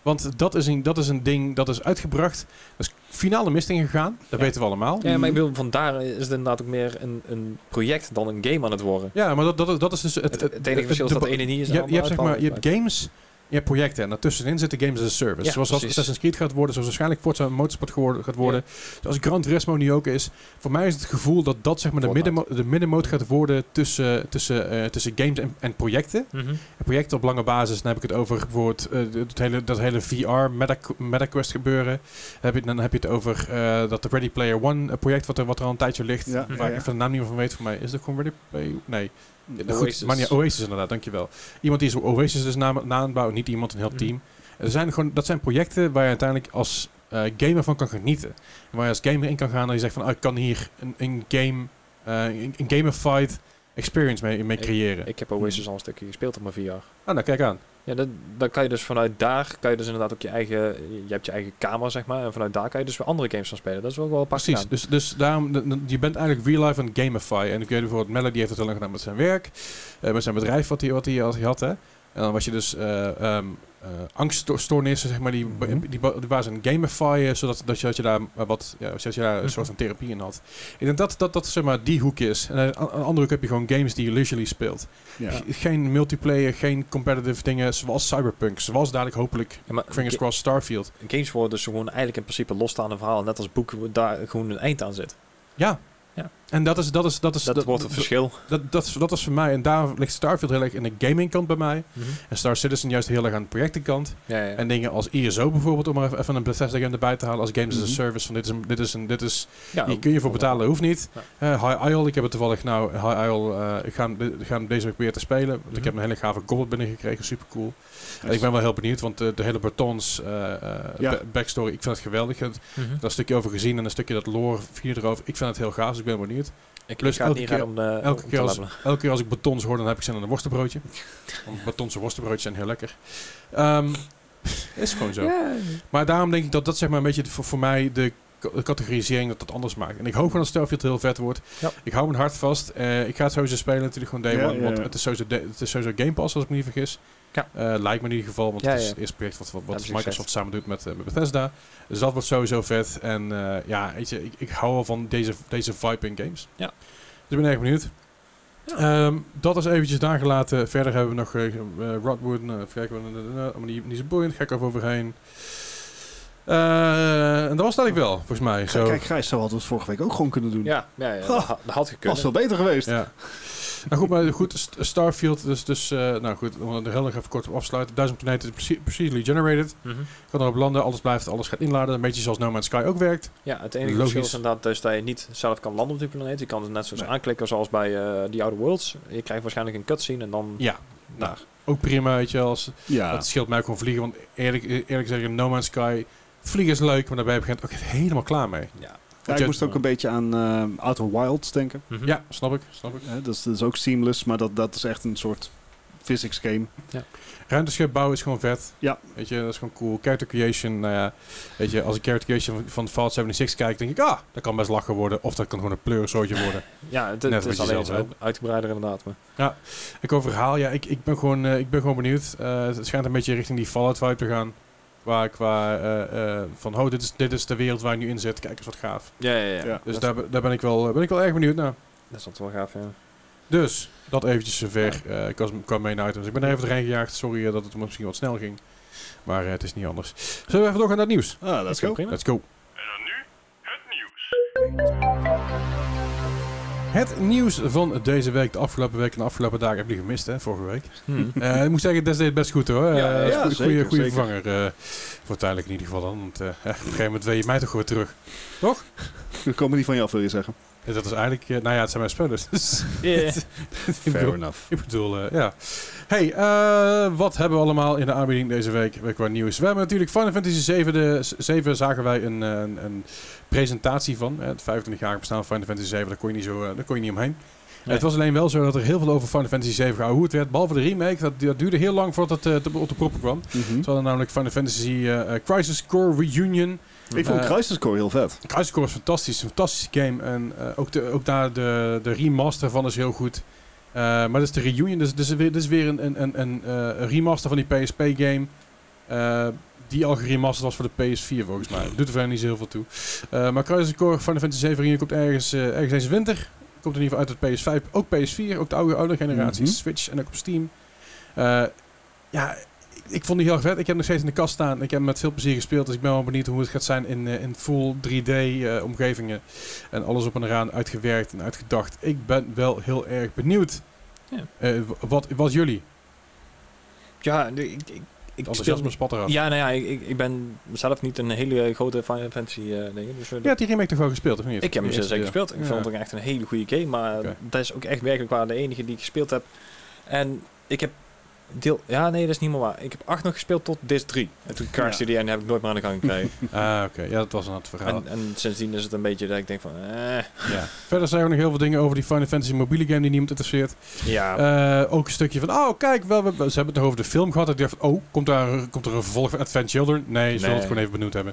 Speaker 1: Want dat is een, dat is een ding dat is uitgebracht. Dat is finaal de mist ingegaan. Dat
Speaker 2: Ja.
Speaker 1: weten we allemaal.
Speaker 2: heel wat- Ja, maar ik bedoel, vandaar is het inderdaad ook meer een, een project dan een game aan het worden.
Speaker 1: Ja, maar dat, dat, dat is dus...
Speaker 2: Het, het enige verschil is
Speaker 1: de
Speaker 2: dat de
Speaker 1: ba-
Speaker 2: ene niet is en
Speaker 1: je,
Speaker 2: de
Speaker 1: je hebt zeg
Speaker 2: andere
Speaker 1: maar, je
Speaker 2: uitvalt.
Speaker 1: hebt games, je hebt projecten en daartussenin zitten games as a service.
Speaker 2: Ja,
Speaker 1: zoals dat
Speaker 2: precies.
Speaker 1: Assassin's Creed gaat worden, zoals waarschijnlijk Forza Motorsport geworden, gaat worden. Zoals Gran Turismo nu ook is. Voor mij is het gevoel dat dat zeg maar de,
Speaker 2: Fortnite.
Speaker 1: middenmo- de middenmoot gaat worden tussen, tussen, eh, tussen games en, en projecten.
Speaker 2: Mhm.
Speaker 1: En projecten op lange basis, dan heb ik het over bijvoorbeeld eh, het hele, dat hele VR-MetaQuest gebeuren. Dan heb, je, dan heb je het over eh, dat de Ready Player One eh, project, wat er, wat er al een tijdje ligt,
Speaker 3: Ja,
Speaker 1: waar
Speaker 3: ja,
Speaker 1: ik
Speaker 3: ja.
Speaker 1: even de naam niet meer van weet, voor mij is dat gewoon Ready Player... Nee. Ja,
Speaker 2: Oasis.
Speaker 1: Goed, maar ja, Oasis inderdaad, dankjewel. Iemand die is Oasis dus na, na aanbouwt, niet iemand, een heel
Speaker 2: Mhm.
Speaker 1: team. Er zijn gewoon, dat zijn projecten waar je uiteindelijk als eh, gamer van kan genieten. En waar je als gamer in kan gaan en je zegt van, ah, ik kan hier een, een game, eh, een, een gamified experience mee, mee creëren.
Speaker 2: Ik heb Oasis al een stukje gespeeld op mijn VR.
Speaker 1: ah, nou, kijk aan.
Speaker 2: Ja, dat, dan kan je dus vanuit daar kan je dus inderdaad ook je eigen, je hebt je eigen kamer zeg maar, en vanuit daar kan je dus weer andere games gaan spelen. Dat is ook wel apart.
Speaker 1: Precies,
Speaker 2: gedaan.
Speaker 1: dus, dus daarom, de- de- je bent eigenlijk real life aan het gamify. En ik weet bijvoorbeeld, Melody heeft het al lang gedaan met zijn werk, eh, met zijn bedrijf wat hij, wat hij, had- hij had. Hè. En dan was je dus eh, ehm, eh, angststoornissen, zeg maar, die,
Speaker 2: Mhm.
Speaker 1: die, die, die waren gamifyen, zodat dat je, dat je daar eh, wat, ja, zodat je daar
Speaker 2: Mhm.
Speaker 1: een soort van therapie in had. Ik denk dat dat, dat zeg maar, die hoek is. En aan aan de andere hoek heb je gewoon games die je leisurely speelt.
Speaker 3: Ja.
Speaker 1: Geen multiplayer, geen competitive dingen, zoals Cyberpunk, zoals dadelijk hopelijk,
Speaker 2: Ja, maar
Speaker 1: fingers
Speaker 2: ga-
Speaker 1: crossed, Starfield.
Speaker 2: games worden dus gewoon eigenlijk in principe losstaande verhalen. Net als boeken daar gewoon een eind aan zit.
Speaker 1: Ja.
Speaker 2: Ja.
Speaker 1: En dat is, dat is, dat is,
Speaker 2: Dus Dat, wordt het verschil.
Speaker 1: dat, dat, is- dat is voor mij, en daar ligt Starfield heel erg in de gaming kant bij mij. En Star Citizen juist heel erg aan de projectenkant.
Speaker 2: Mhm. Ja, ja.
Speaker 1: En dingen als ISO bijvoorbeeld, om maar even- even een Bethesda game erbij te halen. Als Games as
Speaker 3: Mhm.
Speaker 1: a Service, van dit is, een, dit is, een, dit is
Speaker 2: ja,
Speaker 1: hier kun je voor betalen, hoeft niet.
Speaker 2: Ja.
Speaker 1: Eh, High Isle, ik heb het toevallig nou, High Isle, eh, ik ga, hem- ik ga hem deze week weer te spelen. Want ik
Speaker 2: Mhm.
Speaker 1: heb een hele gave goblet binnengekregen, super cool. En ik ben wel heel benieuwd, want eh, de, hele Bertons eh, eh,
Speaker 3: Ja.
Speaker 1: ba- backstory, ik vind het geweldig. Ik heb
Speaker 2: Mhm.
Speaker 1: Daar een stukje over gezien en een stukje dat lore vier erover. Ik vind het heel gaaf, dus ik ben benieuwd.
Speaker 2: Ik,
Speaker 1: Plus
Speaker 2: ik ga
Speaker 1: elke
Speaker 2: het niet
Speaker 1: keer-
Speaker 2: gaan om, eh, om
Speaker 1: elke
Speaker 2: te
Speaker 1: keer als-
Speaker 2: labelen.
Speaker 1: Elke keer als ik Bertons hoor, dan heb ik zin aan een worstenbroodje. Want Bertonse worstenbroodjes zijn heel lekker. Ehm, is gewoon zo. Maar daarom denk ik dat dat zeg maar een beetje de- voor, voor mij de ca- de categorisering dat dat anders maakt. En ik hoop gewoon dat Starfield heel vet wordt.
Speaker 2: Ja.
Speaker 1: Ik hou mijn hart vast. Eh, ik ga het sowieso spelen natuurlijk gewoon day
Speaker 3: Ja,
Speaker 1: one,
Speaker 3: ja,
Speaker 1: want
Speaker 3: ja.
Speaker 1: het is, sowieso de- het is sowieso Game Pass als ik me niet vergis.
Speaker 2: Ja.
Speaker 1: Eh, lijkt me in ieder geval, want
Speaker 2: Ja,
Speaker 1: het is
Speaker 2: ja.
Speaker 1: het eerste project wat, wat,
Speaker 2: Ja,
Speaker 1: wat
Speaker 2: precies,
Speaker 1: Microsoft samen doet met, eh, met Bethesda. Dus dat wordt sowieso vet. En eh, ja, weet je, ik, ik hou al van deze, deze vibe in games.
Speaker 2: Ja.
Speaker 1: Dus ik ben erg benieuwd. Ehm, dat is eventjes daar gelaten. Verder hebben we nog eh, eh, Rodwood. Nou, even kijken, eh, eh, eh, allemaal niet, niet zo boeiend. Ga ik even overheen. Eh, en dat was dat ik wel, volgens mij. Zo.
Speaker 3: Kijk, Gijs zou hadden we het vorige week ook gewoon kunnen doen.
Speaker 2: Ja, ja, ja, dat,
Speaker 3: Oh.
Speaker 2: ha- dat had gekund.
Speaker 3: Was wel beter geweest.
Speaker 1: Ja. nou goed, maar goed, St- Starfield. Dus, dus eh, nou goed, om het er heel erg even kort op af te sluiten. Duizend planeten is precie- precisely generated.
Speaker 2: Mhm.
Speaker 1: Kan erop landen, alles blijft, alles gaat inladen. Een beetje zoals No Man's Sky ook werkt.
Speaker 2: Ja, het enige
Speaker 1: Logisch.
Speaker 2: verschil is inderdaad dus dat je niet zelf kan landen op die planeet. Je kan het net zoals
Speaker 3: Nee.
Speaker 2: aanklikken zoals bij eh The Outer Worlds. Je krijgt waarschijnlijk een cutscene en dan...
Speaker 1: Ja. Nou,
Speaker 2: Daar.
Speaker 1: ook prima, weet je wel. Als,
Speaker 3: Ja.
Speaker 1: Dat scheelt mij ook gewoon vliegen. Want eerlijk, eerlijk gezegd, in No Man's Sky... Vliegen is leuk, maar daarbij ben je op een gegeven moment ook echt helemaal klaar mee.
Speaker 2: Ja.
Speaker 3: Ja, ik moest ook een beetje aan eh, Outer Wilds denken.
Speaker 2: Mhm.
Speaker 1: Ja, snap ik, snap ik.
Speaker 3: Eh, dat, is, dat is ook seamless, maar dat, dat is echt een soort physics game.
Speaker 1: Ruimteschip bouwen is gewoon vet.
Speaker 3: Ja.
Speaker 1: Weet je, dat is gewoon cool. Character creation, nou ja, weet je, als ik character creation van, van Fallout 76 kijk, denk ik, ah, dat kan best lachen worden. Of dat kan gewoon een pleurzootje worden.
Speaker 2: Ja, het,
Speaker 1: Net
Speaker 2: het
Speaker 1: wat
Speaker 2: is
Speaker 1: je
Speaker 2: alleen
Speaker 1: zelf
Speaker 2: iets uit- uitgebreider inderdaad. Maar.
Speaker 1: ik overhaal, ja, ik, ik, ben, gewoon, eh, ik ben gewoon benieuwd. Eh, het schijnt een beetje richting die Fallout vibe te gaan. Qua, qua eh, eh, van, oh, dit is, dit is de wereld waar ik nu in zit. Kijk eens wat gaaf.
Speaker 2: Ja, ja, ja.
Speaker 3: Ja.
Speaker 1: Dus
Speaker 2: dat,
Speaker 1: daar, ben- daar ben, ik wel, ben ik wel erg benieuwd naar.
Speaker 2: dat is altijd wel gaaf, ja.
Speaker 1: Dus, dat eventjes zover. Eh, ik was, kwam mee naar items. Ik ben er even doorheen gejaagd. Sorry eh, dat het misschien wat snel ging. Maar eh, het is niet anders. Zullen we even doorgaan naar het nieuws?
Speaker 3: Ah, let's
Speaker 2: Oké,
Speaker 3: go.
Speaker 2: prima.
Speaker 1: Let's go. Het nieuws van deze week, de afgelopen week en de afgelopen dagen, heb je gemist, hè, vorige
Speaker 3: *laughs*
Speaker 1: week.
Speaker 2: Hmm.
Speaker 1: Eh, ik moet zeggen, Des deed het best goed hoor. Eh,
Speaker 2: Ja,
Speaker 1: is
Speaker 3: ja,
Speaker 1: goed-
Speaker 3: zeker,
Speaker 1: goede, goede
Speaker 3: zeker.
Speaker 1: vervanger. eh, voor tijdelijk in ieder geval dan. Want eh, *laughs* op een gegeven moment wil je mij toch weer terug.
Speaker 3: We komen niet van je af, wil je zeggen.
Speaker 1: En dat is eigenlijk, eh, nou ja, het zijn mijn spelers. *laughs* Dus,
Speaker 2: Ja.
Speaker 1: ik bedoel,
Speaker 3: enough.
Speaker 1: ik bedoel eh, ja. Hey, eh, wat hebben we allemaal in de aanbieding deze week weer qua nieuws? We hebben natuurlijk Final Fantasy 7, de, 7 zagen wij een, eh, een, een presentatie van. Eh, Het 25 jaar bestaan van Final Fantasy 7, daar kon je niet, zo, eh, daar kon je niet omheen.
Speaker 2: Nee.
Speaker 1: Het was alleen wel zo dat er heel veel over Final Fantasy 7 gehouden hoe het werd. Behalve de remake, dat, dat duurde heel lang voordat het eh, te- op de proppen
Speaker 3: Hm?
Speaker 1: kwam.
Speaker 3: Mhm.
Speaker 1: Ze hadden namelijk Final Fantasy eh, eh, Crisis Core Reunion.
Speaker 3: Ik vond
Speaker 1: Eh,
Speaker 3: Crisis Core heel vet.
Speaker 1: Crisis Core is fantastisch, een fantastische game. En eh, ook, de, ook daar de, de remaster van is heel goed. Eh, maar dit is de reunion, dus dit is weer, dit is weer een, een, een, een eh, remaster van die PSP-game. Eh, die al geremasterd was voor de PS4 volgens mij. Doet er verder niet zo heel veel toe. Eh, maar Crisis Core Final Fantasy 7 Reunion komt ergens, eh, ergens deze winter. Komt in ieder geval uit het PS5, ook PS4, ook de oude, oude generatie,
Speaker 3: Mhm.
Speaker 1: Switch en ook op Steam. Eh, ja, ik, ik vond die heel erg vet. Ik heb hem nog steeds in de kast staan. Ik heb hem met veel plezier gespeeld. Dus ik ben wel benieuwd hoe het gaat zijn in, eh, in full 3D-omgevingen. en alles op en eraan uitgewerkt en uitgedacht. Ik ben wel heel erg benieuwd.
Speaker 2: Ja.
Speaker 1: Eh, w- wat, wat jullie?
Speaker 2: *laughs* Ja, ik, ik, ik
Speaker 1: Het
Speaker 2: speel...
Speaker 1: enthousiasme spat eraf. Ja.
Speaker 2: Ja, nou ja, ik- ik, ik ben zelf niet een hele grote Final Fantasy eh ding. Dus, eh, dat-
Speaker 1: Je hebt die remake toch wel gespeeld, of niet?
Speaker 2: Ik heb hem
Speaker 1: Die
Speaker 2: zeker
Speaker 1: eerste, ja.
Speaker 2: gespeeld. Ik
Speaker 1: Ja.
Speaker 2: vond het echt een hele goede game. Maar
Speaker 1: Oké.
Speaker 2: dat is ook echt werkelijk waar de enige die ik gespeeld heb. En ik heb deel... Ja, nee, dat is niet meer waar. Ik heb 8 nog gespeeld tot disc 3. En toen Car
Speaker 3: Ja.
Speaker 2: City en heb ik nooit meer aan de gang gekregen.
Speaker 1: Ah, oké. *laughs* Ja, dat was een het verhaal.
Speaker 2: en, en sindsdien is het een beetje dat ik denk van... Eh,
Speaker 1: ja. Verder zijn er nog heel veel dingen over die Final Fantasy mobiele game die niemand interesseert.
Speaker 2: ja,
Speaker 1: Eh, ook een stukje van, oh kijk, wel, we, we- ze hebben het nog over de film gehad. Ik dacht, van, oh, komt, daar, komt er een vervolg van Advent Children? Nee, ze zullen het
Speaker 2: Nee.
Speaker 1: gewoon even benoemd hebben.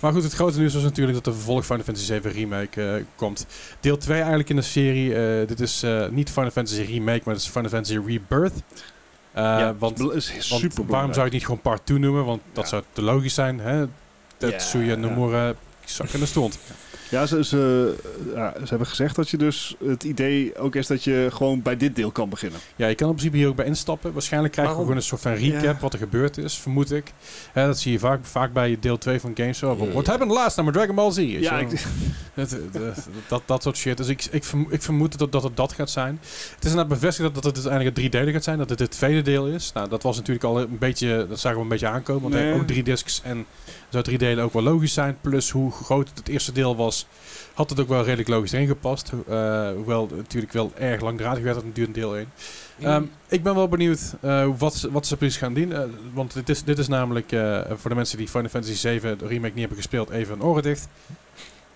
Speaker 1: Maar goed, het grote nieuws was natuurlijk dat de vervolg Final Fantasy 7 Remake eh, komt. Deel 2 eigenlijk in de serie. Eh, dit is eh, niet Final Fantasy Remake, maar het is Final Fantasy Rebirth. Eh,
Speaker 2: Ja.
Speaker 1: want
Speaker 3: Bel- is super
Speaker 1: Want waarom zou je het niet gewoon part 2 noemen? Want dat
Speaker 3: Ja.
Speaker 1: zou te logisch zijn. Hè? Tetsuya
Speaker 3: Ja.
Speaker 1: Nomura, eh, zak in de stond.
Speaker 3: Ja, ze, ze, ja, ze hebben gezegd dat je dus het idee ook is dat je gewoon bij dit deel kan beginnen.
Speaker 1: Ja, je kan in principe hier ook bij instappen. Waarschijnlijk krijgen we
Speaker 2: Waarom?
Speaker 1: gewoon een soort van recap
Speaker 3: Ja.
Speaker 1: wat er gebeurd is, vermoed ik. Hè, dat zie je vaak, vaak bij deel 2 van Games over. What
Speaker 2: Ja.
Speaker 1: happened last time with Dragon Ball Z? Weet je
Speaker 3: Ja,
Speaker 1: wel.
Speaker 3: ik-
Speaker 1: Het- het- het- dat, dat soort shit. Dus ik, ik, vermo- ik vermoed dat, dat het dat gaat zijn. Het is inderdaad bevestigd dat, dat het uiteindelijk een driedelig gaat zijn. Dat het het tweede deel is. Nou, dat was natuurlijk al een beetje... Dat zagen we een beetje aankomen. Want hij
Speaker 3: Nee.
Speaker 1: had ook drie discs. En zou drie delen ook wel logisch zijn. Plus hoe groot het eerste deel was... had het ook wel redelijk logisch erin gepast. Eh, hoewel het natuurlijk wel erg langdradig werd. Dat natuurlijk deel 1. Ehm, ik ben wel benieuwd eh, wat, ze- wat ze precies gaan doen. Eh, want dit is, dit is namelijk eh, voor de mensen die Final Fantasy 7 de remake niet hebben gespeeld, even een oren dicht.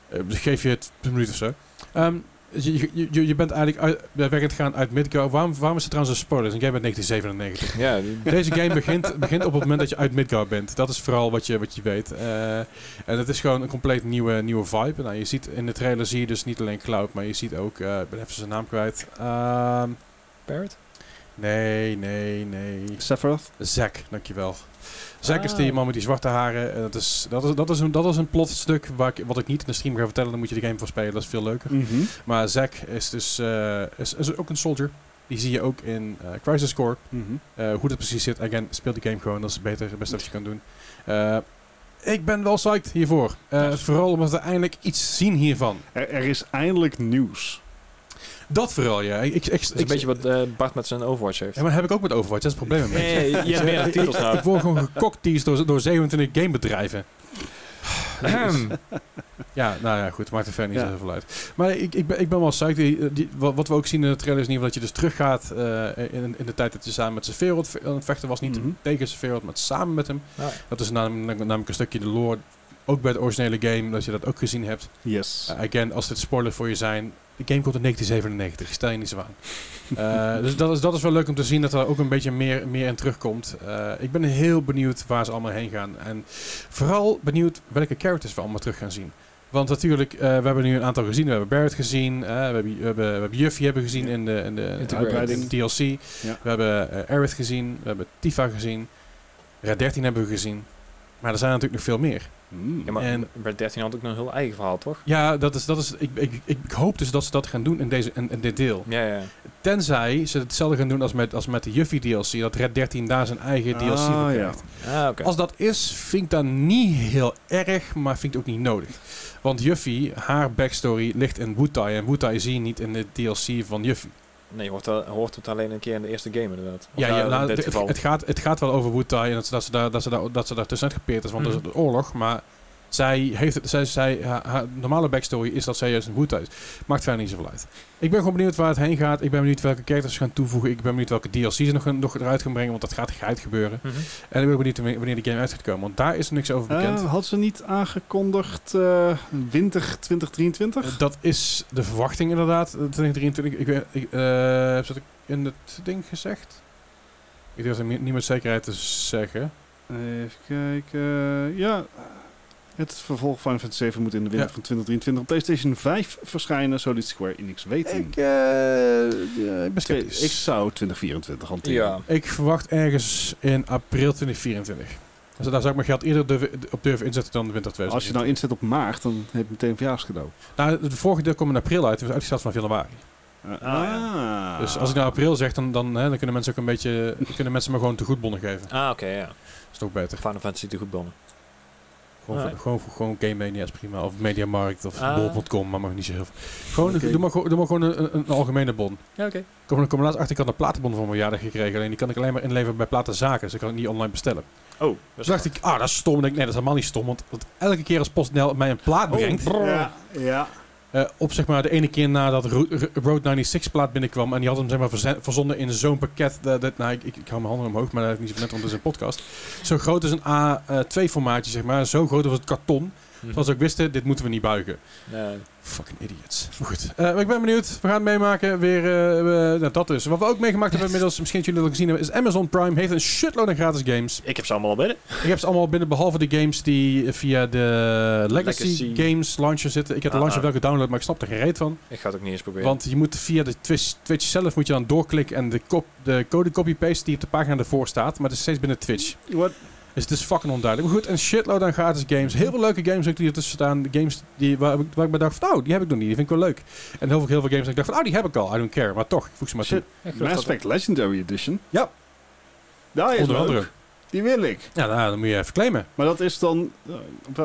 Speaker 1: Eh, geef je het een minuut of zo. Ehm, je, je- je, je bent eigenlijk uit, weg aan het gaan uit Midgar. Waarom, waarom is het trouwens een spoiler? Want jij bent 1997.
Speaker 2: Ja, die-
Speaker 1: Deze game begint, begint op het moment dat je uit Midgar bent. Dat is vooral wat je, wat je weet. Eh, en het is gewoon een compleet nieuwe, nieuwe vibe. Nou, je ziet in de trailer zie je dus niet alleen Cloud, maar je ziet ook... eh, ik ben even zijn naam kwijt. Ehm,
Speaker 2: Parrot?
Speaker 1: nee, nee, nee.
Speaker 3: Sephiroth?
Speaker 1: Zack, dankjewel. Zack is die
Speaker 2: Ah.
Speaker 1: man met die zwarte haren. En dat, is, dat, is, dat, is een, dat is een plotstuk waar ik, wat ik niet in de stream ga vertellen. Dan moet je de game voor spelen, dat is veel leuker.
Speaker 3: Mhm.
Speaker 1: Maar Zack is dus eh, is, is ook een soldier. Die zie je ook in eh, Crisis Core.
Speaker 3: Mhm.
Speaker 1: Eh, hoe dat precies zit, again, speel die game gewoon. Dat is het beter, het beste wat je kan doen. Eh, ik ben wel psyched hiervoor. Eh, Vooral omdat we eindelijk iets zien hiervan.
Speaker 3: Er, er is eindelijk nieuws.
Speaker 1: Dat vooral, ja. Ik, ik, ik,
Speaker 2: Dat is een beetje wat eh, Bart met zijn Overwatch heeft.
Speaker 1: Ja, maar dat heb ik ook met Overwatch. Dat is het probleem een beetje.
Speaker 2: Nee, je hebt
Speaker 1: *laughs*
Speaker 2: meerdere titels nou.
Speaker 1: Ik word gewoon gecockteased door, door 27 gamebedrijven. Ahem. ja, nou ja, goed. Maakt er verder niet
Speaker 3: Ja.
Speaker 1: zo zoveel uit. Maar ik, ik, ben, ik ben wel psyched. Die, eh, die- wat, wat we ook zien in de trailer is in ieder geval dat je dus teruggaat eh in, in de tijd dat je samen met Sephiroth aan het vechten was. Niet
Speaker 3: Mhm.
Speaker 1: tegen Sephiroth, maar samen met hem.
Speaker 2: Nou,
Speaker 1: Dat is namelijk, namelijk een stukje de lore. Ook bij het originele game, dat je dat ook gezien hebt.
Speaker 3: Yes.
Speaker 1: Uh, again, als dit spoilers voor je zijn. De game komt in 1997, stel je niet zo aan. Eh, *laughs* dus dat is, dat is wel leuk om te zien dat er ook een beetje meer, meer in terugkomt. Eh, ik ben heel benieuwd waar ze allemaal heen gaan. En vooral benieuwd welke characters we allemaal terug gaan zien. Want natuurlijk, eh, we hebben nu een aantal gezien. We hebben Barrett gezien. eh, we, hebben, we, hebben, we hebben Yuffie hebben gezien
Speaker 3: Ja.
Speaker 1: in de, in de
Speaker 2: Integrated.
Speaker 1: uitbreiding DLC.
Speaker 3: Ja.
Speaker 1: We hebben eh, Aerith gezien. We hebben Tifa gezien. Red 13 hebben we gezien. Maar er zijn natuurlijk nog veel meer.
Speaker 3: Mm.
Speaker 2: ja, maar
Speaker 1: En-
Speaker 2: Red 13 had ook nog een heel eigen verhaal, toch?
Speaker 1: Ja, dat is, dat is, ik, ik, ik, ik hoop dus dat ze dat gaan doen in, deze, in, in dit deel.
Speaker 2: Ja, ja.
Speaker 1: Tenzij ze hetzelfde gaan doen als met, als met de Juffie DLC. Dat Red 13 daar zijn eigen DLC voor
Speaker 3: Ah, ja.
Speaker 1: krijgt.
Speaker 2: Ah, oké.
Speaker 1: Als dat is, vind ik dat niet heel erg, maar vind ik het ook niet nodig. Want Juffie, haar backstory ligt in Wutai. En Wutai zie je niet in de DLC van Juffie.
Speaker 2: Nee, je hoort, eh, hoort het alleen een keer in de eerste game, inderdaad. Of
Speaker 1: Ja, ja
Speaker 2: in
Speaker 1: nou,
Speaker 2: dit
Speaker 1: het,
Speaker 2: geval.
Speaker 1: het gaat, het gaat wel over Wutai en dat ze, dat ze, daar, dat ze, daar, dat ze daar tussenuit gepeerd is, want dat
Speaker 2: Mhm.
Speaker 1: is de oorlog. Maar zij heeft het, zij, zij, haar, haar normale backstory is dat zij juist een Wutai is. Maakt verder niet zoveel uit. Ik ben gewoon benieuwd waar het heen gaat. Ik ben benieuwd welke characters ze gaan toevoegen. Ik ben benieuwd welke DLC's ze nog, gaan- nog eruit gaan brengen, want dat gaat geit gebeuren.
Speaker 2: Mhm.
Speaker 1: En ik ben ook benieuwd wanneer wanneer de game uit gaat komen, want daar is nog niks over bekend.
Speaker 3: Eh, had ze niet aangekondigd eh, winter 2023?
Speaker 1: Eh, Dat is de verwachting inderdaad. Eh, 2023. Ik weet, ik, eh, heb dat in het ding gezegd? Ik durf het niet niet met zekerheid te zeggen.
Speaker 3: Even kijken. eh, ja. Het vervolg van Fantasy 7 moet in de winter
Speaker 1: Ja.
Speaker 3: van 2023 op PlayStation 5 verschijnen, zo liet Square Enix weten.
Speaker 1: Ik, eh, ja, ik ben
Speaker 3: Twee-
Speaker 1: sceptisch.
Speaker 3: ik zou 2024 hanteren.
Speaker 2: Ja.
Speaker 1: Ik verwacht ergens in april 2024. Dus daar zou ik mijn geld eerder durven- op durven inzetten dan de winter
Speaker 3: Als je
Speaker 1: 2020.
Speaker 3: nou inzet op maart, dan heb je meteen een verjaarscadeau.
Speaker 1: nou, het vorige deel kwam in april uit. Het was uitgesteld vanaf januari.
Speaker 3: Ah.
Speaker 1: Dus als ik nou april zeg, dan, dan, hè, dan kunnen mensen ook een beetje... dan kunnen mensen me gewoon te goedbonnen geven.
Speaker 2: Ah, oké, ja.
Speaker 1: Dat is toch beter.
Speaker 2: Final Fantasy te goed bonnen.
Speaker 1: Gewoon,
Speaker 2: Nee.
Speaker 1: voor- gewoon, voor- gewoon Game Mania is prima. Of Mediamarkt of
Speaker 2: Ah.
Speaker 1: bol.com, maar mag niet zo heel veel. Gewoon,
Speaker 3: Oké.
Speaker 1: doe, maar, gewoon- doe maar gewoon een, een- een algemene bon. Ik
Speaker 2: Ja, oké.
Speaker 1: kom, ik kom laatst achter, ik had een platenbon voor mijn verjaardag gekregen. Alleen die kan ik alleen maar inleveren bij platenzaken. Dus ik kan het niet online bestellen.
Speaker 2: Oh, dat
Speaker 1: Dus dacht ik, ah, dat is stom. En ik, nee, dat is helemaal niet stom. Want, want elke keer als PostNL mij een plaat brengt...
Speaker 3: Ja, ja.
Speaker 1: eh, op zeg maar de ene keer nadat Ro- Ro- Road 96 plaat binnenkwam... en die had hem zeg maar verzen- verzonden in zo'n pakket... Dat, dat- nou, ik, ik, ik hou mijn handen omhoog, maar eh, dat is niet zo net, want het is een podcast. Zo groot is een A2-formaatje, zeg maar. Zo groot was het karton. Zoals ze ook wisten, dit moeten we niet buigen.
Speaker 2: Nee.
Speaker 1: Fucking idiots. Maar goed, eh, maar ik ben benieuwd. We gaan het meemaken weer. eh, we- nou, dat dus. Wat we ook meegemaakt hebben inmiddels, misschien dat jullie het al gezien hebben, is Amazon Prime heeft een shitload aan gratis games.
Speaker 2: Ik heb ze allemaal al binnen.
Speaker 1: Ik heb ze allemaal binnen, behalve de games die via de Legacy,
Speaker 2: Legacy.
Speaker 1: Games launcher zitten. Ik heb de
Speaker 2: Ah,
Speaker 1: launcher
Speaker 2: ah.
Speaker 1: wel gedownload, maar ik snap er geen reet van.
Speaker 2: Ik ga het ook niet eens proberen.
Speaker 1: Want je moet via de Twitch, Twitch zelf moet je dan doorklikken en de, kop, de code copy-paste die op de pagina ervoor staat. Maar het is steeds binnen Twitch.
Speaker 3: Wat?
Speaker 1: Dus het is fucking onduidelijk. Maar goed, een shitload aan gratis games. Heel veel leuke games ook die ertussen staan. Games die, waar, ik- waar ik me dacht van, oh, die heb ik nog niet. Die vind ik wel leuk. En heel veel, heel veel games dat ik dacht van, oh, die heb ik al. I don't care. Maar toch, ik voeg ze maar
Speaker 3: Shit.
Speaker 1: toe.
Speaker 2: Ik geloof
Speaker 3: Mass
Speaker 2: dat
Speaker 3: Effect Legendary Edition?
Speaker 1: Ja.
Speaker 3: Daar is
Speaker 1: Onder
Speaker 3: leuk.
Speaker 1: andere.
Speaker 3: Die wil ik.
Speaker 1: Ja, nou, dan moet je even claimen.
Speaker 3: Maar dat is dan... eh,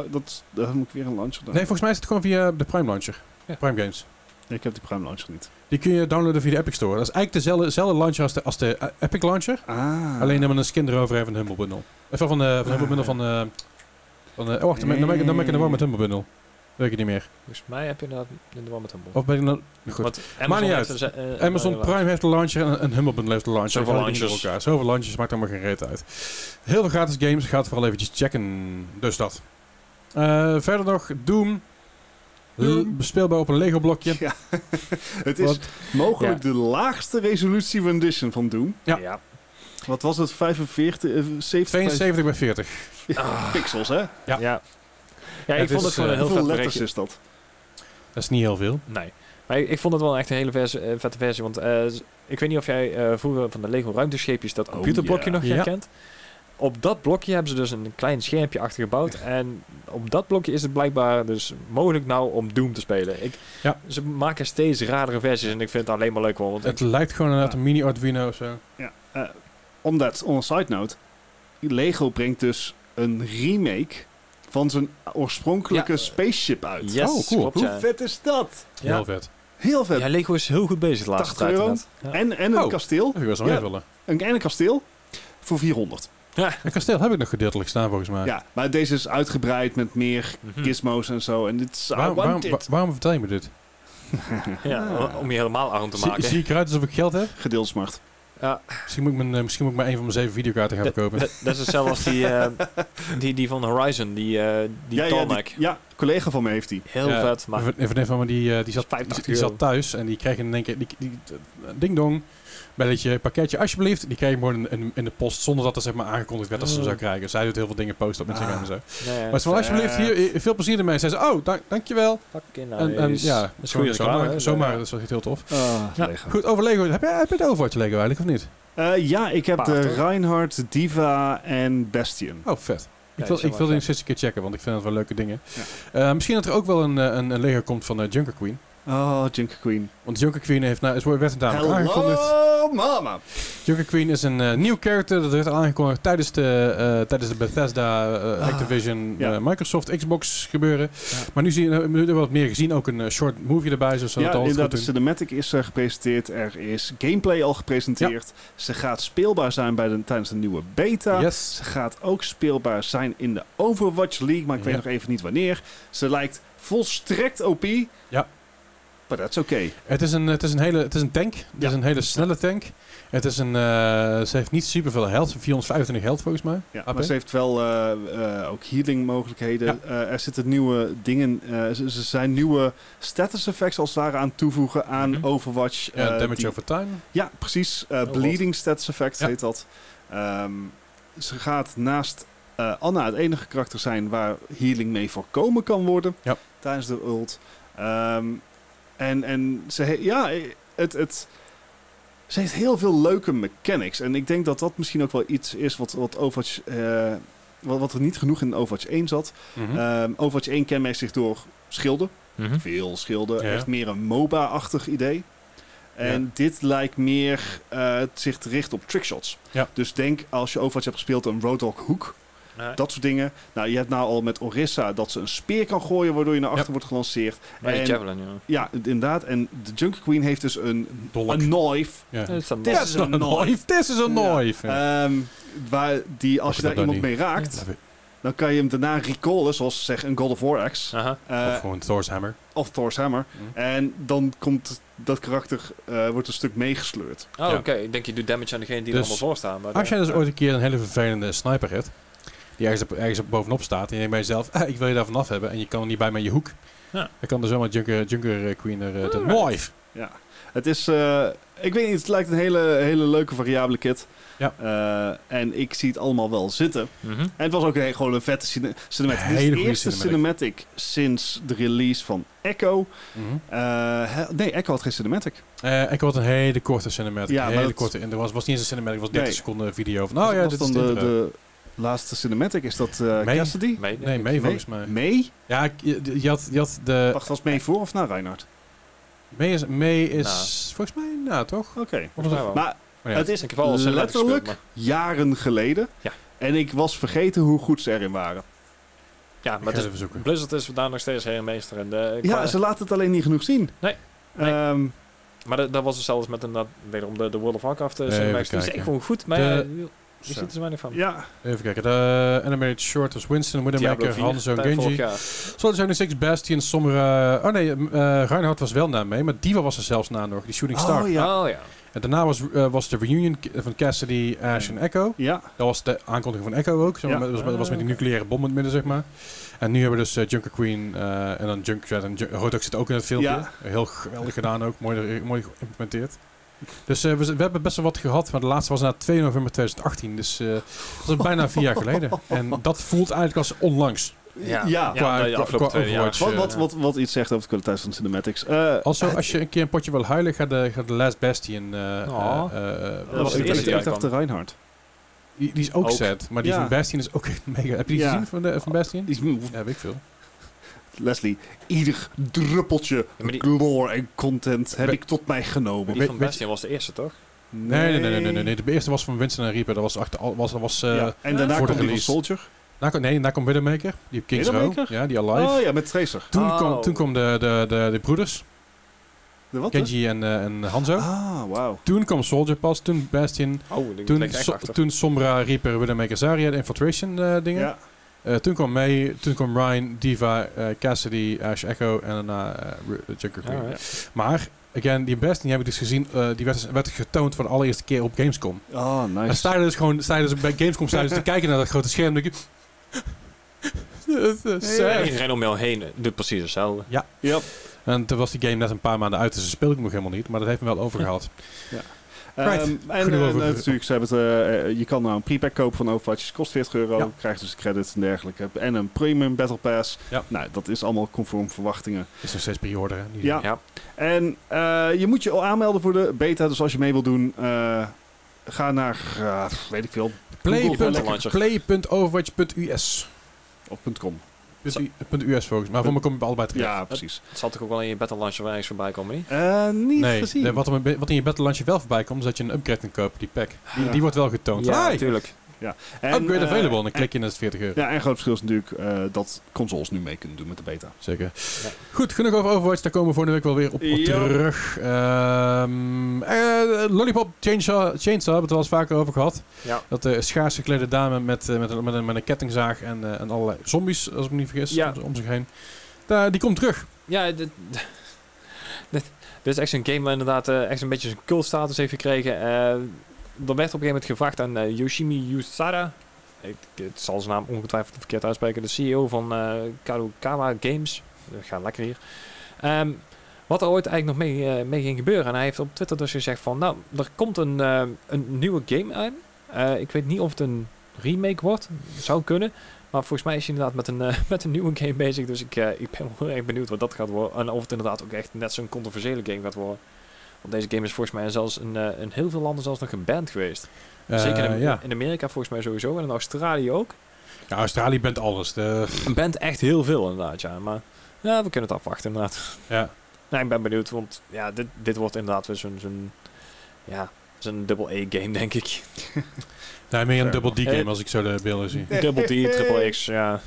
Speaker 3: dat, is- dan moet ik weer een launcher doen.
Speaker 1: Nee, volgens mij is het gewoon via de Prime Launcher.
Speaker 2: Ja.
Speaker 1: Prime Games.
Speaker 3: Nee, ik heb die Prime launcher niet.
Speaker 1: Die kun je downloaden via de Epic Store. Dat is eigenlijk dezelfde, dezelfde launcher als de, als de eh, Epic Launcher.
Speaker 3: Ah.
Speaker 1: Alleen dan met een skin erover en een Humble Bundle. Even van de van Humble Bundle van... eh van eh, oh, wacht, dan ben ik- dan ben ik- dan ben ik in de war met Humble Bundle. Weet ik niet meer.
Speaker 2: Volgens mij heb je inderdaad in de war met Humble.
Speaker 1: Of ben ik dan... Oh, Goed.
Speaker 2: Want Amazon
Speaker 1: Maar niet
Speaker 2: heeft
Speaker 1: uit.
Speaker 2: een ze- eh,
Speaker 1: Amazon
Speaker 2: eh,
Speaker 1: Prime heeft een launcher en, en Humble Bundle heeft een launcher.
Speaker 2: Zoveel
Speaker 1: Ik haal die niet
Speaker 2: launchers.
Speaker 1: door Elkaar. Zoveel launchers, maakt helemaal geen reet uit. Heel veel gratis games, gaat vooral eventjes checken. Dus dat. Eh, verder nog Doom.
Speaker 3: Doom.
Speaker 1: L- Bespeelbaar op een Lego blokje.
Speaker 3: Ja. *laughs* het is
Speaker 1: Wat-
Speaker 3: mogelijk de laagste resolutie rendition van Doom.
Speaker 1: Ja.
Speaker 2: Ja.
Speaker 3: Wat was het? 45... eh, 70
Speaker 1: 72 bij 40.
Speaker 3: pixels, hè?
Speaker 1: Ja.
Speaker 2: Ja. Ja, ik
Speaker 1: Het
Speaker 2: vond
Speaker 1: is,
Speaker 2: het gewoon een
Speaker 1: eh,
Speaker 2: heel
Speaker 3: Hoeveel
Speaker 2: vet
Speaker 3: letters
Speaker 2: projectje.
Speaker 3: is dat?
Speaker 1: Dat is niet heel veel.
Speaker 2: Nee. Maar ik, ik vond het wel echt een hele vers- eh, vette versie. Want eh, z- ik weet niet of jij eh, vroeger van de Lego ruimtescheepjes dat
Speaker 3: Oh,
Speaker 2: computerblokje
Speaker 3: ja.
Speaker 2: nog
Speaker 1: Ja.
Speaker 2: herkent. Op dat blokje hebben ze dus een klein schermpje achter gebouwd. En op dat blokje is het blijkbaar dus mogelijk nou om Doom te spelen. Ik,
Speaker 1: Ja.
Speaker 2: Ze maken steeds radere versies en ik vind het alleen maar leuk. hoor, Want
Speaker 1: Het lijkt gewoon inderdaad een mini-Arduino of zo.
Speaker 3: Ja. eh, omdat, on a side note, Lego brengt dus een remake van zijn oorspronkelijke
Speaker 2: Ja.
Speaker 3: spaceship uit.
Speaker 2: Yes,
Speaker 1: Oh, cool.
Speaker 2: klopt,
Speaker 3: Hoe
Speaker 2: ja.
Speaker 3: vet is dat?
Speaker 2: Ja.
Speaker 1: Heel vet.
Speaker 3: Heel vet.
Speaker 2: Ja, Lego is heel goed bezig de laatste
Speaker 3: 80
Speaker 2: tijd.
Speaker 3: euro.
Speaker 2: inderdaad. Ja.
Speaker 3: En, en een
Speaker 1: Oh.
Speaker 3: kasteel.
Speaker 1: Dat heb ik wel zo
Speaker 3: Ja.
Speaker 1: invullen.
Speaker 3: Een, en een kasteel voor 400.
Speaker 1: Een kasteel heb ik nog gedeeltelijk staan volgens mij.
Speaker 3: Ja, maar deze is uitgebreid met meer
Speaker 2: Mhm.
Speaker 3: gizmos en zo. En dit is, I
Speaker 1: Waarom,
Speaker 3: want
Speaker 1: waarom,
Speaker 3: it.
Speaker 1: wa- waarom vertel je me dit?
Speaker 2: Ja, om- om je helemaal arm te
Speaker 1: Zie,
Speaker 2: maken.
Speaker 1: zie ik eruit alsof ik geld heb?
Speaker 3: Gedeelsmart.
Speaker 2: Ja,
Speaker 1: Misschien moet ik, mijn, eh, misschien moet ik maar een van mijn zeven videokaarten gaan
Speaker 2: dat,
Speaker 1: verkopen.
Speaker 2: dat- dat is hetzelfde als die, eh, die, die van Horizon, die, eh die
Speaker 3: ja, ja,
Speaker 2: tarmac.
Speaker 3: die- ja, een collega van me heeft die.
Speaker 2: Heel
Speaker 1: Ja,
Speaker 2: vet, maar
Speaker 1: Even, even, even, maar die, eh, die, zat,
Speaker 2: 85
Speaker 1: die, die zat
Speaker 2: euro.
Speaker 1: thuis en die kreeg in één keer... Die, die, ding-dong, belletje, pakketje, alsjeblieft. Die kreeg hem gewoon in, in, in de post zonder dat er zeg maar aangekondigd werd dat ze hem zou krijgen. Zij doet heel veel dingen posten op Instagram
Speaker 2: Ah.
Speaker 1: en zo.
Speaker 2: nee,
Speaker 1: Maar ze van, alsjeblieft, hier, eh, veel plezier ermee. Zei ze, oh, dank, dankjewel.
Speaker 2: fucking
Speaker 1: En, en
Speaker 2: nice.
Speaker 1: ja,
Speaker 2: Dat is
Speaker 1: gewoon
Speaker 2: goede reclame. hè?
Speaker 1: zomaar, zomaar, dat is wel echt heel tof.
Speaker 2: Ja.
Speaker 3: Lego.
Speaker 1: Goed, over Lego. Heb je, heb je het over wat je Lego eigenlijk, of niet?
Speaker 3: Eh, ja, ik heb
Speaker 2: Paard,
Speaker 3: de
Speaker 2: hoor.
Speaker 3: Reinhardt, Diva en Bastion.
Speaker 1: Oh, vet. Ik
Speaker 2: Ja,
Speaker 1: wil,
Speaker 2: die zijn
Speaker 1: ik wil
Speaker 2: wel
Speaker 1: die steeds een keer checken, want ik vind dat wel leuke dingen.
Speaker 3: Ja.
Speaker 1: Eh, misschien dat er ook wel een, eh, een, een Lego komt van eh, Junker Queen.
Speaker 3: Oh, Junker Queen.
Speaker 1: Want Junker Queen heeft, nou, is werd het namelijk aangekondigd.
Speaker 3: Hello, mama.
Speaker 1: Junker Queen is een eh, nieuw character. Dat werd al aangekondigd tijdens de, eh, tijdens de Bethesda, eh,
Speaker 3: Ah.
Speaker 1: Activision,
Speaker 3: Ja.
Speaker 1: eh, Microsoft, Xbox gebeuren.
Speaker 2: Ja.
Speaker 1: Maar nu zie je nu hebben we wat meer gezien. Ook een eh, short movie erbij, zoals ze
Speaker 3: Ja,
Speaker 1: dat altijd
Speaker 3: inderdaad,
Speaker 1: goed
Speaker 3: de
Speaker 1: doen.
Speaker 3: cinematic is eh, gepresenteerd. Er is gameplay al gepresenteerd. Ze gaat speelbaar zijn bij de, tijdens de nieuwe beta.
Speaker 1: Yes.
Speaker 3: Ze gaat ook speelbaar zijn in de Overwatch League, maar ik weet
Speaker 1: Ja.
Speaker 3: nog even niet wanneer. Ze lijkt volstrekt OP.
Speaker 1: Ja.
Speaker 3: Maar dat is oké.
Speaker 1: Het is een, het is een hele, het is een tank. Het
Speaker 3: Ja.
Speaker 1: is een hele snelle tank. Het is een, eh, ze heeft niet superveel health, 425 health volgens mij.
Speaker 3: Ja,
Speaker 1: AP?
Speaker 3: maar ze heeft wel eh, eh, ook healing mogelijkheden.
Speaker 1: Ja.
Speaker 3: Eh, er zitten nieuwe dingen. eh, ze, ze zijn nieuwe status effects als het ware aan het toevoegen aan
Speaker 2: Mhm.
Speaker 3: Overwatch.
Speaker 1: Ja,
Speaker 3: eh,
Speaker 1: damage
Speaker 3: die-
Speaker 1: over time.
Speaker 3: Ja, precies. Eh,
Speaker 2: Oh,
Speaker 3: bleeding status effect
Speaker 1: Ja.
Speaker 3: heet dat. Ehm, ze gaat naast eh, Anna het enige karakter zijn waar healing mee voorkomen kan worden
Speaker 1: Ja.
Speaker 3: tijdens de ult. Ehm, en, en ze, he- ja, eh, het, het, ze heeft heel veel leuke mechanics. En ik denk dat dat misschien ook wel iets is wat, wat Overwatch... eh, wat, wat er niet genoeg in Overwatch 1 zat.
Speaker 1: Mhm.
Speaker 3: Ehm, Overwatch 1 kenmerkt zich door schilden
Speaker 2: Mhm.
Speaker 3: veel schilden.
Speaker 1: Ja.
Speaker 3: Echt meer een MOBA-achtig idee. En dit lijkt meer eh, zich te richten op trickshots.
Speaker 1: Ja.
Speaker 3: Dus denk als je Overwatch hebt gespeeld een Roadhog hoek.
Speaker 2: Ja.
Speaker 3: Dat soort dingen. Nou, je hebt nou al met Orissa dat ze een speer kan gooien waardoor je naar achter wordt gelanceerd.
Speaker 2: Maar die
Speaker 3: en-
Speaker 2: javelin, ja.
Speaker 3: Ja, inderdaad. En de Junker Queen heeft dus een,
Speaker 1: Dolk.
Speaker 3: een knife.
Speaker 1: Ja.
Speaker 2: Dat is dan
Speaker 3: Dit
Speaker 1: This
Speaker 2: wel-
Speaker 1: is not a knife. This is a
Speaker 3: Ja.
Speaker 1: knife. Ja.
Speaker 3: ehm, waar die, als
Speaker 1: Pak
Speaker 3: je
Speaker 1: je dat nou
Speaker 3: daar
Speaker 1: dan
Speaker 3: iemand mee raakt,
Speaker 1: Of-
Speaker 3: dan kan je hem daarna recallen. Zoals zeg een God of War Axe.
Speaker 2: Aha.
Speaker 1: Of
Speaker 3: Eh,
Speaker 1: gewoon Thor's hammer.
Speaker 3: of Thor's Hammer.
Speaker 1: Mm.
Speaker 3: En dan komt dat karakter eh, wordt een stuk meegesleurd.
Speaker 2: Oh,
Speaker 1: Ja.
Speaker 2: oké. Ik denk, je doet damage aan degene
Speaker 1: Dus
Speaker 2: die er allemaal voor staan. Maar
Speaker 1: Als jij
Speaker 2: eh,
Speaker 1: dus ooit een keer een hele vervelende sniper hebt, die ergens, op, ergens op bovenop staat. En je denkt bij jezelf, ah, ik wil je daar vanaf hebben. En je kan er niet bij met je hoek.
Speaker 2: Ja.
Speaker 1: Dan kan er zomaar Junker, Junker eh, Queen er eh, de
Speaker 2: Alright.
Speaker 1: knife.
Speaker 3: Ja. Het is, eh, ik weet niet, het lijkt een hele, hele leuke variabele kit.
Speaker 1: Ja.
Speaker 3: Eh, en ik zie het allemaal wel zitten.
Speaker 2: Mhm.
Speaker 3: En het was ook een, gewoon een vette cine- cinematic.
Speaker 1: Een
Speaker 3: Dit is
Speaker 1: hele
Speaker 3: de
Speaker 1: goede
Speaker 3: eerste cinematic. sinds de release van Echo. Eh, he- nee, Echo had geen cinematic.
Speaker 1: Mhm. Eh, ik had een hele korte cinematic.
Speaker 3: Ja,
Speaker 1: een
Speaker 3: maar
Speaker 1: hele
Speaker 3: dat-
Speaker 1: korte. En er was, was niet eens een cinematic, het was
Speaker 3: Nee.
Speaker 1: 30 seconden video. Van,
Speaker 3: Dus
Speaker 1: oh
Speaker 3: dat
Speaker 1: ja,
Speaker 3: was
Speaker 1: dit
Speaker 3: dan
Speaker 1: is
Speaker 3: de,
Speaker 1: dit.
Speaker 3: de laatste cinematic. Is dat eh
Speaker 1: May?
Speaker 3: Cassidy?
Speaker 2: Nee,
Speaker 1: nee, mee
Speaker 3: May?
Speaker 1: volgens mij.
Speaker 3: May?
Speaker 1: Ja, ik- je, je had, je had de...
Speaker 3: Wacht, was May voor of na Reinhard?
Speaker 1: Mee is, mee is
Speaker 2: Nou.
Speaker 1: volgens mij, nou toch?
Speaker 3: Oké.
Speaker 1: Volgens mij
Speaker 3: Maar
Speaker 1: Maar ja.
Speaker 3: het is
Speaker 2: Ik heb wel eens een letter gespeeld,
Speaker 3: letterlijk jaren geleden.
Speaker 2: Ja.
Speaker 3: En ik was vergeten hoe goed ze erin waren.
Speaker 2: Ja,
Speaker 1: Ik ga
Speaker 2: maar het
Speaker 1: even
Speaker 2: is,
Speaker 1: zoeken.
Speaker 2: Blizzard is vandaag nog steeds herenmeester. En de,
Speaker 3: Ja,
Speaker 2: qua-
Speaker 3: ze laten het alleen niet genoeg zien.
Speaker 2: Nee. Nee.
Speaker 3: Ehm,
Speaker 2: Maar dat, dat was hetzelfde als met inderdaad, wederom de, de World of Warcraft eh,
Speaker 1: Even
Speaker 2: cinematics. Die is
Speaker 1: kijken.
Speaker 2: echt gewoon goed, maar
Speaker 1: De-
Speaker 2: ja, je
Speaker 1: Zo.
Speaker 2: ziet er zo weinig van.
Speaker 3: ja,
Speaker 1: Even kijken. De animated short was Winston, Widowmaker,
Speaker 2: vier,
Speaker 1: Hanzo,
Speaker 2: tijd vorig
Speaker 1: Genji.
Speaker 2: jaar.
Speaker 1: Soldier 76, Bastion, sommige... Oh nee, eh Reinhardt was wel na mee, maar Diva was er zelfs na nog. Die Shooting Star.
Speaker 3: Oh, ja.
Speaker 2: Oh ja.
Speaker 1: En daarna was, eh, was de reunion k- van Cassidy, Ash en Echo.
Speaker 3: ja.
Speaker 1: Dat was de aankondiging van Echo ook. Zeg maar,
Speaker 3: Ja.
Speaker 1: dat was, met- dat was met die nucleaire bom in het midden, zeg maar. En nu hebben we dus eh, Junker Queen eh, en dan Junkrat. En Junk Rotok zit ook in het filmpje.
Speaker 3: Ja.
Speaker 1: Heel geweldig gedaan ook. Mooi, mooi geïmplementeerd. Dus eh, we, z- we hebben best wel wat gehad. Maar de laatste was na 2 november 2018. Dus eh, dat is bijna vier jaar geleden. En dat voelt eigenlijk als onlangs.
Speaker 2: Ja,
Speaker 3: Ja.
Speaker 1: Qua-
Speaker 2: de
Speaker 1: qua- qua
Speaker 2: afgelopen twee jaar.
Speaker 1: Overwatch,
Speaker 3: Wat,
Speaker 1: eh,
Speaker 3: wat, wat, wat iets zegt over de kwaliteit van de cinematics. Eh,
Speaker 1: Also, als je een keer een potje wil huilen, ga de, ga de Last Bastion... eh
Speaker 2: Oh.
Speaker 1: eh, eh,
Speaker 3: dat
Speaker 2: was
Speaker 3: was
Speaker 2: de eerste
Speaker 3: ik dacht,
Speaker 2: die
Speaker 3: ik dacht de
Speaker 2: uitkwam.
Speaker 3: Reinhardt.
Speaker 1: die, die is ook,
Speaker 2: Ook.
Speaker 1: sad. Maar die
Speaker 3: Ja.
Speaker 1: van Bastion is ook *laughs* echt mega... Heb je die
Speaker 3: Ja.
Speaker 1: gezien van, de, van Bastion?
Speaker 3: Die is-
Speaker 1: Ja, weet ik veel.
Speaker 3: Leslie, ieder druppeltje
Speaker 2: Ja, maar die-
Speaker 3: lore en content heb
Speaker 1: We-
Speaker 3: ik tot mij genomen.
Speaker 2: Die
Speaker 1: Weet-
Speaker 2: van
Speaker 1: weet-
Speaker 2: Bastion was de eerste, toch?
Speaker 1: Nee, nee, nee, nee, nee, nee, nee. De eerste was van Winston en Reaper. Dat was achter, al- was, dat was eh
Speaker 3: Ja, En daarna
Speaker 1: voor de
Speaker 3: kwam die van
Speaker 1: release.
Speaker 3: Soldier.
Speaker 1: na, nee, na kwam Widowmaker, die op Kings Row.
Speaker 3: Widowmaker?
Speaker 1: Ja, die Alive.
Speaker 3: Oh ja, met Tracer.
Speaker 1: Toen
Speaker 2: Oh.
Speaker 1: kwam, toen kwam de, de, de, de broeders,
Speaker 3: De wat? hè?
Speaker 1: Kenji en, eh, en Hanzo.
Speaker 3: dus? Ah, wauw.
Speaker 1: Toen kwam Soldier pas, toen Bastion,
Speaker 2: Oh, die
Speaker 1: toen,
Speaker 2: ligt echt
Speaker 1: So-
Speaker 2: achter.
Speaker 1: toen Sombra, Reaper, Widowmaker, Zarya, de Infiltration eh, dingen.
Speaker 3: Ja.
Speaker 1: Eh, toen kwam May, toen kwam Ryan, Diva, eh, Cassidy, Ash, Echo en daarna eh, Ru- eh, Junker Queen.
Speaker 2: Alright.
Speaker 1: Maar, again, die Bastion die heb ik dus gezien, eh, die werd, werd getoond voor de allereerste keer op Gamescom.
Speaker 3: Oh,
Speaker 1: Dan
Speaker 3: nice.
Speaker 1: sta je dus gewoon sta je dus bij Gamescom sta je dus te *laughs* kijken naar dat grote scherm. Dan denk je... Dat is
Speaker 2: Ja,
Speaker 1: sad.
Speaker 2: Iedereen om jou heen eh, doet precies hetzelfde.
Speaker 3: Ja.
Speaker 1: En toen was die game net een paar maanden uit, dus dat speelde ik nog helemaal niet. Maar dat heeft me wel
Speaker 3: *laughs*
Speaker 1: overgehaald. Right.
Speaker 3: Ehm, en
Speaker 1: Genoeg
Speaker 3: eh,
Speaker 1: over-
Speaker 3: natuurlijk, ze hebben het, eh, eh, je kan nou een prepack kopen van Overwatch. Het kost 40 euro,
Speaker 1: Ja.
Speaker 3: krijgt dus credits en dergelijke. En een premium battle pass.
Speaker 1: Ja.
Speaker 3: Nou, dat is allemaal conform verwachtingen.
Speaker 1: Is nog steeds pre-order, hè? Niet-
Speaker 3: Ja. En eh, je moet je al aanmelden voor de beta. Dus als je mee wil doen, eh, ga naar, eh, weet ik veel,
Speaker 1: Play.
Speaker 2: Google Launcher.
Speaker 1: Play.overwatch.us.
Speaker 3: of .com.
Speaker 1: Punt .us volgens mij. Maar voor me kom je bij allebei terecht.
Speaker 3: Ja, precies.
Speaker 2: Het zal toch ook wel in je battle launcher ergens voorbij komen, niet?
Speaker 3: Eh, niet
Speaker 1: Nee,
Speaker 3: gezien.
Speaker 1: de- wat, er met- wat in je Battle Launcher wel voorbij komt, is dat je een upgrade kan kopen, die pack. Die,
Speaker 3: Ja.
Speaker 1: die wordt wel getoond. Ja,
Speaker 2: natuurlijk.
Speaker 3: en,
Speaker 1: upgrade
Speaker 3: eh,
Speaker 1: available. En dan klik je in het 40 euro.
Speaker 3: Ja, en groot verschil is natuurlijk eh, dat consoles nu mee kunnen doen met de beta.
Speaker 1: Zeker.
Speaker 2: Ja.
Speaker 1: Goed, genoeg over Overwatch. Daar komen we volgende week wel weer op, op
Speaker 3: Ja.
Speaker 1: terug. Ehm, eh, Lollipop Chainsaw, Chainsaw hebben we het wel eens vaker over gehad.
Speaker 2: Ja.
Speaker 1: Dat de schaars geklede dame met, eh, met, een- met, een, met een kettingzaag en, eh, en allerlei zombies, als ik me niet vergis,
Speaker 2: Ja.
Speaker 1: om, om zich heen. Da- die komt terug.
Speaker 2: Ja, dit, dit, dit is echt zo'n game waar inderdaad eh, echt een beetje zijn cultstatus heeft gekregen. Eh er werd op een gegeven moment gevraagd aan eh, Yoshimi Yusada. Ik, ik zal zijn naam ongetwijfeld verkeerd uitspreken. De CEO van eh, Kadokawa Games. We gaan lekker hier. Ehm, wat er ooit eigenlijk nog mee, eh, mee ging gebeuren. En hij heeft op Twitter dus gezegd van... Nou, er komt een, eh, een nieuwe game aan. Eh, ik weet niet of het een remake wordt. Zou kunnen. Maar volgens mij is hij inderdaad met een, eh, *laughs* met een nieuwe game bezig. Dus ik, eh, ik ben *laughs* wel heel erg benieuwd wat dat gaat worden. En of het inderdaad ook echt net zo'n controversiële game gaat worden. Want deze game is volgens mij zelfs in, eh, in heel veel landen zelfs nog geband geweest. Zeker
Speaker 1: Eh,
Speaker 2: in,
Speaker 1: ja.
Speaker 2: in Amerika volgens mij sowieso. En in Australië ook.
Speaker 1: ja, Australië bent alles. De,
Speaker 2: Een band echt heel veel inderdaad, ja. Maar ja, we kunnen het afwachten inderdaad.
Speaker 1: ja.
Speaker 2: *laughs* Nee, ik ben benieuwd, want ja, dit, dit wordt inderdaad weer zo'n... zo'n ja, zo'n double A game, denk *laughs* ik.
Speaker 1: Nee, meer een
Speaker 2: Fair
Speaker 1: dubbel
Speaker 2: enough.
Speaker 1: D-game als ik zo de beelden zie.
Speaker 2: Double D, triple X, ja.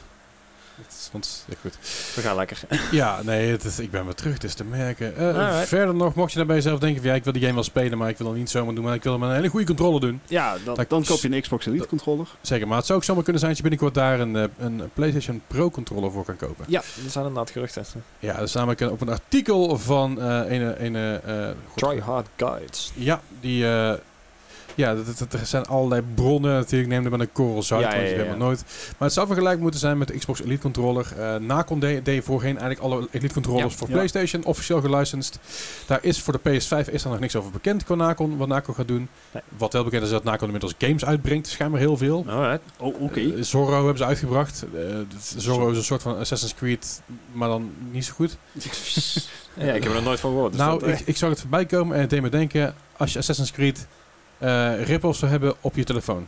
Speaker 1: Het is- Want, ja, goed.
Speaker 2: We gaan lekker.
Speaker 1: Ja, nee, het is, ik ben weer terug, het is te merken. Eh,
Speaker 2: Alright.
Speaker 1: Verder nog, mocht je daarbij zelf denken van ja, ik wil die game wel spelen, maar ik wil dat niet zomaar doen, maar ik wil hem met een hele goede controller doen.
Speaker 3: Ja, dan,
Speaker 1: Dat-
Speaker 3: dan koop je een Xbox Elite *laughs* controller.
Speaker 1: Zeker, maar het zou ook zomaar kunnen zijn dat je binnenkort daar een, eh, een PlayStation Pro controller voor kan kopen.
Speaker 2: Ja, er zijn inderdaad geruchten.
Speaker 1: Ja, dat is namelijk een- op een artikel van eh een... een eh, god,
Speaker 2: Try Hard Guides.
Speaker 1: Ja, die... eh, Ja, dat, dat- er zijn allerlei bronnen. Natuurlijk neem er met een korrel zout,
Speaker 2: Ja, ja,
Speaker 1: want je
Speaker 2: ja,
Speaker 1: weet
Speaker 2: ja.
Speaker 1: maar nooit. Maar het zou vergelijkbaar moeten zijn met de Xbox Elite Controller. Eh Nacon deed, deed voorheen eigenlijk alle Elite Controllers
Speaker 2: Ja,
Speaker 1: voor
Speaker 3: ja.
Speaker 1: PlayStation, officieel gelicensed. Daar is voor de PS5 is daar nog niks over bekend qua Nacon, wat Nacon gaat doen.
Speaker 2: Nee.
Speaker 1: Wat wel bekend is dat Nacon inmiddels games uitbrengt, schijnbaar heel veel.
Speaker 2: Alright. dus-
Speaker 3: Oh, oké.
Speaker 1: Eh, Zorro hebben ze uitgebracht. Eh, Zorro is een soort van Assassin's Creed, maar dan niet zo goed.
Speaker 2: Ja, ik heb er nog nooit van gehoord. dus
Speaker 1: nou,
Speaker 2: dat, eh,
Speaker 1: ik, ik zag het voorbij komen en het deed me denken... als je Assassin's Creed eh rip-offs zou hebben op je telefoon.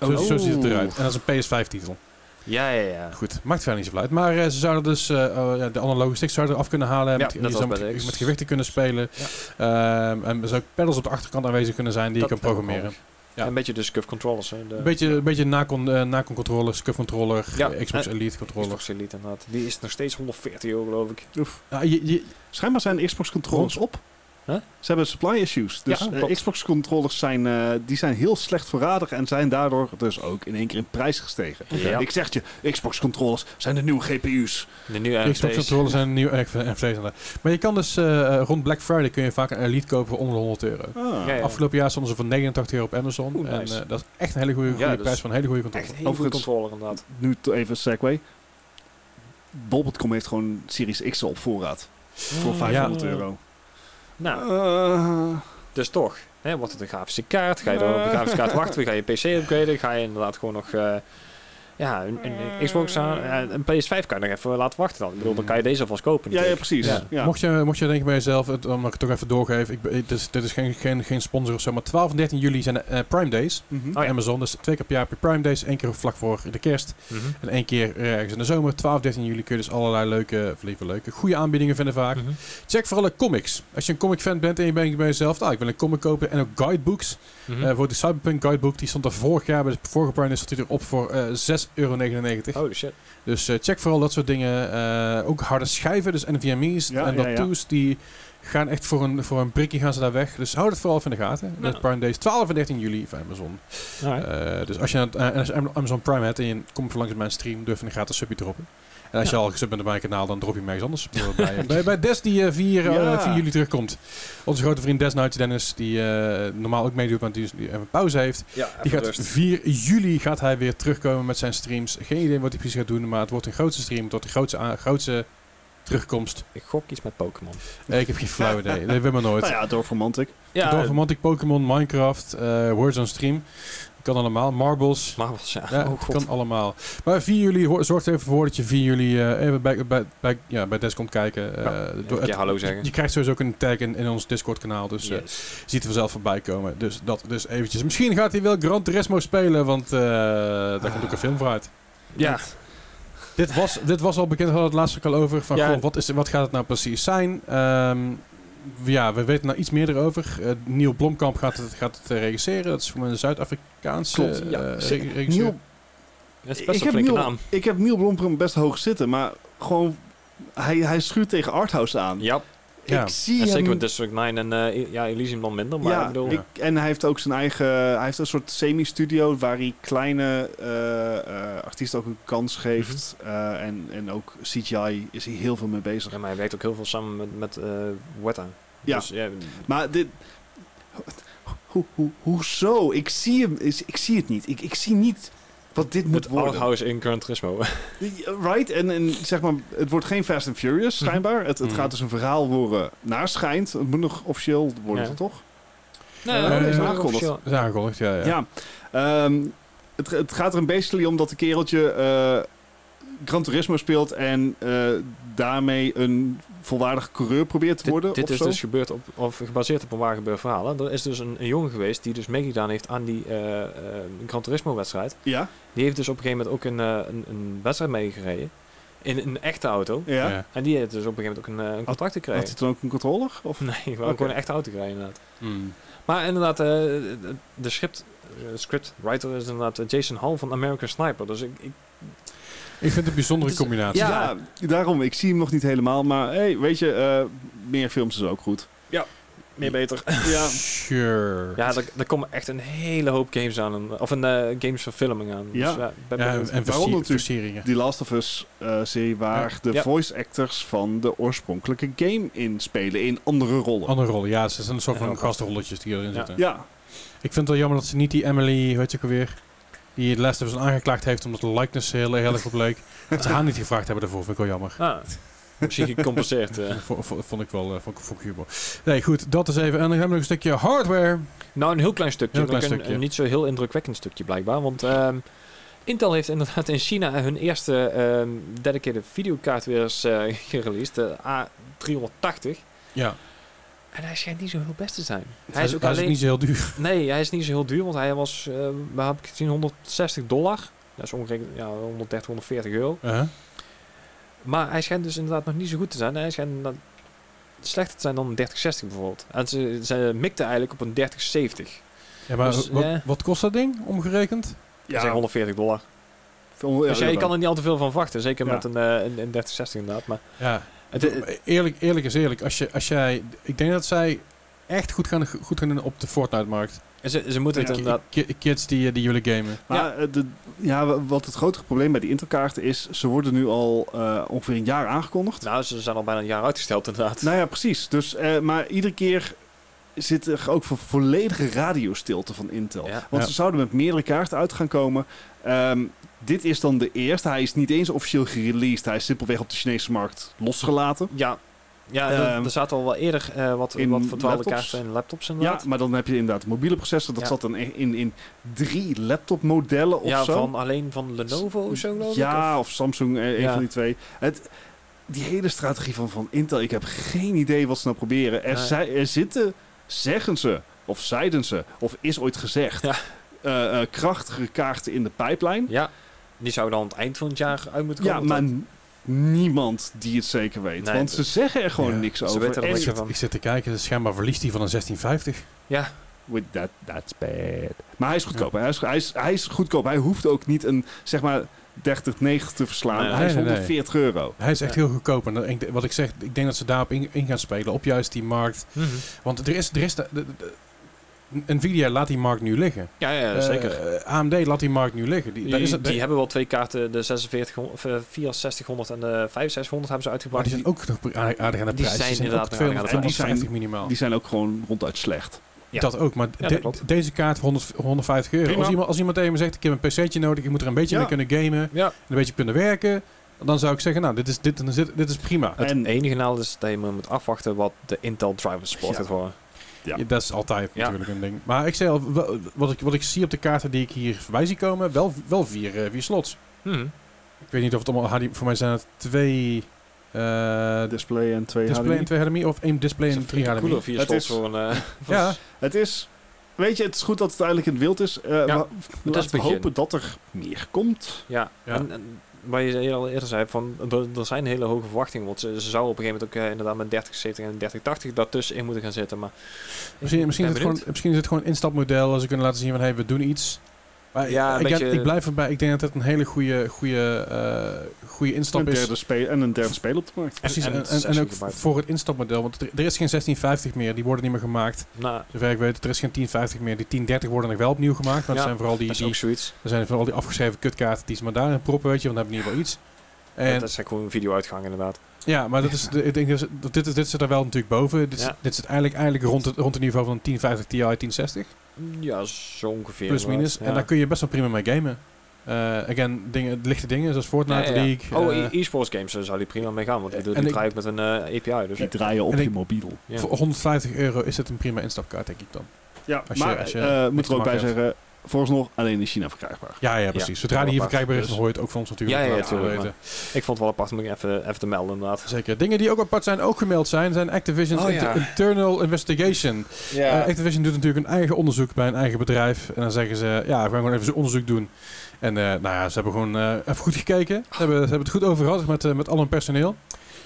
Speaker 1: Zo,
Speaker 2: Oh.
Speaker 1: zo ziet het eruit. En dat is een PS5-titel.
Speaker 2: Ja, ja, ja.
Speaker 1: Goed, maakt verder niet zoveel uit. Maar eh, ze zouden dus eh, oh, ja, de analoge sticks zouden eraf kunnen halen. en
Speaker 2: Ja,
Speaker 1: met,
Speaker 2: net
Speaker 1: je
Speaker 2: als
Speaker 1: zou
Speaker 2: bij de
Speaker 1: met,
Speaker 2: X.
Speaker 1: met gewichten kunnen spelen. Ehm, en er zou ook pedals op de achterkant aanwezig kunnen zijn die
Speaker 2: Dat
Speaker 1: je kan
Speaker 2: heb ik ook
Speaker 1: programmeren. Ja.
Speaker 2: Een beetje de scuff controllers. Hè, de
Speaker 1: Een beetje, een beetje Nacon, eh, Nacon controller, Scuf controller,
Speaker 2: Ja,
Speaker 1: eh, Xbox
Speaker 2: en-
Speaker 1: Elite controller.
Speaker 2: Xbox Elite inderdaad. Die is nog steeds 140 euro, geloof ik.
Speaker 1: Ja, je, je,
Speaker 3: Schijnbaar zijn Xbox controllers op.
Speaker 2: Huh?
Speaker 3: Ze hebben supply issues. Dus
Speaker 2: Ja,
Speaker 3: eh,
Speaker 2: klopt.
Speaker 3: Xbox controllers zijn, eh, die zijn heel slecht voorradig en zijn daardoor dus ook in één keer in prijs gestegen.
Speaker 2: Ja.
Speaker 3: Ik zeg je, Xbox controllers zijn de nieuwe GPU's.
Speaker 2: De nieuwe
Speaker 1: De Xbox
Speaker 2: RT's.
Speaker 1: controllers zijn nieuw eh, en vreselijk. Maar je kan dus eh, rond Black Friday kun je vaak een Elite kopen voor onder de 100 euro.
Speaker 2: Ah. Ja, ja.
Speaker 1: Afgelopen jaar stonden ze voor 89 euro op Amazon.
Speaker 2: Oeh, nice.
Speaker 1: En eh, dat is echt een hele goede,
Speaker 2: Ja,
Speaker 1: goede
Speaker 2: dat is
Speaker 1: prijs van een hele goede
Speaker 2: Echt
Speaker 1: controller.
Speaker 2: een hele goede
Speaker 3: Overigens-
Speaker 2: controller inderdaad.
Speaker 3: Nu to- even een segue. Bob.com heeft gewoon Series X al op voorraad. Voor
Speaker 2: Ah.
Speaker 3: 500 euro.
Speaker 2: Nou,
Speaker 3: Eh,
Speaker 2: dus toch. Hè, wordt het een grafische kaart? Ga je dan op een grafische kaart wachten? Ga je PC upgraden? Ga je inderdaad gewoon nog... eh, ja, een, een Xbox aan, eh, een PS5 kan je nog even laten wachten dan. Ik bedoel, dan kan je deze alvast kopen
Speaker 3: ja, ja,
Speaker 2: natuurlijk.
Speaker 3: precies.
Speaker 2: Ja.
Speaker 3: Ja.
Speaker 1: Mocht, je, mocht je denken bij jezelf, het, omdat ik het toch even doorgeef, ik, ben- dit is, dit is geen, geen, geen sponsor of zo, maar 12 en 13 juli zijn de, eh, Prime Days
Speaker 3: Mhm.
Speaker 2: Oh
Speaker 1: bij
Speaker 2: ja.
Speaker 1: Amazon. Dus twee keer per jaar heb je Prime Days, één keer vlak voor de kerst
Speaker 2: Mhm.
Speaker 1: en één keer eh, ergens in de zomer. 12 13 juli kun je dus allerlei leuke, of liever leuke, goede aanbiedingen vinden vaak.
Speaker 2: Mhm.
Speaker 1: Check vooral ook comics. Als je een comic fan bent en je denkt bij jezelf, ah, ik wil een comic kopen en ook guidebooks.
Speaker 2: Mhm.
Speaker 1: Eh, voor de Cyberpunk Guidebook, die stond er vorig jaar bij de vorige Prime Day stond hij erop voor eh 6,99 euro.
Speaker 2: Holy shit.
Speaker 1: Dus eh, check vooral dat soort dingen. Eh, ook harde schijven, dus NVMe's
Speaker 3: Ja,
Speaker 1: en
Speaker 3: ja,
Speaker 1: dat
Speaker 3: ja.
Speaker 1: die gaan echt voor een, voor een prikkie gaan ze daar weg. Dus houd het vooral even in de gaten.
Speaker 2: Ja.
Speaker 1: Dat Prime Days 12 en 13 juli van Amazon.
Speaker 2: Alright.
Speaker 1: Eh, dus als je, aan het- eh, als je Amazon Prime hebt en je komt langs mijn stream, durf een gratis subje droppen. En als je al gesub bent op mijn kanaal, dan drop je mij eens anders. bij, bij, bij Des, die eh, 4, eh,
Speaker 3: Ja.
Speaker 1: 4 juli terugkomt. Onze grote vriend Des Nuitje Dennis, die eh, normaal ook meedoet, maar die, is- die even pauze heeft.
Speaker 2: Ja,
Speaker 1: Die
Speaker 2: even
Speaker 1: gaat
Speaker 2: rust.
Speaker 1: 4 juli gaat hij weer terugkomen met zijn streams. Geen idee wat hij precies gaat doen, maar het wordt een grootste stream. Het wordt een grootste, a- grootste
Speaker 2: *laughs*
Speaker 1: terugkomst.
Speaker 2: Ik gok iets met Pokémon.
Speaker 1: Eh, ik heb geen flauw idee. Dat weet maar nooit.
Speaker 3: Nou ja, door Romantic.
Speaker 1: ja,
Speaker 2: Ja,
Speaker 1: Romantic, Pokémon, Minecraft, eh, Words on Stream. Kan allemaal. Marbles.
Speaker 2: Marvels, ja.
Speaker 1: Ja,
Speaker 2: oh,
Speaker 1: het
Speaker 2: god.
Speaker 1: kan allemaal. Maar 4 juli, ho- zorgt er even voor dat je 4 juli eh, even bij, bij, bij, ja, bij Des komt kijken. Eh,
Speaker 2: Ja,
Speaker 1: door-
Speaker 2: even een keer hallo zeggen.
Speaker 1: Je krijgt sowieso ook een tag in, in ons Discord kanaal. Dus eh,
Speaker 2: Yes.
Speaker 1: ziet er vanzelf voorbij komen. Dus dat dus eventjes. Misschien gaat hij wel Gran Turismo spelen, want eh, daar komt ook een film voor uit.
Speaker 2: Ja,
Speaker 1: Dit was, dit was al bekend, we hadden het laatst ook al over. Van,
Speaker 2: Ja.
Speaker 1: goh, wat, is, wat gaat het nou precies zijn? Ehm, ja, we weten nou iets meer erover. Eh, Neil Blomkamp gaat het, gaat het eh, regisseren. Dat is voor een Zuid-Afrikaanse
Speaker 3: Klopt,
Speaker 1: eh,
Speaker 2: ja.
Speaker 1: re-
Speaker 3: Zeker.
Speaker 1: regisseur.
Speaker 3: Neil-
Speaker 2: dat is
Speaker 3: Ik
Speaker 2: best een
Speaker 3: heb
Speaker 2: flinke
Speaker 3: Neil-
Speaker 2: naam.
Speaker 3: ik heb Neil Blomkamp best hoog zitten, maar gewoon... Hij, hij schuurt tegen Arthouse aan.
Speaker 2: Ja,
Speaker 1: Ja.
Speaker 3: Ik zie
Speaker 2: en
Speaker 3: hem...
Speaker 2: zeker met District 9 en eh, ja, Elysium dan minder, maar
Speaker 3: mm. ja,
Speaker 2: ik bedoel...
Speaker 1: Ja.
Speaker 3: ik- en hij heeft ook zijn eigen. Hij heeft een soort semi-studio waar hij kleine eh, eh, artiesten ook een kans geeft.
Speaker 2: Mhm.
Speaker 3: Eh, en, en ook CGI is hij heel veel mee bezig.
Speaker 2: Ja, maar hij werkt ook heel veel samen met, met eh, Weta.
Speaker 3: Ja.
Speaker 2: Dus, ja,
Speaker 3: Maar dit. Ho, ho- hoezo? Ik zie, hem, is- ik zie het niet. Ik, ik zie niet wat dit moet
Speaker 2: met
Speaker 3: worden. Eh,
Speaker 2: Outhouse in Gran Turismo.
Speaker 3: Right? En, en zeg maar, het wordt geen Fast and Furious,
Speaker 2: Mhm.
Speaker 3: schijnbaar. Het, het
Speaker 1: Mhm.
Speaker 3: gaat dus een verhaal worden naar schijnt. Het moet nog officieel worden,
Speaker 2: Ja.
Speaker 3: toch?
Speaker 2: nee,
Speaker 1: dat is
Speaker 3: aangekondigd.
Speaker 1: Dat is aangekondigd, ja. ja.
Speaker 3: Ja. Ehm, het, het gaat er een basically om dat de kereltje eh Gran Turismo speelt en eh, daarmee een volwaardig coureur probeert te
Speaker 2: *laughs*
Speaker 3: worden.
Speaker 2: Dit, dit
Speaker 3: of
Speaker 2: is
Speaker 3: zo.
Speaker 2: dus gebeurd op, of gebaseerd op een waar gebeurd verhaal. hè. Er is dus een, een jongen geweest die dus meegedaan heeft aan die eh eh, Gran Turismo wedstrijd.
Speaker 3: Ja,
Speaker 2: Die heeft dus op een gegeven moment ook een, eh, een, een wedstrijd meegereden. In een echte auto.
Speaker 3: ja.
Speaker 1: Ja.
Speaker 2: En die heeft dus op een gegeven moment ook een, eh, een contract
Speaker 3: Had hij
Speaker 2: gekregen.
Speaker 3: toen ook een controller?
Speaker 2: *laughs*
Speaker 3: Of?
Speaker 2: Nee, maar ook
Speaker 3: Oké.
Speaker 2: gewoon een echte auto gekregen inderdaad.
Speaker 1: Mm.
Speaker 2: Maar inderdaad, eh, de- de script, eh, scriptwriter is inderdaad Jason Hall van American Sniper. Dus ik, ik
Speaker 1: Ik vind het een bijzondere
Speaker 2: Het is-
Speaker 1: combinatie.
Speaker 2: ja.
Speaker 3: daarom. Ik zie hem nog niet helemaal, maar hey, weet je, eh, meer films is ook goed.
Speaker 2: meer beter. *laughs*
Speaker 3: Ja,
Speaker 1: Sure.
Speaker 2: Ja, er, er komen echt een hele hoop games aan. en- Of een eh, games verfilming aan.
Speaker 3: Ja.
Speaker 2: Dus, ja, ik ben
Speaker 1: Ja,
Speaker 2: benieuwd.
Speaker 1: en
Speaker 3: Waarom
Speaker 1: versier,
Speaker 3: natuurlijk?
Speaker 1: versieringen.
Speaker 3: die Last of Us eh, serie waar de
Speaker 2: Ja.
Speaker 3: voice actors van de oorspronkelijke game in spelen in andere rollen.
Speaker 1: Andere rollen, ja. Ze zijn een soort
Speaker 2: Ja.
Speaker 1: van gastrolletjes die erin
Speaker 2: Ja.
Speaker 1: zitten.
Speaker 3: ja,
Speaker 1: Ik vind het wel jammer dat ze niet die Emily, weet je ook alweer, die het Last of Us aangeklaagd heeft omdat de likeness heel heel erg op leek. Dat ze haar niet gevraagd hebben daarvoor, vind ik wel jammer.
Speaker 2: Ah, misschien gecompenseerd. eh.
Speaker 1: *laughs* Vo- vo- Vond ik wel, eh, vond ik, vond ik humor. Nee, goed, dat is even. En dan hebben we nog een stukje hardware.
Speaker 2: Nou, een heel klein stukje.
Speaker 1: Heel klein
Speaker 2: Ook een,
Speaker 1: stukje.
Speaker 2: een niet zo heel indrukwekkend stukje blijkbaar. Want ehm, Intel heeft inderdaad in China hun eerste ehm dedicated videokaart weer eens eh, *laughs* gereleased. De A380.
Speaker 1: Ja,
Speaker 2: En hij schijnt niet zo heel best te zijn. Hij
Speaker 1: hij
Speaker 2: is ook
Speaker 1: hij is
Speaker 2: alleen...
Speaker 1: niet zo heel
Speaker 2: *laughs*
Speaker 1: duur.
Speaker 2: Nee, hij is niet zo heel duur. Want hij was, eh, waar heb ik het gezien, 160 dollar. Dat is ongeveer ja, 130, 140 euro.
Speaker 1: Eh,
Speaker 2: Maar hij schijnt dus inderdaad nog niet zo goed te zijn. Hij schijnt inderdaad slechter te zijn dan een 3060 bijvoorbeeld. En ze, ze mikten eigenlijk op een 3070.
Speaker 1: Ja, maar
Speaker 2: Dus,
Speaker 1: wat,
Speaker 2: eh.
Speaker 1: wat kost dat ding omgerekend?
Speaker 2: Dat zijn 140 dollar. dus ja, je kan er niet al te veel van verwachten. Zeker
Speaker 3: Oh Ja.
Speaker 2: met een, eh een, een 3060 inderdaad. Maar
Speaker 1: Ja,
Speaker 2: het, het-
Speaker 1: eerlijk, eerlijk is eerlijk. Als, je, als jij, ik denk dat zij echt goed gaan, goed gaan doen op de Fortnite-markt.
Speaker 2: eh, ze, ze moeten het
Speaker 1: Ki-
Speaker 2: inderdaad...
Speaker 1: ki- Kids die, eh, die jullie gamen.
Speaker 3: Maar eh, de, ja, wa- wat het grotere probleem bij die Intelkaarten is, ze worden nu al eh, ongeveer een jaar aangekondigd.
Speaker 2: Nou, ze zijn al bijna een jaar uitgesteld inderdaad.
Speaker 3: Nou ja, precies. Dus, eh, maar iedere keer zit er ook voor volledige radiostilte van Intel.
Speaker 2: Ja.
Speaker 3: Want
Speaker 1: Ja.
Speaker 3: ze zouden met meerdere kaarten uit gaan komen. Ehm, dit is dan de eerste. Hij is niet eens officieel gereleased. Hij is simpelweg op de Chinese markt losgelaten.
Speaker 2: Ja, ja
Speaker 3: Ehm,
Speaker 2: er- er zaten al wel eerder eh, wat,
Speaker 3: in
Speaker 2: wat verdwaalde
Speaker 3: laptops?
Speaker 2: kaarten en laptops
Speaker 3: Ja,
Speaker 2: inderdaad.
Speaker 3: maar dan heb je inderdaad een mobiele processor. Dat
Speaker 2: Ja.
Speaker 3: zat dan in, in, in drie laptopmodellen of
Speaker 2: ja,
Speaker 3: zo.
Speaker 2: van alleen van Lenovo of zo geloof ik,
Speaker 3: ja, of, Samsung, eh, een
Speaker 2: Ja.
Speaker 3: van die twee. Het, die hele strategie van, van Intel, ik heb geen idee wat ze nou proberen. Er,
Speaker 2: Nee.
Speaker 3: zij- er zitten, zeggen ze, of zeiden ze, of is ooit gezegd,
Speaker 2: Ja.
Speaker 3: eh, eh, krachtige kaarten in de pijplijn.
Speaker 2: Of, ja, die zouden dan aan het eind van het jaar uit moeten
Speaker 3: Ja,
Speaker 2: komen.
Speaker 3: maar n- niemand die het zeker weet.
Speaker 2: Nee,
Speaker 3: want
Speaker 2: dus-
Speaker 3: ze zeggen er gewoon
Speaker 1: Ja,
Speaker 3: niks
Speaker 2: ze
Speaker 3: over.
Speaker 2: weten er
Speaker 3: En-
Speaker 1: Ik
Speaker 2: niks
Speaker 1: zit,
Speaker 2: van.
Speaker 1: ik zit te kijken, schijnbaar verliest hij van een 1650.
Speaker 2: Ja,
Speaker 3: With that, that's bad. Maar hij is goedkoop. Hij, is, hij, is, hij is goedkoop. Hij hoeft ook niet een, zeg maar, 30-90 te verslaan.
Speaker 2: Nee,
Speaker 3: hij is
Speaker 1: nee, nee.
Speaker 3: 140 euro.
Speaker 1: Hij is echt
Speaker 2: Ja.
Speaker 1: heel goedkoop. En dat- ik- wat ik zeg, ik denk dat ze daarop in, in gaan spelen. Op juist die markt.
Speaker 2: Mhm.
Speaker 1: Want er is... Er is de, de- de- Nvidia laat die markt nu liggen.
Speaker 2: ja, ja,
Speaker 1: Eh,
Speaker 2: zeker.
Speaker 1: eh, AMD laat die markt nu liggen. Die,
Speaker 2: Die,
Speaker 1: daar is het,
Speaker 2: die hebben wel twee kaarten, de 46, of, eh, 6400 en de 6500 hebben ze
Speaker 1: maar
Speaker 2: uitgebracht.
Speaker 1: die zijn ook nog pri- aardig aardig aan de
Speaker 2: die
Speaker 1: prijs.
Speaker 2: zijn
Speaker 1: ook
Speaker 2: inderdaad aardig aan de prijs.
Speaker 3: En die zijn-
Speaker 1: 250 minimaal.
Speaker 3: Die zijn ook gewoon ronduit slecht.
Speaker 2: Ja.
Speaker 1: Dat ook, maar
Speaker 2: Ja,
Speaker 1: de-
Speaker 2: dat klopt.
Speaker 1: deze kaart voor 100 150 euro.
Speaker 3: Prima.
Speaker 1: Als iemand, als iemand tegen me zegt, ik heb een pc'tje nodig, ik moet er een beetje
Speaker 3: Ja.
Speaker 1: mee kunnen gamen, en
Speaker 2: ja,
Speaker 1: een beetje kunnen werken, dan zou ik zeggen, nou, dit is, dit, dit, dit, is prima.
Speaker 2: het
Speaker 3: En-
Speaker 2: enige nadeel is dat je maar moet afwachten wat de Intel Driver Support
Speaker 3: Ja.
Speaker 2: gaat worden.
Speaker 3: Ja.
Speaker 1: Ja, dat is altijd
Speaker 2: Ja.
Speaker 1: natuurlijk een ding. Maar ik zei al, wel- wat ik, wat ik zie op de kaarten die ik hier voorbij zie komen, wel, wel vier, eh, vier slots. Ik weet niet of het allemaal HDMI... Voor mij zijn het twee eh,
Speaker 3: display en twee
Speaker 1: display en
Speaker 3: HDMI.
Speaker 1: twee HDMI of één display en drie HDMI.
Speaker 2: cooler vier
Speaker 3: Het
Speaker 2: slots
Speaker 3: is-
Speaker 2: voor een... eh, *laughs* voor
Speaker 1: Ja,
Speaker 2: een-
Speaker 3: Het is, weet je, het is goed dat het eigenlijk in het wild is. Eh maar
Speaker 2: het
Speaker 3: laten we
Speaker 2: begin.
Speaker 3: hopen dat er meer komt.
Speaker 2: Ja,
Speaker 1: Ja.
Speaker 2: En, en waar je al eerder zei, van, er, er zijn hele hoge verwachtingen. Want ze, ze zouden op een gegeven moment ook eh, inderdaad met 30, 70 en 30, 80 daartussenin moeten gaan zitten. Maar
Speaker 1: misschien, misschien, is
Speaker 2: ben
Speaker 1: het gewoon, misschien is het gewoon een instapmodel. Als we kunnen laten zien van, hey, we doen iets. Maar
Speaker 2: Ja,
Speaker 1: ik,
Speaker 2: een
Speaker 1: ik,
Speaker 2: beetje-
Speaker 1: ik blijf erbij. Ik denk dat het een hele goede, goede, eh, goede
Speaker 3: Een
Speaker 1: instap is.
Speaker 3: derde speel, en een derde speel op de markt.
Speaker 1: Precies,
Speaker 2: en
Speaker 1: en, en, en
Speaker 2: 16
Speaker 1: ook
Speaker 2: gigabyte.
Speaker 1: voor het instapmodel. Want er, er is geen 1650 meer. Die worden niet meer gemaakt.
Speaker 2: Nou,
Speaker 1: Zover ik weet, er is geen 1050 meer. Die 1030 worden nog wel opnieuw gemaakt. Maar dat
Speaker 2: Ja,
Speaker 1: zijn vooral die,
Speaker 2: dat is
Speaker 1: die,
Speaker 2: ook zoiets.
Speaker 1: dat zijn vooral die afgeschreven kutkaarten die ze maar daarin proppen, weet je. Want dan hebben we in ieder geval iets. En,
Speaker 2: dat is gewoon een video-uitgang inderdaad.
Speaker 1: ja, maar dat is, de- ik denk dat ze- dat dit, is- dit zit er wel natuurlijk boven. Dit, is-
Speaker 2: Ja.
Speaker 1: dit zit eigenlijk, eigenlijk rond, het, rond het niveau van een 1050 Ti, 1060.
Speaker 2: Ja, zo ongeveer.
Speaker 1: Plus
Speaker 2: inderdaad.
Speaker 1: minus.
Speaker 2: Ja.
Speaker 1: En daar kun je best wel prima mee gamen. Eh, again, dingen, lichte dingen zoals Fortnite
Speaker 2: Ja, ja, ja.
Speaker 1: League.
Speaker 2: Oh,
Speaker 1: eh,
Speaker 2: e- e-sports games, daar zou die prima mee gaan. Want
Speaker 1: Eh,
Speaker 2: ik bedoel,
Speaker 1: en
Speaker 2: die
Speaker 1: ik-
Speaker 2: draait met een eh, API. Dus
Speaker 3: Die draaien op
Speaker 1: En ik- Oh.
Speaker 3: je mobiel.
Speaker 2: ja.
Speaker 1: Voor 150 euro is het een prima instapkaart, denk ik dan.
Speaker 3: Ja,
Speaker 1: Als je-
Speaker 3: maar
Speaker 1: als je
Speaker 3: eh,
Speaker 1: niks
Speaker 3: moet
Speaker 1: te
Speaker 3: er ook bij
Speaker 1: maken hebt.
Speaker 3: zeggen, vooralsnog alleen in China verkrijgbaar.
Speaker 1: Ja, ja, precies. Zodra die hier
Speaker 2: Apart.
Speaker 1: verkrijgbaar is,
Speaker 2: Dus-
Speaker 1: dan hoor je het ook van ons natuurlijk.
Speaker 2: Ja, ja,
Speaker 1: laat het
Speaker 2: tuurlijk,
Speaker 1: weten.
Speaker 2: Ik vond het wel apart om het even, even te melden inderdaad.
Speaker 1: Zeker. Dingen die ook apart zijn, ook gemeld zijn, zijn Activision's
Speaker 2: Oh, ja.
Speaker 1: inter- internal investigation. Eh, Activision doet natuurlijk een eigen onderzoek bij een eigen bedrijf. En dan zeggen ze, ja, we gaan gewoon even zo'n onderzoek doen. En eh, nou ja, ze hebben gewoon eh, even goed gekeken. Ze hebben, ze hebben het goed over gehad met, eh, met al hun personeel.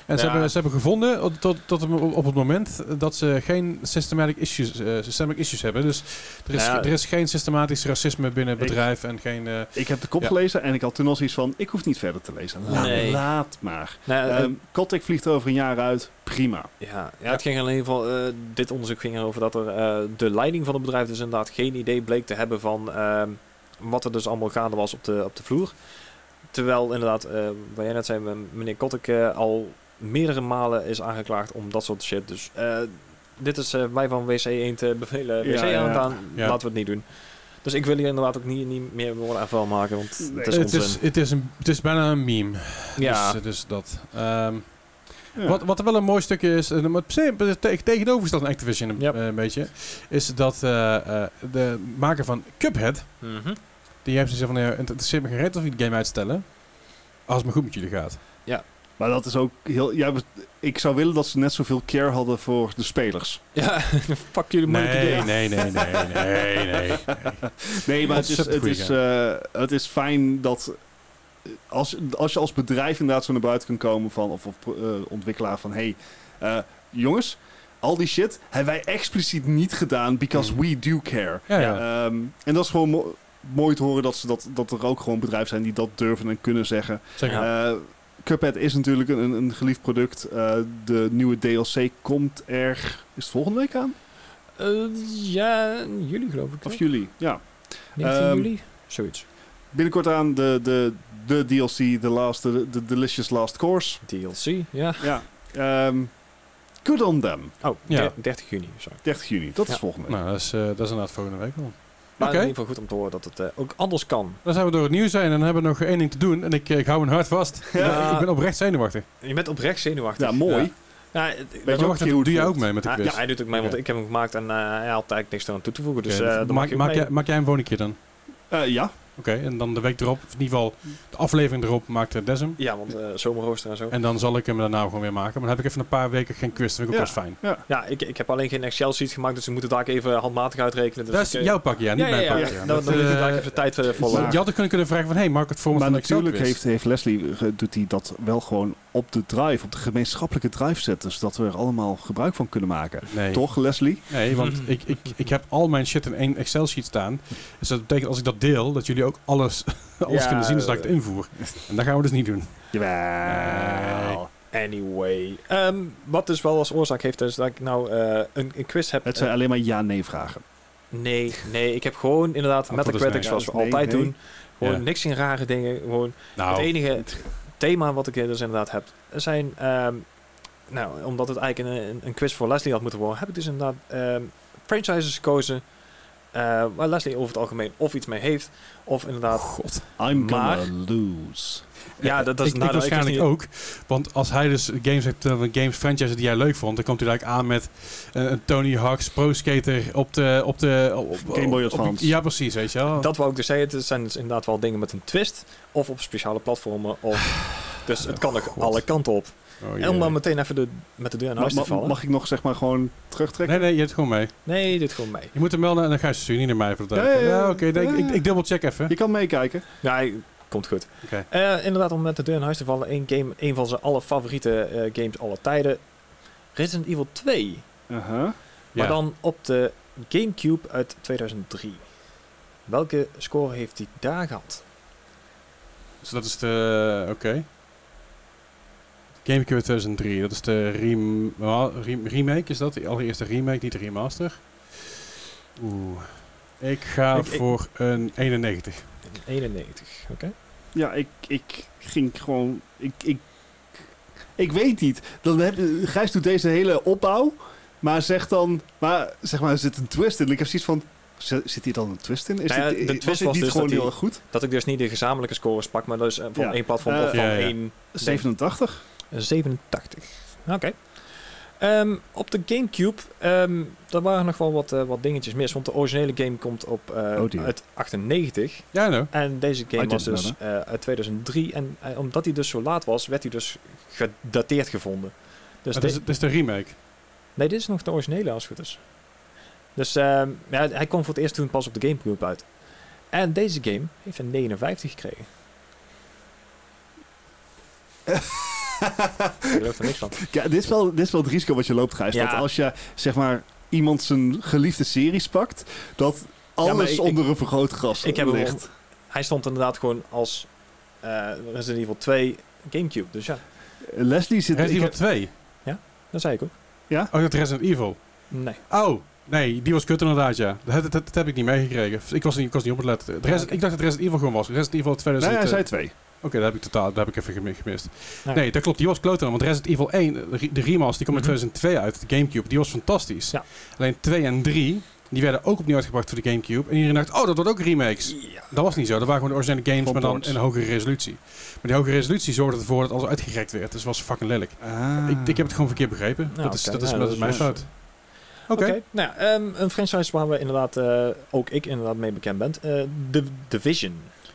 Speaker 1: En ze,
Speaker 2: Ja.
Speaker 1: hebben, ze hebben gevonden op- tot, tot op op het moment dat ze geen systematic issues, eh, systemic issues hebben. Dus er is,
Speaker 2: Ja.
Speaker 1: er is geen systematisch racisme binnen het
Speaker 3: Ik-
Speaker 1: bedrijf en geen... eh,
Speaker 3: Ik heb de kop
Speaker 1: Ja.
Speaker 3: gelezen en ik had toen al zoiets van, ik hoef niet verder te lezen. Laat,
Speaker 2: Nee.
Speaker 3: laat maar.
Speaker 2: Nou, eh,
Speaker 3: Ehm Kotick vliegt er over een jaar uit. Prima.
Speaker 2: Ja, ja, het ging in ieder geval, eh, dit onderzoek ging erover dat er, eh, de leiding van het bedrijf dus inderdaad geen idee bleek te hebben van ehm, wat er dus allemaal gaande was op de, op de vloer. Terwijl inderdaad, eh wat jij net zei, m- meneer Kottek eh, al meerdere malen is aangeklaagd om dat soort shit. Dus eh, dit is eh, mij van WC1 te bevelen.
Speaker 3: Ja,
Speaker 2: WC
Speaker 3: ja,
Speaker 2: aan het
Speaker 3: ja.
Speaker 2: aan,
Speaker 1: Ja.
Speaker 2: laten we het niet doen. Dus ik wil hier inderdaad ook niet, niet meer woorden aan vuil maken, want
Speaker 3: Nee.
Speaker 2: het is
Speaker 1: het,
Speaker 2: onzin.
Speaker 1: is, het, is een, het is bijna een meme.
Speaker 2: ja,
Speaker 1: Dus, dus dat. Ehm,
Speaker 3: Ja.
Speaker 1: Wat, wat er wel een mooi stukje is, eh, en wat te- tegenovergesteld aan Activision een,
Speaker 2: Yep.
Speaker 1: eh, een beetje, is dat eh, eh, de maker van Cuphead,
Speaker 2: Mhm.
Speaker 1: die heeft gezegd van, ja, het interesseert me geen reet of ik de game uitstellen, als het maar goed met jullie gaat.
Speaker 3: Maar dat is ook heel... Ja, ik zou willen dat ze net zoveel care hadden voor de spelers.
Speaker 2: *laughs* ja fuck jullie moeilijke
Speaker 1: Nee,
Speaker 2: dingen.
Speaker 1: nee, nee, nee, nee, nee,
Speaker 2: *laughs*
Speaker 1: nee.
Speaker 3: Nee, maar het is,
Speaker 1: Ontzettend
Speaker 3: het
Speaker 1: goeie
Speaker 3: is, eh, het is fijn dat... Als, als je als bedrijf inderdaad zo naar buiten kan komen van... Of, of eh, ontwikkelaar van... Hey, eh, jongens, al die shit hebben wij expliciet niet gedaan... Because
Speaker 1: Mhm.
Speaker 3: we do care.
Speaker 1: Ja, ja.
Speaker 3: Ehm, en dat is gewoon mo- mooi te horen dat, ze dat, dat er ook gewoon bedrijven zijn die dat durven en kunnen zeggen.
Speaker 1: Zeker.
Speaker 3: Eh, Cuphead is natuurlijk een, een geliefd product. Eh, de nieuwe DLC komt er... Is het volgende week aan?
Speaker 2: Eh, ja, jullie geloof ik.
Speaker 3: Of
Speaker 2: hè?
Speaker 3: juli? Ja.
Speaker 2: 19
Speaker 3: ehm,
Speaker 2: juli? Zoiets.
Speaker 3: Binnenkort aan de, de, de DLC, de last, de, de Delicious Last Course.
Speaker 2: DLC, ja.
Speaker 3: Ja. Ehm, good on them.
Speaker 2: Oh,
Speaker 1: Ja.
Speaker 2: der- 30 juni, sorry.
Speaker 3: 30 juni, dat is
Speaker 2: Ja.
Speaker 3: volgende week.
Speaker 1: Nou, dat is, eh, dat is inderdaad volgende week wel.
Speaker 2: Maar
Speaker 1: Oké.
Speaker 2: in ieder geval goed om te horen dat het eh, ook anders kan.
Speaker 1: Dan zijn we door het nieuws zijn en dan hebben we nog één ding te doen. En ik, eh, ik hou mijn hart vast.
Speaker 2: Nou. Ja.
Speaker 1: Ik ben oprecht zenuwachtig.
Speaker 2: Eh, Je bent oprecht zenuwachtig.
Speaker 3: Ja, mooi.
Speaker 1: Ja.
Speaker 2: Ja, het-
Speaker 3: Weet
Speaker 1: Maar
Speaker 3: je ook
Speaker 1: wacht,
Speaker 3: hoe
Speaker 1: even,
Speaker 3: het
Speaker 1: doe jij
Speaker 3: voelt?
Speaker 1: ook mee met de
Speaker 2: Ah,
Speaker 1: quiz?
Speaker 2: ja, hij doet ook mee, want
Speaker 1: Oké.
Speaker 2: ik heb hem gemaakt en eh, hij had eigenlijk niks aan toe te voegen. Dus
Speaker 1: Oké,
Speaker 2: eh, dan
Speaker 1: maak,
Speaker 2: mag je ook
Speaker 1: maak,
Speaker 2: mee.
Speaker 1: jij, maak jij hem volgende keer dan?
Speaker 3: Eh, ja,
Speaker 1: Oké, en dan de week erop, of in ieder geval de aflevering erop, maakt eh, Des hem.
Speaker 2: Ja, want eh zomerrooster en zo.
Speaker 1: En dan zal ik hem daarna gewoon weer maken. Maar dan heb ik even een paar weken geen quiz. Dat vind ik ook best
Speaker 3: Ja.
Speaker 1: fijn.
Speaker 2: Ja, ik, ik heb alleen geen Excel-sheet gemaakt, dus we moeten daar ook even handmatig uitrekenen. Dus
Speaker 1: dat is
Speaker 2: ik, eh,
Speaker 1: jouw pakje, ja, niet
Speaker 2: ja, ja,
Speaker 1: mijn
Speaker 2: ja,
Speaker 1: pakje.
Speaker 2: ja.
Speaker 1: ja.
Speaker 2: Dan,
Speaker 1: Dat,
Speaker 2: dan moet je
Speaker 1: eh,
Speaker 2: daar even de tijd eh
Speaker 1: je
Speaker 2: volgen.
Speaker 1: had ook kunnen kunnen vragen van, hey, maak het format
Speaker 3: maar
Speaker 1: van Excel
Speaker 3: natuurlijk
Speaker 1: quiz.
Speaker 3: heeft, heeft Leslie, eh, doet hij dat wel gewoon op de drive, op de gemeenschappelijke drive zetten, zodat we er allemaal gebruik van kunnen maken.
Speaker 1: Nee,
Speaker 3: Toch, Leslie?
Speaker 1: nee want
Speaker 2: Hmm.
Speaker 1: ik, ik, ik heb al mijn shit in één Excel-sheet staan. Dus dat betekent als ik dat deel, dat jullie ook alles, *laughs* alles
Speaker 2: Ja,
Speaker 1: kunnen zien als dat ik het
Speaker 2: eh,
Speaker 1: invoer. En dat gaan we dus niet doen.
Speaker 3: Jawel.
Speaker 2: Anyway. Ehm, wat dus wel als oorzaak heeft, is dat ik nou eh, een, een quiz heb.
Speaker 3: Het zijn alleen maar ja-nee-vragen.
Speaker 2: Eh, nee, nee, ik heb gewoon inderdaad
Speaker 1: Antwoord is
Speaker 2: Metacritic,
Speaker 1: nee.
Speaker 2: zoals we
Speaker 3: Ja, dus nee,
Speaker 2: altijd
Speaker 3: nee.
Speaker 2: doen. Gewoon
Speaker 1: Ja.
Speaker 2: niks in rare dingen. Gewoon
Speaker 1: Nou,
Speaker 2: Het enige thema wat ik eh, dus inderdaad heb, zijn... ehm, nou, omdat het eigenlijk een, een- een quiz voor Leslie had moeten worden, heb ik dus inderdaad ehm, franchises gekozen eh, waar Leslie over het algemeen of iets mee heeft, of inderdaad...
Speaker 1: God.
Speaker 3: I'm gonna
Speaker 2: Maar-
Speaker 3: lose.
Speaker 2: ja, dat, dat is
Speaker 1: Eh, ik, ik
Speaker 2: nou, dat- ik wist
Speaker 1: waarschijnlijk
Speaker 2: niet-
Speaker 1: ook. Want als hij dus games heeft, eh, een games franchise die jij leuk vond, dan komt hij eigenlijk aan met eh, een Tony Hawk's Pro Skater op de... Op de op, op-
Speaker 3: Game Boy
Speaker 1: op- op-
Speaker 3: Advance.
Speaker 1: ja, precies, weet je wel.
Speaker 2: Dat wou ik dus zeggen, het zijn dus inderdaad wel dingen met een twist, of op speciale platformen, of...
Speaker 1: *sighs*
Speaker 2: Dus het kan ook
Speaker 1: God.
Speaker 2: alle kanten op.
Speaker 1: Oh,
Speaker 2: En om
Speaker 1: jee.
Speaker 2: dan meteen even de, met de deur in
Speaker 3: Ma-
Speaker 2: huis
Speaker 3: ma-
Speaker 2: te vallen.
Speaker 3: mag ik nog zeg maar gewoon terugtrekken?
Speaker 1: Nee, nee, je hebt gewoon mee.
Speaker 2: Nee, dit gewoon mee.
Speaker 1: Je moet hem melden en dan ga je ze sturen, niet naar mij voor de
Speaker 3: Ja,
Speaker 1: duidelijkheid.
Speaker 3: ja, ja.
Speaker 1: Ja, oké, nee,
Speaker 3: Ja,
Speaker 1: ik,
Speaker 3: ja.
Speaker 1: ik, ik dubbelcheck even.
Speaker 3: Je kan meekijken.
Speaker 2: Nee, komt goed.
Speaker 1: Oké.
Speaker 2: Eh, inderdaad, om met de deur in huis te vallen. Een game, een van zijn allerfavoriete eh, games aller tijden. Resident Evil 2.
Speaker 3: Uh-huh.
Speaker 1: Ja.
Speaker 2: Maar dan op de Gamecube uit 2003. Welke score heeft hij daar gehad?
Speaker 1: Dus dat is de... Oké. Gamecube 2003, dat is de rem, wa- rem- remake, is dat? De allereerste remake, niet de remaster. Oeh. Ik ga
Speaker 2: Ik- ik-
Speaker 1: voor een 91.
Speaker 2: 91, oké.
Speaker 3: Ja, ik, ik ging gewoon... Ik, ik, ik weet niet. Dan heb, Gijs doet deze hele opbouw, maar zegt dan... Maar zeg maar, er zit een twist in. Ik heb zoiets van... z- Zit hier dan een twist in? Is
Speaker 2: Nou ja,
Speaker 3: dit,
Speaker 2: de twist
Speaker 3: was dit
Speaker 2: was
Speaker 3: niet
Speaker 2: dus
Speaker 3: gewoon
Speaker 2: dat
Speaker 3: heel
Speaker 2: die-
Speaker 3: erg goed?
Speaker 2: Dat ik dus niet de gezamenlijke scores pak, maar dus eh, van
Speaker 3: Ja.
Speaker 2: één platform of
Speaker 3: Eh,
Speaker 2: van
Speaker 1: Ja, ja.
Speaker 2: één
Speaker 3: 87?
Speaker 2: 87. Oké. Ehm, op de Gamecube, ehm daar waren nog wel wat, eh, wat dingetjes mis. Want de originele game komt op, eh,
Speaker 3: Oh dear.
Speaker 2: uit 98.
Speaker 1: Ja, nou.
Speaker 2: En deze game
Speaker 3: I
Speaker 2: was
Speaker 3: didn't
Speaker 2: dus
Speaker 3: know
Speaker 2: eh, uit 2003. En eh, omdat hij dus zo laat was, werd hij dus gedateerd gevonden. Dus
Speaker 1: Dat is,
Speaker 2: de-
Speaker 1: dat is de remake.
Speaker 2: Nee, dit is nog de originele als het goed is. Dus ehm, ja, hij kwam voor het eerst toen pas op de Gamecube uit. En deze game heeft een 59 gekregen. Ik geloof er niks van.
Speaker 3: Ja, dit is, wel, dit is wel het risico wat je loopt, Gijs.
Speaker 2: Ja.
Speaker 3: Dat als je, zeg maar, iemand zijn geliefde series pakt... dat alles
Speaker 2: ik- ik-
Speaker 3: onder een vergrootglas
Speaker 2: Ik heb hem
Speaker 3: ligt.
Speaker 2: on- Hij stond inderdaad gewoon als eh Resident Evil 2 Gamecube. Dus ja,
Speaker 3: Leslie zit...
Speaker 1: Resident
Speaker 3: ik
Speaker 1: Evil
Speaker 3: heb-
Speaker 1: 2.
Speaker 2: dat zei ik ook.
Speaker 1: Oh, dat Resident Evil.
Speaker 2: Nee.
Speaker 1: Oh, nee, die was kut inderdaad, ja. Dat, dat, dat heb ik niet meegekregen. Ik was niet, ik was niet op het letten. De rest,
Speaker 2: oké.
Speaker 1: Ik dacht dat Resident Evil gewoon was. Resident Evil
Speaker 3: Nou ja,
Speaker 1: 2002.
Speaker 3: hij zei twee.
Speaker 1: dat heb ik totaal, dat heb ik even gemi- gemist.
Speaker 4: Nee.
Speaker 1: Nee, dat klopt. Die was kloten, want Resident Evil 1, de re- de remaster, die kwam in
Speaker 4: Mhm.
Speaker 1: 2002 uit, de Gamecube. Die was fantastisch.
Speaker 4: Ja.
Speaker 1: Alleen 2 en 3, die werden ook opnieuw uitgebracht voor de Gamecube. En iedereen dacht, oh, dat wordt ook remakes.
Speaker 2: Ja.
Speaker 1: Dat was niet zo. Dat waren gewoon de originele games,
Speaker 3: Gewoon
Speaker 1: maar dan
Speaker 3: ports.
Speaker 1: in een hogere resolutie. Maar die hogere resolutie zorgde ervoor dat alles uitgerekt werd. Dus het was fucking lelijk. Ik, ik heb het gewoon verkeerd begrepen.
Speaker 2: Ja,
Speaker 1: dat is,
Speaker 2: Ah. Nou,
Speaker 1: dat is,
Speaker 2: oké. Ja,
Speaker 1: dat
Speaker 2: dat
Speaker 1: is mijn
Speaker 2: is-
Speaker 1: fout. Oké.
Speaker 2: Oké, nou ja, ehm, een franchise waar we inderdaad, eh, ook ik inderdaad mee bekend ben. eh The Division.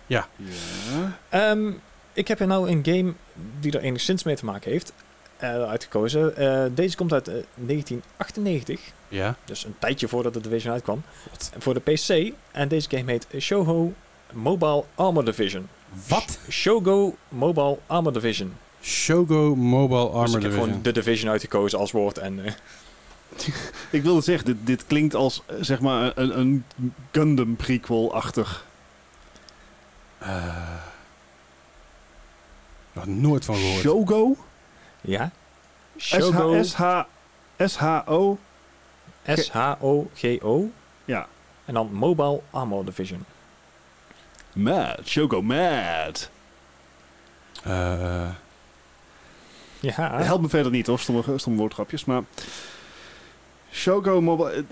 Speaker 3: Ah, Ja.
Speaker 2: Ehm, ik heb er nou een game die er enigszins mee te maken heeft eh, uitgekozen. Eh, deze komt uit eh, 1998,
Speaker 1: Ja.
Speaker 2: dus een tijdje voordat de Division uitkwam. Voor de PC. En deze game heet Shogo Mobile Armor Division.
Speaker 1: Wat?
Speaker 2: Shogo Mobile Armor Division.
Speaker 1: Shogo Mobile
Speaker 2: dus
Speaker 1: Armor
Speaker 2: ik heb
Speaker 1: Division.
Speaker 2: gewoon de Division uitgekozen als woord. En, eh,
Speaker 3: Ik wilde zeggen, dit, dit klinkt als eh, zeg maar een, een Gundam prequel-achtig.
Speaker 1: Eh, ik had er nooit van gehoord.
Speaker 3: Shogo?
Speaker 2: ja? Shogo
Speaker 3: S-H- S-H-O?
Speaker 2: S-H-O-G-O.
Speaker 3: Ja.
Speaker 2: En dan Mobile Armor Division.
Speaker 3: Mad. Shogo Mad.
Speaker 1: Eh,
Speaker 2: Ja.
Speaker 3: Help me verder niet hoor, stomme, stomme woordgrapjes, maar... Shogo Mobile... eh, eh,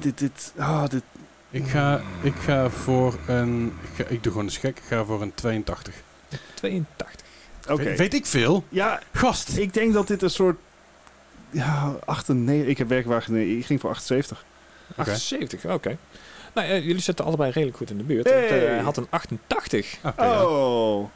Speaker 3: Dit, dit, ah, dit...
Speaker 1: ik, ga, ik ga voor een... Ik, ga- ik doe gewoon eens gek. Ik ga voor een 82.
Speaker 2: 82.
Speaker 3: Oké.
Speaker 1: Weet, weet ik veel?
Speaker 3: Ja,
Speaker 1: Gast!
Speaker 3: ik denk dat dit een soort... Ja, 98... Ik heb werkwagen... Nee, ik ging voor 78.
Speaker 1: Oké.
Speaker 2: 78, oké. Nou, eh, jullie zitten allebei redelijk goed in de buurt.
Speaker 3: Hey.
Speaker 2: Het eh, had een 88.
Speaker 1: Ah, oké, ja.
Speaker 3: Oh.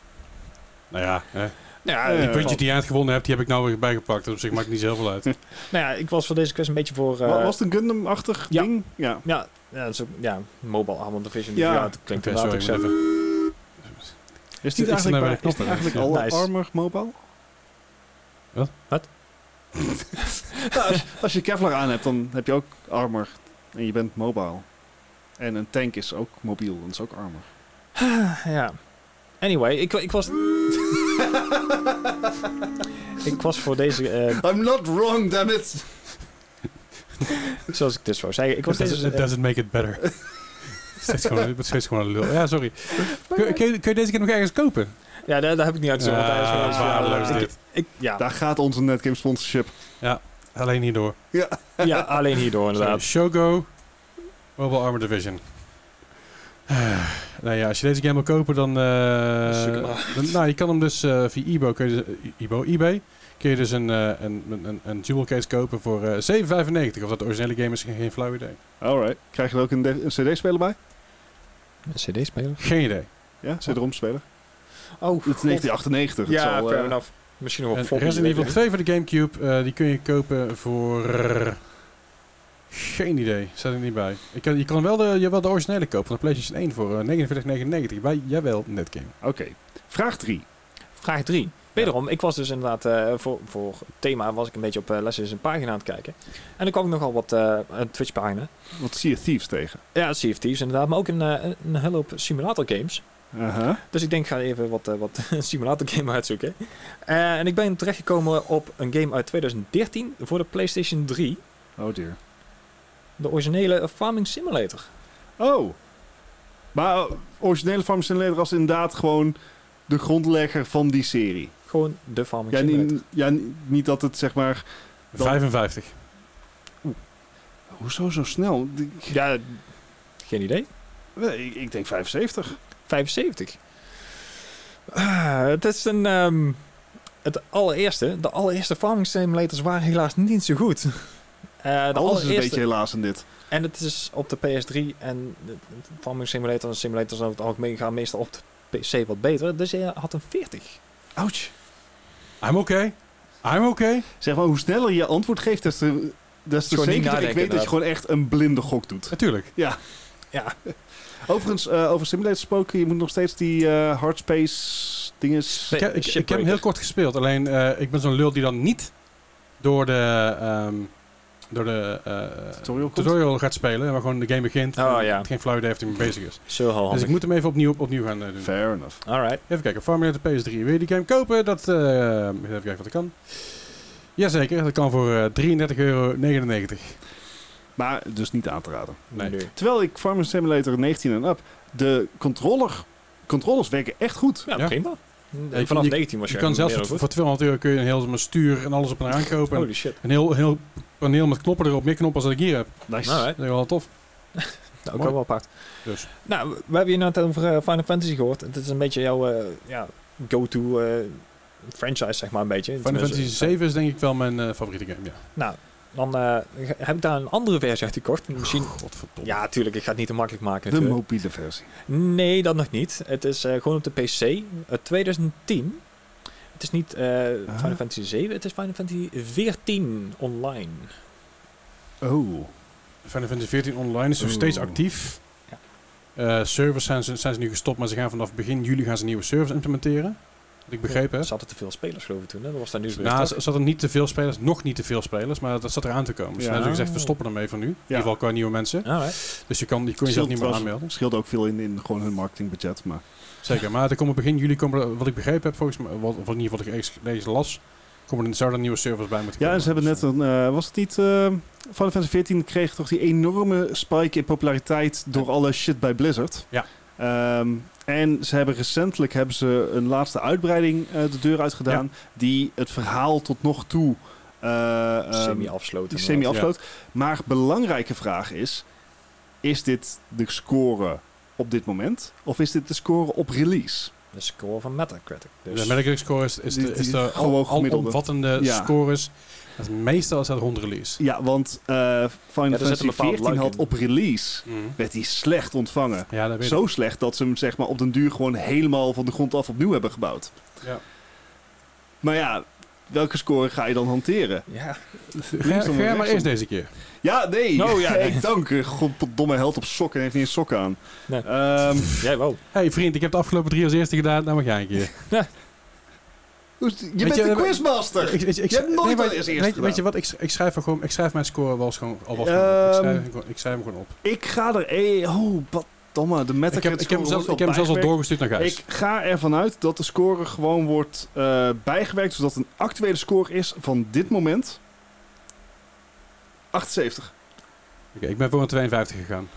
Speaker 1: Nou ja, hè.
Speaker 2: Ja,
Speaker 3: Eh,
Speaker 1: die
Speaker 2: ik,
Speaker 1: puntje die je uitgewonnen hebt, die heb ik nou weer bijgepakt. Dus op zich maakt niet zoveel uit.
Speaker 2: nou ja, ik was voor deze kwestie een beetje voor... eh,
Speaker 3: Wa- was het een Gundam-achtig
Speaker 2: ja.
Speaker 3: ding? Ja.
Speaker 2: ja, ja, dat is ook- ja, Mobile Armor Division.
Speaker 3: Ja.
Speaker 2: Ja, dat klinkt
Speaker 1: Oké,
Speaker 2: inderdaad ook
Speaker 1: sorry,
Speaker 2: zo.
Speaker 1: ik
Speaker 3: Is
Speaker 1: Ik
Speaker 3: dit
Speaker 1: sta
Speaker 3: eigenlijk,
Speaker 1: nou bij
Speaker 3: bij,
Speaker 1: de knoppen.
Speaker 3: is dit eigenlijk
Speaker 1: Ja.
Speaker 3: al
Speaker 2: Nice.
Speaker 3: Armor Mobile?
Speaker 1: Wat?
Speaker 2: Wat?
Speaker 3: *laughs* Nou, als, als je Kevlar aan hebt, dan heb je ook armor. En je bent mobile. En een tank is ook mobiel, dat is ook armor.
Speaker 2: Ja. Anyway, ik, ik was... *laughs* ik was voor deze... eh,
Speaker 3: I'm not wrong, damn it!
Speaker 2: zoals ik dus wou zeggen. Ik was
Speaker 1: It doesn't,
Speaker 2: deze...
Speaker 1: it
Speaker 2: eh,
Speaker 1: doesn't make it better. Het is steeds gewoon- het is steeds gewoon een lul. Ja, sorry. Kun, kun, je, kun je deze keer nog ergens kopen?
Speaker 2: ja, daar, daar heb ik niet uit.
Speaker 1: Ah, waardeloos
Speaker 2: ik,
Speaker 1: dit.
Speaker 2: ik,
Speaker 1: *laughs*
Speaker 2: ja,
Speaker 3: Daar gaat onze netgame sponsorship.
Speaker 1: Alleen hierdoor.
Speaker 2: ja, alleen hierdoor inderdaad.
Speaker 1: Shogo, Mobile Armor Division. *sighs* Ah, nou ja, als je deze game wil kopen, dan... eh,
Speaker 2: Zoek hem maar.
Speaker 1: dan- nou, je kan hem dus eh, via Ebo, kun je, dus- Ebo, eBay... Kun je dus een, eh, een, een, een, een jewel case kopen voor eh 7,95. Of dat de originele game is, geen, geen flauw idee.
Speaker 3: Alright. Krijg je er ook een, de- een CD-speler bij?
Speaker 2: Een CD-speler?
Speaker 1: Geen idee.
Speaker 3: Ja, CD-ROM-speler.
Speaker 2: Oh,
Speaker 3: Het is 1998. dat
Speaker 2: Ja,
Speaker 3: zal,
Speaker 2: fair
Speaker 3: eh,
Speaker 2: enough. Misschien nog
Speaker 1: En
Speaker 2: op floppy,
Speaker 1: Resident
Speaker 2: weet
Speaker 1: Evil 2
Speaker 2: je.
Speaker 1: voor de Gamecube, eh, die kun je kopen voor... Geen idee, staat er niet bij. Ik kan, je kan wel de, je wel de originele kopen van de PlayStation 1 voor eh, 49,99 bij jawel Netgame.
Speaker 3: Oké. Vraag 3.
Speaker 2: Vraag 3. Wederom, ik was dus inderdaad eh, voor, voor het thema was ik een beetje op eh Leslie zijn pagina aan het kijken. En dan kwam ik nogal wat eh, een Twitch pagina.
Speaker 3: Wat zie je Thieves tegen?
Speaker 2: Ja, Sea of Thieves inderdaad, maar ook een, eh, een hele hoop simulator games.
Speaker 3: Aha.
Speaker 2: Dus ik denk, ik ga even wat, eh, wat *laughs* simulator game uitzoeken. Eh, en ik ben terechtgekomen op een game uit 2013 voor de PlayStation 3.
Speaker 3: Oh dear.
Speaker 2: De originele Farming Simulator.
Speaker 3: Oh. Maar eh, originele Farm Simulator was inderdaad gewoon de grondlegger van die serie.
Speaker 2: Gewoon de Farming
Speaker 3: Ja,
Speaker 2: Simulator.
Speaker 3: niet, ja, ni- niet dat het zeg maar... Dan-
Speaker 1: 55.
Speaker 3: Hoezo zo snel? Die-
Speaker 2: Ja, geen idee.
Speaker 3: nee, Ik, ik denk 75.
Speaker 2: 75. Ah, het is een. ehm, het allereerste. De allereerste farming simulators waren helaas niet zo goed. Eh, de
Speaker 3: Alles is een
Speaker 2: allereerste-
Speaker 3: beetje helaas in dit.
Speaker 2: En het is op de PS3 en de de farming simulator en simulators over het algemeen gaan meestal op de PC wat beter. Dus hij had een 40.
Speaker 3: Ouch.
Speaker 1: I'm okay. I'm okay.
Speaker 3: Zeg maar, hoe sneller je antwoord geeft, des te, des te
Speaker 2: Gewoon niet
Speaker 3: zeker ik
Speaker 2: nadenken,
Speaker 3: weet dat je gewoon echt een blinde gok doet.
Speaker 1: Natuurlijk.
Speaker 3: Overigens, eh, over simulator gesproken, je moet nog steeds die eh hard space dinges...
Speaker 1: Ik, ik- ik
Speaker 2: Nee,
Speaker 1: heb hem
Speaker 2: Shipbreaker.
Speaker 1: heel kort gespeeld. Alleen eh, ik ben zo'n lul die dan niet door de, ehm, door de eh,
Speaker 3: Tutorial komt?
Speaker 1: tutorial gaat spelen. Maar gewoon de game begint.
Speaker 2: Oh,
Speaker 1: en
Speaker 2: ja.
Speaker 1: Geen flauw idee heeft hij mee bezig is.
Speaker 2: Zo handig.
Speaker 1: Dus ik moet hem even opnieuw, opnieuw gaan eh, doen.
Speaker 3: Fair enough.
Speaker 2: Alright.
Speaker 1: Even kijken, Farming de PS3. Wil je die game kopen? Dat, eh, even kijken wat dat kan. Jazeker, dat kan voor eh, 33,99 euro.
Speaker 3: Maar dus niet aan te raden.
Speaker 1: Nee.
Speaker 3: Terwijl ik Farming Simulator 19 en up, de controller, controllers werken echt goed.
Speaker 2: Ja,
Speaker 1: Ja.
Speaker 2: prima.
Speaker 1: je-
Speaker 2: Vanaf
Speaker 1: je-
Speaker 2: 19 was
Speaker 1: Je kan zelfs voor, voor 200 euro kun je een heel mijn stuur en alles op een aankopen. En
Speaker 2: Holy shit.
Speaker 1: een heel, heel paneel met knoppen erop, meer knoppen als dat ik hier heb.
Speaker 3: Nice.
Speaker 2: Alright.
Speaker 1: Dat is wel tof.
Speaker 2: Nou, ook
Speaker 1: Mooi.
Speaker 2: wel apart.
Speaker 1: Dus.
Speaker 2: Nou, we hebben hier net over eh, Final Fantasy gehoord. Het is een beetje jouw eh, ja, go-to eh, franchise, zeg maar, een beetje.
Speaker 1: Final
Speaker 2: Tenminste,
Speaker 1: Fantasy 7 is denk ik wel mijn eh, favoriete game, ja.
Speaker 2: Nou, dan eh, ge- heb ik daar een andere versie uit gekocht.
Speaker 1: Oh.
Speaker 2: Misschien...
Speaker 1: Godverdomme.
Speaker 2: Ja, tuurlijk, ik ga het niet te makkelijk maken.
Speaker 3: De
Speaker 2: natuurlijk.
Speaker 3: mobiele versie.
Speaker 2: Nee, dat nog niet. Het is eh, gewoon op de PC. uit 2010. Het is niet eh,
Speaker 1: Ah.
Speaker 2: Final Fantasy 7, het is Final Fantasy 14 online.
Speaker 3: Oh.
Speaker 1: Final Fantasy 14 online is nog
Speaker 3: Oeh.
Speaker 1: steeds actief.
Speaker 2: Ja.
Speaker 1: Eh, servers zijn ze, zijn ze nu gestopt, maar ze gaan vanaf begin juli gaan ze nieuwe servers implementeren. Wat ik begreep
Speaker 2: Er
Speaker 1: heb.
Speaker 2: zaten te veel spelers, geloof ik, toen. Hè? Dat was daar nieuws
Speaker 1: Nou, er zaten niet te veel spelers, nog niet te veel spelers, maar dat zat eraan te komen. Dus
Speaker 3: Ja.
Speaker 1: ze hebben
Speaker 2: Oh.
Speaker 1: gezegd, we stoppen ermee van nu. In ieder geval qua nieuwe mensen.
Speaker 2: Nou,
Speaker 1: Dus je kan, je kon jezelf
Speaker 3: Scheelt
Speaker 1: niet meer
Speaker 3: was-
Speaker 1: aanmelden.
Speaker 3: scheelt ook veel in, in gewoon hun marketingbudget. Maar
Speaker 1: Zeker, maar er komen begin juli, komen er- wat ik begrepen heb volgens mij, wat, of in ieder geval wat ik ergens deze las, komen er, zouden er nieuwe servers bij moeten
Speaker 3: Ja,
Speaker 1: komen.
Speaker 3: en ze hebben net
Speaker 1: Dus,
Speaker 3: een. eh, was het niet. eh Final Fantasy 14 kreeg toch die enorme spike in populariteit door alle shit bij Blizzard.
Speaker 1: Ja.
Speaker 3: Ehm, en ze hebben recentelijk hebben ze een laatste uitbreiding eh, de deur uitgedaan. Die het verhaal tot nog toe. eh, ehm,
Speaker 2: Semi-afsloten.
Speaker 3: die semi afsloot. Maar belangrijke vraag is: is dit de score op dit moment? Of is dit de score op release?
Speaker 2: eh, De score van Metacritic. Dus
Speaker 1: De Metacritic score is, is de,
Speaker 3: Die-
Speaker 1: is
Speaker 3: die
Speaker 1: de
Speaker 3: gewoon
Speaker 1: al,
Speaker 3: gemiddelde.
Speaker 1: alomvattende
Speaker 3: Ja.
Speaker 1: scores. Dat is meestal is dat rond release.
Speaker 3: Ja, want eh, Final
Speaker 2: er zit een
Speaker 3: Fantasy
Speaker 2: bepaald
Speaker 3: 14
Speaker 2: luik
Speaker 3: had
Speaker 2: in.
Speaker 3: op release
Speaker 1: Mhm.
Speaker 3: werd die slecht ontvangen.
Speaker 1: Ja, dat weet ik.
Speaker 3: Zo slecht dat ze hem zeg maar, op den duur gewoon helemaal van de grond af opnieuw hebben gebouwd.
Speaker 1: Ja.
Speaker 3: Maar ja, welke score ga je dan hanteren?
Speaker 2: ja,
Speaker 1: Ga,
Speaker 3: Links om,
Speaker 1: ga jij
Speaker 3: rechts
Speaker 1: maar
Speaker 3: om.
Speaker 1: eerst deze keer.
Speaker 3: Ja, nee.
Speaker 2: Oh,
Speaker 3: *laughs*
Speaker 2: ja, nee.
Speaker 3: ik dank. eh, Godverdomme held op sokken heeft niet eens sokken aan.
Speaker 2: Nee.
Speaker 3: Ehm,
Speaker 2: jij wel.
Speaker 1: hey, vriend, ik heb de afgelopen drie als eerste gedaan, nou mag jij een
Speaker 3: *laughs*
Speaker 1: keer.
Speaker 3: hoe- je bent
Speaker 1: je,
Speaker 3: een
Speaker 1: eh,
Speaker 2: *laughs*
Speaker 3: quizmaster.
Speaker 1: ik, ik, ik-
Speaker 3: Je hebt nooit
Speaker 1: maar
Speaker 3: al eerst eerst
Speaker 1: weet,
Speaker 3: gedaan.
Speaker 1: weet je wat, ik, sch- ik schrijf, er gewoon, ik schrijf mijn score wel eens gewoon, al was gewoon- ik,
Speaker 3: Ehm,
Speaker 1: schrijf, hem gewoon- ik schrijf hem gewoon op.
Speaker 3: Ik ga er... eh, oh, wat domme. De
Speaker 1: Ik heb,
Speaker 3: Metacritic
Speaker 1: ik heb hem
Speaker 3: score
Speaker 1: zelfs, ik
Speaker 3: wordt
Speaker 1: heb hem zelfs al
Speaker 3: bijgewerkt.
Speaker 1: doorgestuurd naar Gijs.
Speaker 3: Ik ga ervan uit dat de score gewoon wordt eh, bijgewerkt, zodat een actuele score is van dit moment. 78.
Speaker 1: Oké, ik ben voor een 52 gegaan.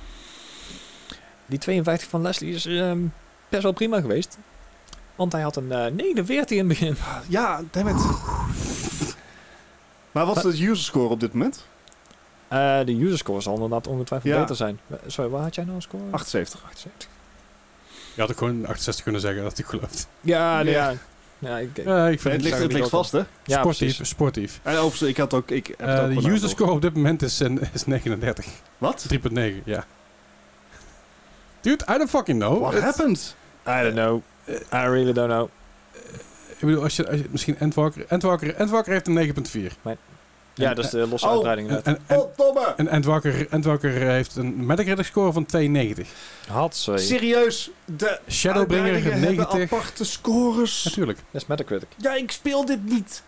Speaker 2: Die 52 van Leslie is ehm, best wel prima geweest. Want hij had een eh 49 in het begin.
Speaker 3: Ja, dammit. Maar wat is de user score op dit moment?
Speaker 2: Eh, de user score zal inderdaad ongetwijfeld
Speaker 3: Ja.
Speaker 2: beter zijn. Eh, Sorry, waar had jij nou een score?
Speaker 3: 78.
Speaker 2: 78.
Speaker 1: Je had ook gewoon 68 kunnen zeggen, dat ik geloof.
Speaker 2: Ja, nee,
Speaker 3: Ja.
Speaker 2: ja. ja ik, ik-
Speaker 1: Ja, ik
Speaker 3: Nee,
Speaker 1: vind
Speaker 3: het ligt,
Speaker 2: zou
Speaker 3: het
Speaker 2: ik
Speaker 3: ligt
Speaker 2: ook wel.
Speaker 3: vast, hè?
Speaker 2: ja,
Speaker 1: sportief.
Speaker 2: precies.
Speaker 1: sportief.
Speaker 3: En overigens, ik had ook... Ik heb het
Speaker 1: Eh,
Speaker 3: ook
Speaker 1: de
Speaker 3: gewoon
Speaker 1: user
Speaker 3: aangehoord.
Speaker 1: score op dit moment is, een- is 39.
Speaker 3: Wat?
Speaker 1: 3.9, ja. Dude, I don't fucking know.
Speaker 3: What
Speaker 1: Het-
Speaker 3: happened?
Speaker 2: I don't know. Eh, I really don't know.
Speaker 1: ik bedoel, als je, als je- misschien Endwalker... Endwalker, Endwalker heeft een 9.4.
Speaker 2: Ja,
Speaker 1: En- eh,
Speaker 2: dat is de losse
Speaker 3: Oh.
Speaker 2: uitbreiding.
Speaker 1: En,
Speaker 2: inderdaad.
Speaker 1: en, en,
Speaker 3: Potdomme!
Speaker 1: en Endwalker, Endwalker heeft een Metacritic score van 92.
Speaker 2: Had ze.
Speaker 3: Serieus, de
Speaker 1: Shadowbringer
Speaker 3: uitbreidingen hebben
Speaker 1: 90.
Speaker 3: aparte scores.
Speaker 1: Natuurlijk.
Speaker 2: Dat is Metacritic.
Speaker 3: Ja, ik speel dit niet.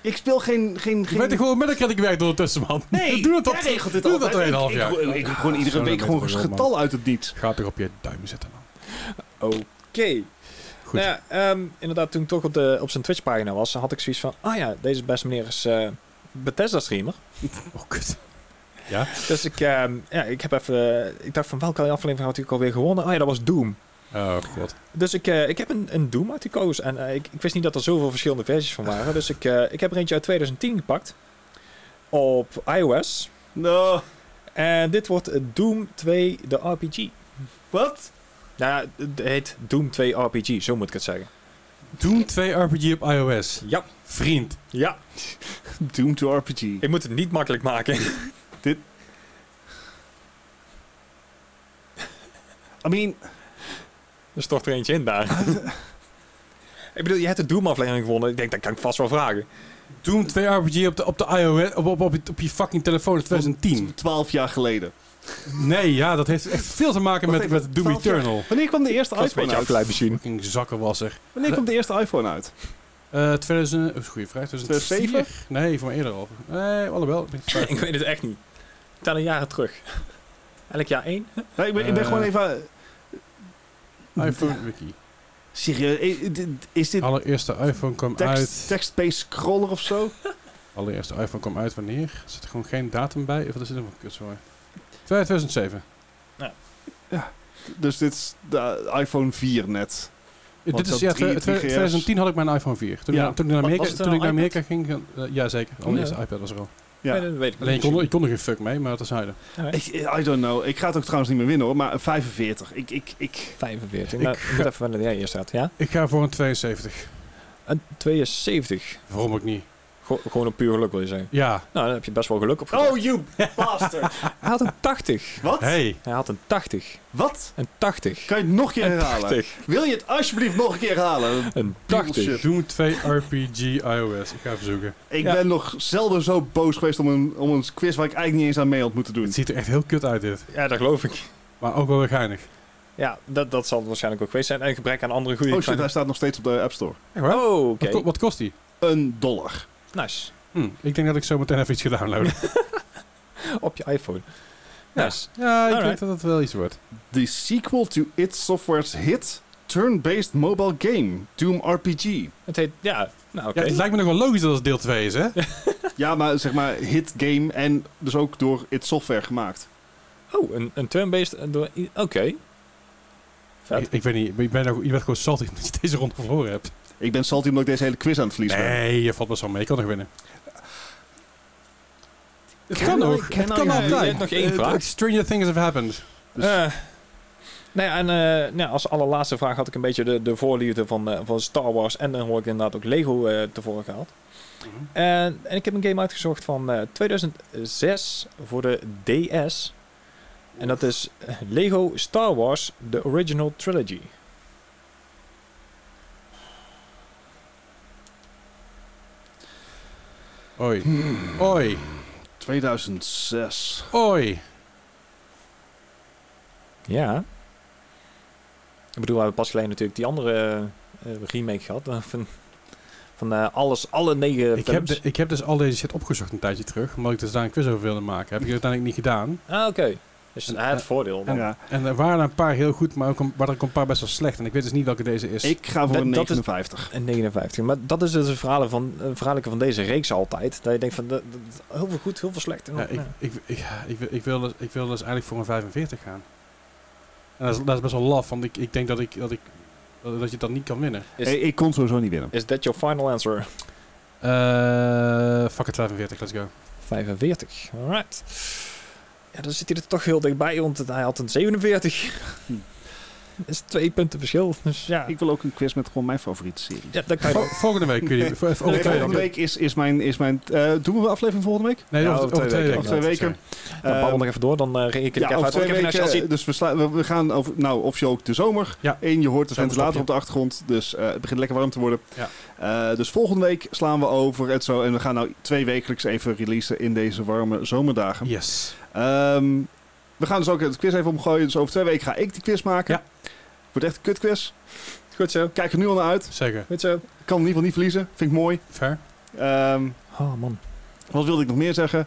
Speaker 3: Ik speel geen... geen,
Speaker 1: Je
Speaker 3: geen...
Speaker 1: weet toch gewoon Metacritic werkt ondertussen, man? *laughs*
Speaker 3: Nee,
Speaker 1: Doe dat
Speaker 3: jij
Speaker 1: tot,
Speaker 3: regelt dit
Speaker 1: doe dat
Speaker 3: altijd.
Speaker 1: 2,5 jaar.
Speaker 3: Ik, ik, ik heb gewoon iedere
Speaker 1: Zo'n
Speaker 3: week gewoon een
Speaker 1: meter geweld,
Speaker 3: getal uit het niets.
Speaker 1: Ga toch op je duim zetten, man.
Speaker 2: Oké.
Speaker 1: Goed.
Speaker 2: Nou ja, ehm, inderdaad, toen ik toch op, de, op zijn Twitch-pagina was, had ik zoiets van... Ah ja, deze beste meneer is eh Bethesda-streamer.
Speaker 1: Oh, kut.
Speaker 2: Dus ik, ehm, ja, ik heb even... eh, ik dacht van, welke aflevering had ik alweer gewonnen? Oh ja, dat was Doom.
Speaker 1: Oh, god.
Speaker 2: Dus ik, eh, ik heb een, een Doom uit gekozen. En eh, ik, ik wist niet dat er zoveel verschillende versies van waren. Dus ik, eh, ik heb er eentje uit 2010 gepakt. Op iOS.
Speaker 3: No,
Speaker 2: En dit wordt eh, Doom 2, de RPG.
Speaker 3: wat?
Speaker 2: Nou, ja, het heet Doom 2 RPG, zo moet ik het zeggen.
Speaker 1: Doom 2 RPG op iOS.
Speaker 2: Ja.
Speaker 1: Vriend.
Speaker 2: Ja,
Speaker 3: Doom to RPG.
Speaker 2: ik moet het niet makkelijk maken.
Speaker 3: I mean,
Speaker 2: Er stort er eentje in daar. *laughs* ik bedoel, je hebt de Doom-aflevering gewonnen. Ik denk, dat kan ik vast wel vragen.
Speaker 1: Doom 2 RPG op de, op de iOS, op, op, op, je- op je fucking telefoon in 2010.
Speaker 3: 12 jaar geleden.
Speaker 1: Nee, ja, dat heeft echt veel te maken
Speaker 3: Wacht
Speaker 1: met,
Speaker 3: even,
Speaker 1: met Doom
Speaker 3: 12 jaar-
Speaker 1: Eternal.
Speaker 3: Wanneer kwam de eerste
Speaker 2: Dat is een
Speaker 3: iPhone
Speaker 2: beetje
Speaker 3: uit?
Speaker 2: afgeleid *laughs* misschien.
Speaker 1: Fucking zakkenwasser.
Speaker 3: Wanneer kwam de eerste iPhone uit?
Speaker 1: Eh 2000, oh, goeie vraag, 2007? Nee, van eerder al. Nee, alhoewel. ik denk het
Speaker 2: ik
Speaker 1: vijf.
Speaker 2: weet het echt niet. Tellen jaren terug. Elk jaar één?
Speaker 3: Nee, ik ben, ik ben
Speaker 1: Eh.
Speaker 3: gewoon even... *laughs*
Speaker 1: iPhone Wiki.
Speaker 3: Serieus, eh, dit- is dit
Speaker 1: Allereerste iPhone kwam
Speaker 3: tekst-
Speaker 1: uit.
Speaker 3: text-based scroller of zo? *laughs*
Speaker 1: Allereerste iPhone kwam uit wanneer? Zit er gewoon geen datum bij? Of wat is dit nou voor kut, sorry. 2007.
Speaker 3: Dus dit is de iPhone 4 net.
Speaker 1: Eh, Dit is,
Speaker 3: dat
Speaker 1: ja,
Speaker 3: drie-
Speaker 1: twe- twe-
Speaker 3: drie GS.
Speaker 1: 2010 had ik mijn iPhone 4. Toen,
Speaker 3: Ja.
Speaker 1: ik- toen ik naar
Speaker 2: Wat,
Speaker 1: Amerika,
Speaker 2: was het
Speaker 1: toen ik
Speaker 2: een
Speaker 1: naar Amerika ging... eh, ja, zeker. Allereerste iPad was er al.
Speaker 3: Ja.
Speaker 2: Nee, dat weet ik
Speaker 1: Alleen, ik
Speaker 2: niet.
Speaker 1: kon, ik kon er geen fuck mee, maar dat is huilen.
Speaker 2: Ja,
Speaker 3: Ik, eh, I don't know. Ik ga het ook trouwens niet meer winnen hoor, maar 45. Ik, ik, ik,
Speaker 2: 45.
Speaker 1: Ik
Speaker 2: Nou, Ik
Speaker 1: ga-
Speaker 2: moet even wennen dat jij hier staat, ja?
Speaker 1: Ik ga voor een 72.
Speaker 2: Een 72.
Speaker 1: Waarom ook niet?
Speaker 2: Go- gewoon op puur geluk wil je zeggen.
Speaker 1: Ja.
Speaker 2: Nou, dan heb je best wel geluk op.
Speaker 3: Oh, you *laughs* bastard.
Speaker 2: Hij had een 80.
Speaker 3: Wat?
Speaker 1: Hey.
Speaker 2: Hij had een 80.
Speaker 3: Wat?
Speaker 2: Een 80.
Speaker 3: Kan je het nog een keer
Speaker 2: Een
Speaker 3: herhalen?
Speaker 2: 80.
Speaker 3: Wil je het alsjeblieft nog een keer herhalen?
Speaker 2: Een
Speaker 3: Bullshit.
Speaker 2: 80.
Speaker 1: Doom 2 RPG iOS. Ik ga even zoeken.
Speaker 3: Ik
Speaker 2: Ja.
Speaker 3: ben nog zelden zo boos geweest om een, om een quiz waar ik eigenlijk niet eens aan mee had moeten doen.
Speaker 1: Het ziet er echt heel kut uit dit.
Speaker 2: Ja, dat geloof ik.
Speaker 1: Maar ook wel weer geinig.
Speaker 2: Ja, dat, dat zal het waarschijnlijk ook geweest zijn. En gebrek aan andere goede
Speaker 3: Oh shit, hij
Speaker 2: kwaliteiten.
Speaker 3: staat nog steeds op de App Store.
Speaker 1: Echt waar?
Speaker 2: Oh, oké.
Speaker 1: Wat, ko- wat kost die?
Speaker 3: Een dollar.
Speaker 2: Nice.
Speaker 1: Hm, ik denk dat ik zo meteen even iets ga downloaden.
Speaker 2: Op je iPhone.
Speaker 1: Ja.
Speaker 2: Nice.
Speaker 1: ja, ik denk
Speaker 2: Alright.
Speaker 1: dat het wel iets wordt.
Speaker 3: The sequel to id Software's hit turn-based mobile game, Doom RPG.
Speaker 2: Het heet, ja, nou oké.
Speaker 1: Ja, het lijkt me nog wel logisch dat het deel 2 is, hè?
Speaker 3: ja, maar zeg maar hit game en dus ook door id Software gemaakt.
Speaker 2: Oh, een, een turn-based... eh, door- Oké. Vet.
Speaker 1: Ik, ik weet niet, ik ben nog, je bent gewoon salty *laughs* omdat je deze ronde verloren hebt.
Speaker 3: Ik ben salty omdat ik deze hele quiz aan het verliezen ben.
Speaker 1: Nee, je valt best wel mee. Ik kan nog winnen. Het
Speaker 3: Can
Speaker 1: kan
Speaker 3: I-
Speaker 1: ook.
Speaker 3: can
Speaker 1: Het
Speaker 3: I
Speaker 1: kan
Speaker 3: have-
Speaker 1: altijd.
Speaker 2: Je hebt nog één
Speaker 1: Eh,
Speaker 2: vraag.
Speaker 1: Stranger things have happened.
Speaker 3: Dus-
Speaker 2: Eh, nou ja, en eh, nou, ja, als allerlaatste vraag had ik een beetje de, de voorliefde van, eh, van Star Wars. En dan hoor ik inderdaad ook Lego eh tevoren gehaald.
Speaker 1: Mhm.
Speaker 2: En, en ik heb een game uitgezocht van eh, 2006 voor de DS. En dat is eh, Lego Star Wars The Original Trilogy.
Speaker 1: Oi. Oi.
Speaker 3: 2006.
Speaker 1: Oi.
Speaker 2: Ja. Ik bedoel, we hebben pas geleden natuurlijk die andere eh, eh, remake gehad. *laughs* eh, Van, van eh, alles, alle negen
Speaker 1: Ik heb,
Speaker 2: films.
Speaker 1: de- ik heb dus al deze shit opgezocht een tijdje terug, omdat ik dus daar een quiz over wilde maken. Heb ik uiteindelijk niet gedaan.
Speaker 2: Ah, oké. Dus
Speaker 1: En-
Speaker 2: hij had
Speaker 1: eh,
Speaker 2: voordeel. man.
Speaker 3: Ja.
Speaker 1: En er waren een paar heel goed, maar ook een, waren er ook een paar best wel slecht. En ik weet dus niet welke deze is.
Speaker 3: Ik ga voor
Speaker 2: Dat-
Speaker 3: een
Speaker 2: dat is-
Speaker 3: 59.
Speaker 2: En 59. Maar dat is dus het verhaal van, eh, verhaallijke van deze reeks altijd. Dat je denkt van dat, dat- heel veel goed, heel veel slecht. En
Speaker 1: Ja,
Speaker 2: dan-
Speaker 1: ik, ik, ik, ik, wil- ik, wil dus, ik wil dus eigenlijk voor een 45 gaan. En dat is, dat is best wel laf, want ik, ik denk dat, ik, dat, ik, dat, dat je dat niet kan winnen.
Speaker 2: Is-
Speaker 3: Hey, ik kon sowieso niet winnen.
Speaker 2: Is that your final answer?
Speaker 1: Eh fuck het 45, let's go.
Speaker 2: 45. Alright. Ja, dan zit hij er toch heel dichtbij, want het- hij had een 47.
Speaker 3: Hm.
Speaker 2: Dat *laughs* is twee punten verschil. Dus ja.
Speaker 3: Ik wil ook een quiz met gewoon mijn favoriete serie.
Speaker 2: ja, dat kan
Speaker 1: Vol-
Speaker 2: je.
Speaker 1: volgende week kun je... Nee, over
Speaker 2: Nee,
Speaker 1: twee
Speaker 2: volgende
Speaker 1: weken.
Speaker 3: volgende week is, is mijn... Is mijn eh, doen we een aflevering volgende week?
Speaker 1: Nee,
Speaker 2: Ja,
Speaker 1: over, over twee weken.
Speaker 3: Over twee weken.
Speaker 2: Dan
Speaker 3: Eh,
Speaker 2: babbel nog even door, dan eh reken ik
Speaker 3: ja,
Speaker 2: even
Speaker 3: over
Speaker 2: uit.
Speaker 3: twee
Speaker 2: Ik heb
Speaker 3: weken,
Speaker 2: nou Chelsea-
Speaker 3: dus we, sla- we, we gaan over, nou, officieel ook de zomer
Speaker 1: Ja.
Speaker 3: in. Je hoort de ventilator
Speaker 1: Zomerstopje.
Speaker 3: op de achtergrond, dus eh, het begint lekker warm te worden.
Speaker 1: Ja.
Speaker 3: Eh, dus volgende week slaan we over en zo. En we gaan nou twee wekelijks even releasen in deze warme zomerdagen.
Speaker 1: Yes.
Speaker 3: Ehm, we gaan dus ook het quiz even omgooien. Dus over twee weken ga ik die quiz maken.
Speaker 1: Ja.
Speaker 3: Wordt echt een kutquiz.
Speaker 2: Goed zo.
Speaker 3: Kijk er nu al naar uit.
Speaker 1: Zeker.
Speaker 2: Goed zo.
Speaker 3: Kan in ieder geval niet verliezen. Vind ik mooi.
Speaker 1: Fair.
Speaker 3: Ehm,
Speaker 2: Oh man.
Speaker 3: wat wilde ik nog meer zeggen?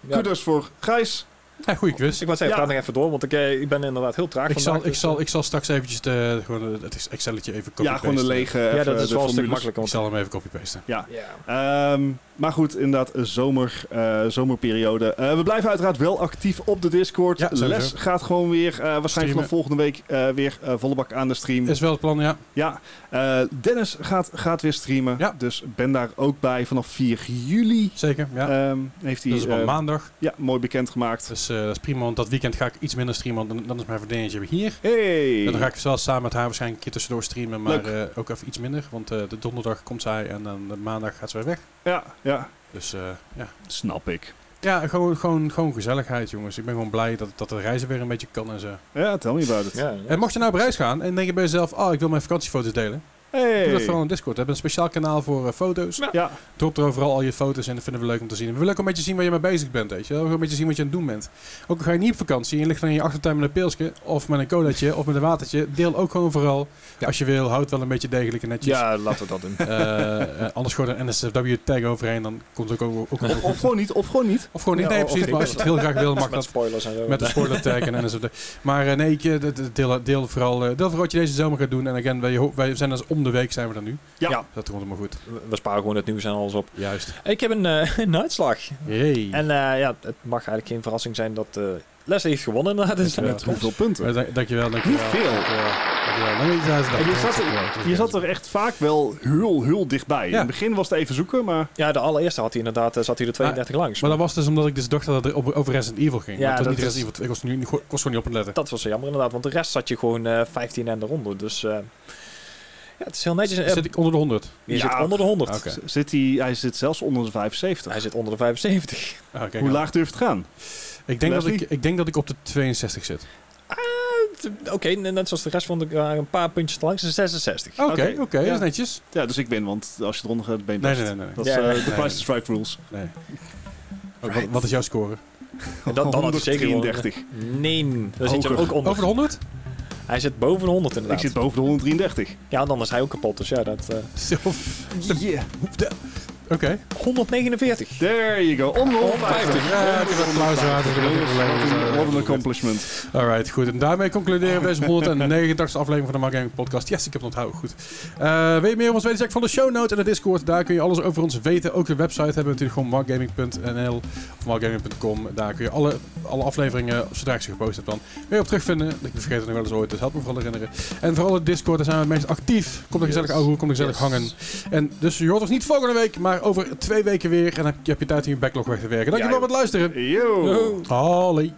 Speaker 2: Ja.
Speaker 3: Kudos voor Gijs.
Speaker 1: Ja, goeie quiz.
Speaker 2: dus Ik wou zeggen,
Speaker 3: Ja.
Speaker 2: praat nog even door, want ik, eh, ik ben inderdaad heel traag
Speaker 1: Ik
Speaker 2: vandaag.
Speaker 1: zal, ik,
Speaker 2: dus,
Speaker 1: zal,
Speaker 2: eh,
Speaker 1: ik zal straks eventjes de, gewoon eh, het Excelletje even copy
Speaker 3: ja, gewoon een lege.
Speaker 2: ja,
Speaker 3: even
Speaker 2: dat is
Speaker 3: de
Speaker 2: wel een stuk
Speaker 3: formules.
Speaker 1: Ik
Speaker 2: makkelijker.
Speaker 1: zal hem even copy-pasten.
Speaker 2: want- Ja.
Speaker 3: Ehm, maar goed, inderdaad, een zomer, eh, zomerperiode. Eh, we blijven uiteraard wel actief op de Discord.
Speaker 1: Ja, sowieso.
Speaker 3: Les gaat gewoon weer, eh, waarschijnlijk
Speaker 1: Streamen.
Speaker 3: vanaf volgende week, eh, weer eh, volle bak aan de stream.
Speaker 1: Is wel het plan, ja.
Speaker 3: Ja, eh, Dennis gaat, gaat weer streamen.
Speaker 1: Ja.
Speaker 3: Dus ben daar ook bij vanaf 4 juli.
Speaker 1: Zeker, ja.
Speaker 3: Ehm, heeft hij
Speaker 1: dat is wel
Speaker 3: eh,
Speaker 1: maandag.
Speaker 3: ja, mooi bekendgemaakt.
Speaker 1: Dus eh, dat is prima, want dat weekend ga ik iets minder streamen. want Dan, dan is mijn verdediging hier.
Speaker 3: Hey!
Speaker 1: En dan ga ik wel samen met haar waarschijnlijk een keer tussendoor streamen. Maar eh, ook even iets minder. Want eh, de donderdag komt zij en dan de maandag gaat ze weer weg.
Speaker 3: Ja, ja,
Speaker 1: Dus eh, ja.
Speaker 3: snap ik.
Speaker 1: Ja, gewoon, gewoon, gewoon gezelligheid, jongens. Ik ben gewoon blij dat, dat de reizen weer een beetje kan en zo.
Speaker 3: Ja, tell me about it.
Speaker 2: Ja, ja.
Speaker 1: En mocht je nou op reis gaan en denk je bij jezelf... Oh, ik wil mijn vakantiefoto's delen. Doe dat
Speaker 3: Hey!
Speaker 1: vooral in Discord. We hebben een speciaal kanaal voor eh, foto's.
Speaker 3: Ja,
Speaker 1: Drop er overal al je foto's in. Dat vinden we leuk om te zien. En We willen ook een beetje zien waar je mee bezig bent. Weet je. wel. We willen een beetje zien wat je aan het doen bent. Ook al ga je niet op vakantie en je ligt dan in je achtertuin met een pilsje... of met een colaatje of met een watertje. Deel ook gewoon vooral.
Speaker 2: Ja.
Speaker 1: Als je wil, houd wel een beetje degelijk en netjes.
Speaker 2: ja, laten we dat doen.
Speaker 1: Eh, eh, anders gewoon een NSFW-tag overheen, dan komt het ook... ook, ook
Speaker 3: of, of gewoon niet, of gewoon niet.
Speaker 1: of gewoon niet,
Speaker 2: Ja,
Speaker 1: nee,
Speaker 2: of-
Speaker 1: precies,
Speaker 2: of-
Speaker 1: maar als je het heel graag wil, mag
Speaker 2: Met *laughs*
Speaker 1: dat
Speaker 2: *laughs* spoilers en zo.
Speaker 1: met de spoiler-tag en NSFW. Maar eh, nee, ik, eh, de- de- deel, deel, vooral, eh, deel vooral wat je deze zomer gaat doen. En again, wij, ho- wij zijn dus on om de week zijn we er nu.
Speaker 3: Ja.
Speaker 2: Ja.
Speaker 1: Dat komt helemaal goed.
Speaker 2: We- We sparen gewoon het nieuws en alles op.
Speaker 1: Juist.
Speaker 2: Ik heb een, eh, *laughs* een uitslag.
Speaker 1: Hey.
Speaker 2: En eh, ja, het mag eigenlijk geen verrassing zijn dat eh Leslie heeft gewonnen. Dus, Dat is
Speaker 3: Met hoeveel punten?
Speaker 1: Eh, dank- Dankjewel, dankjewel.
Speaker 3: Niet veel.
Speaker 1: Dankjewel. dankjewel. Nee, ja, is dat-
Speaker 3: En je zat er-
Speaker 1: dankjewel.
Speaker 3: Je zat er echt vaak wel heel, heel dichtbij. In
Speaker 1: Ja.
Speaker 3: het begin was het even zoeken, maar
Speaker 2: Ja, de allereerste had hij inderdaad, eh, zat hij er 32 langs.
Speaker 1: Maar dat was dus omdat ik dus dacht dat het over over Resident Evil ging.
Speaker 2: Ja,
Speaker 1: Ja, dat
Speaker 2: dat
Speaker 1: niet Resident
Speaker 2: is-
Speaker 1: Evil. Ik was, nu, ik was gewoon niet op het letten.
Speaker 2: Dat was jammer inderdaad, want de rest zat je gewoon eh, 15 en eronder. Dus eh, ja, het is heel netjes. Eh,
Speaker 1: Zit ik onder de 100?
Speaker 2: je
Speaker 3: Ja.
Speaker 2: zit onder de 100.
Speaker 1: Oké.
Speaker 3: z- zit hij, hij zit zelfs onder de 75.
Speaker 2: Hij zit onder de 75.
Speaker 1: Ah, kijk
Speaker 3: Hoe
Speaker 1: aan.
Speaker 3: laag durft het gaan?
Speaker 1: ik, denk dat ik,
Speaker 3: Leslie?
Speaker 1: ik denk dat ik op de 62 zit.
Speaker 2: T- *laughs* Oké, n- net zoals de rest vond ik daar een paar puntjes te langs.
Speaker 1: *laughs*
Speaker 2: een 66.
Speaker 1: Oké,
Speaker 3: Oké.
Speaker 1: oké.
Speaker 3: Ja.
Speaker 1: Dat is netjes.
Speaker 3: Ja, dus ik win, want als je eronder gaat, ben je
Speaker 1: Nee,
Speaker 3: best.
Speaker 1: nee, nee. nee.
Speaker 3: Dat
Speaker 2: Ja, Oh,
Speaker 3: is eh,
Speaker 2: nee.
Speaker 3: de
Speaker 1: Nee.
Speaker 3: Price is Right rules.
Speaker 1: nee. Ook Wat, wat is jouw score?
Speaker 2: En dat- dan had hij zeker gewonnen.
Speaker 3: 133.
Speaker 2: Nee, daar zit je
Speaker 3: Hoger.
Speaker 2: ook onder.
Speaker 1: Over de
Speaker 3: *laughs*
Speaker 1: 100?
Speaker 2: Hij zit boven de 100
Speaker 3: Ik
Speaker 2: inderdaad.
Speaker 3: zit boven de 133.
Speaker 2: Ja, en dan is hij ook kapot. Dus ja, dat... eh,
Speaker 1: Zo.
Speaker 3: Yeah.
Speaker 1: Oké.
Speaker 2: 149.
Speaker 3: There you go. Om de 150.
Speaker 1: Ja, ik heb een applaus waard. Ik heb een applaus
Speaker 3: Wat een
Speaker 1: waard.
Speaker 3: accomplishment.
Speaker 1: Alright, goed. En daarmee concluderen we deze 189 e aflevering van de Mark Gaming Podcast. Yes, ik heb het onthouden. Goed. Eh weet je meer over ons weten? Check van de show notes en de Discord. Daar kun je alles over ons weten. Ook de website hebben we natuurlijk gewoon markgaming.nl of markgaming.com. Daar kun je alle, alle afleveringen, zodra ik ze gepost heb dan, weer op terugvinden. Ik vergeet het nog wel eens ooit, dus help me vooral herinneren. En vooral de Discord, daar zijn we het meest actief. Kom er gezellig
Speaker 2: Yes.
Speaker 1: ouwe, kom er gezellig
Speaker 2: Yes.
Speaker 1: hangen. En dus je hoort ons niet volgende week, maar over twee weken weer. En dan heb je tijd om je backlog weg te werken. Dankjewel
Speaker 3: Ja,
Speaker 1: voor het luisteren.
Speaker 3: Yo.
Speaker 2: Yo.
Speaker 1: Hallo.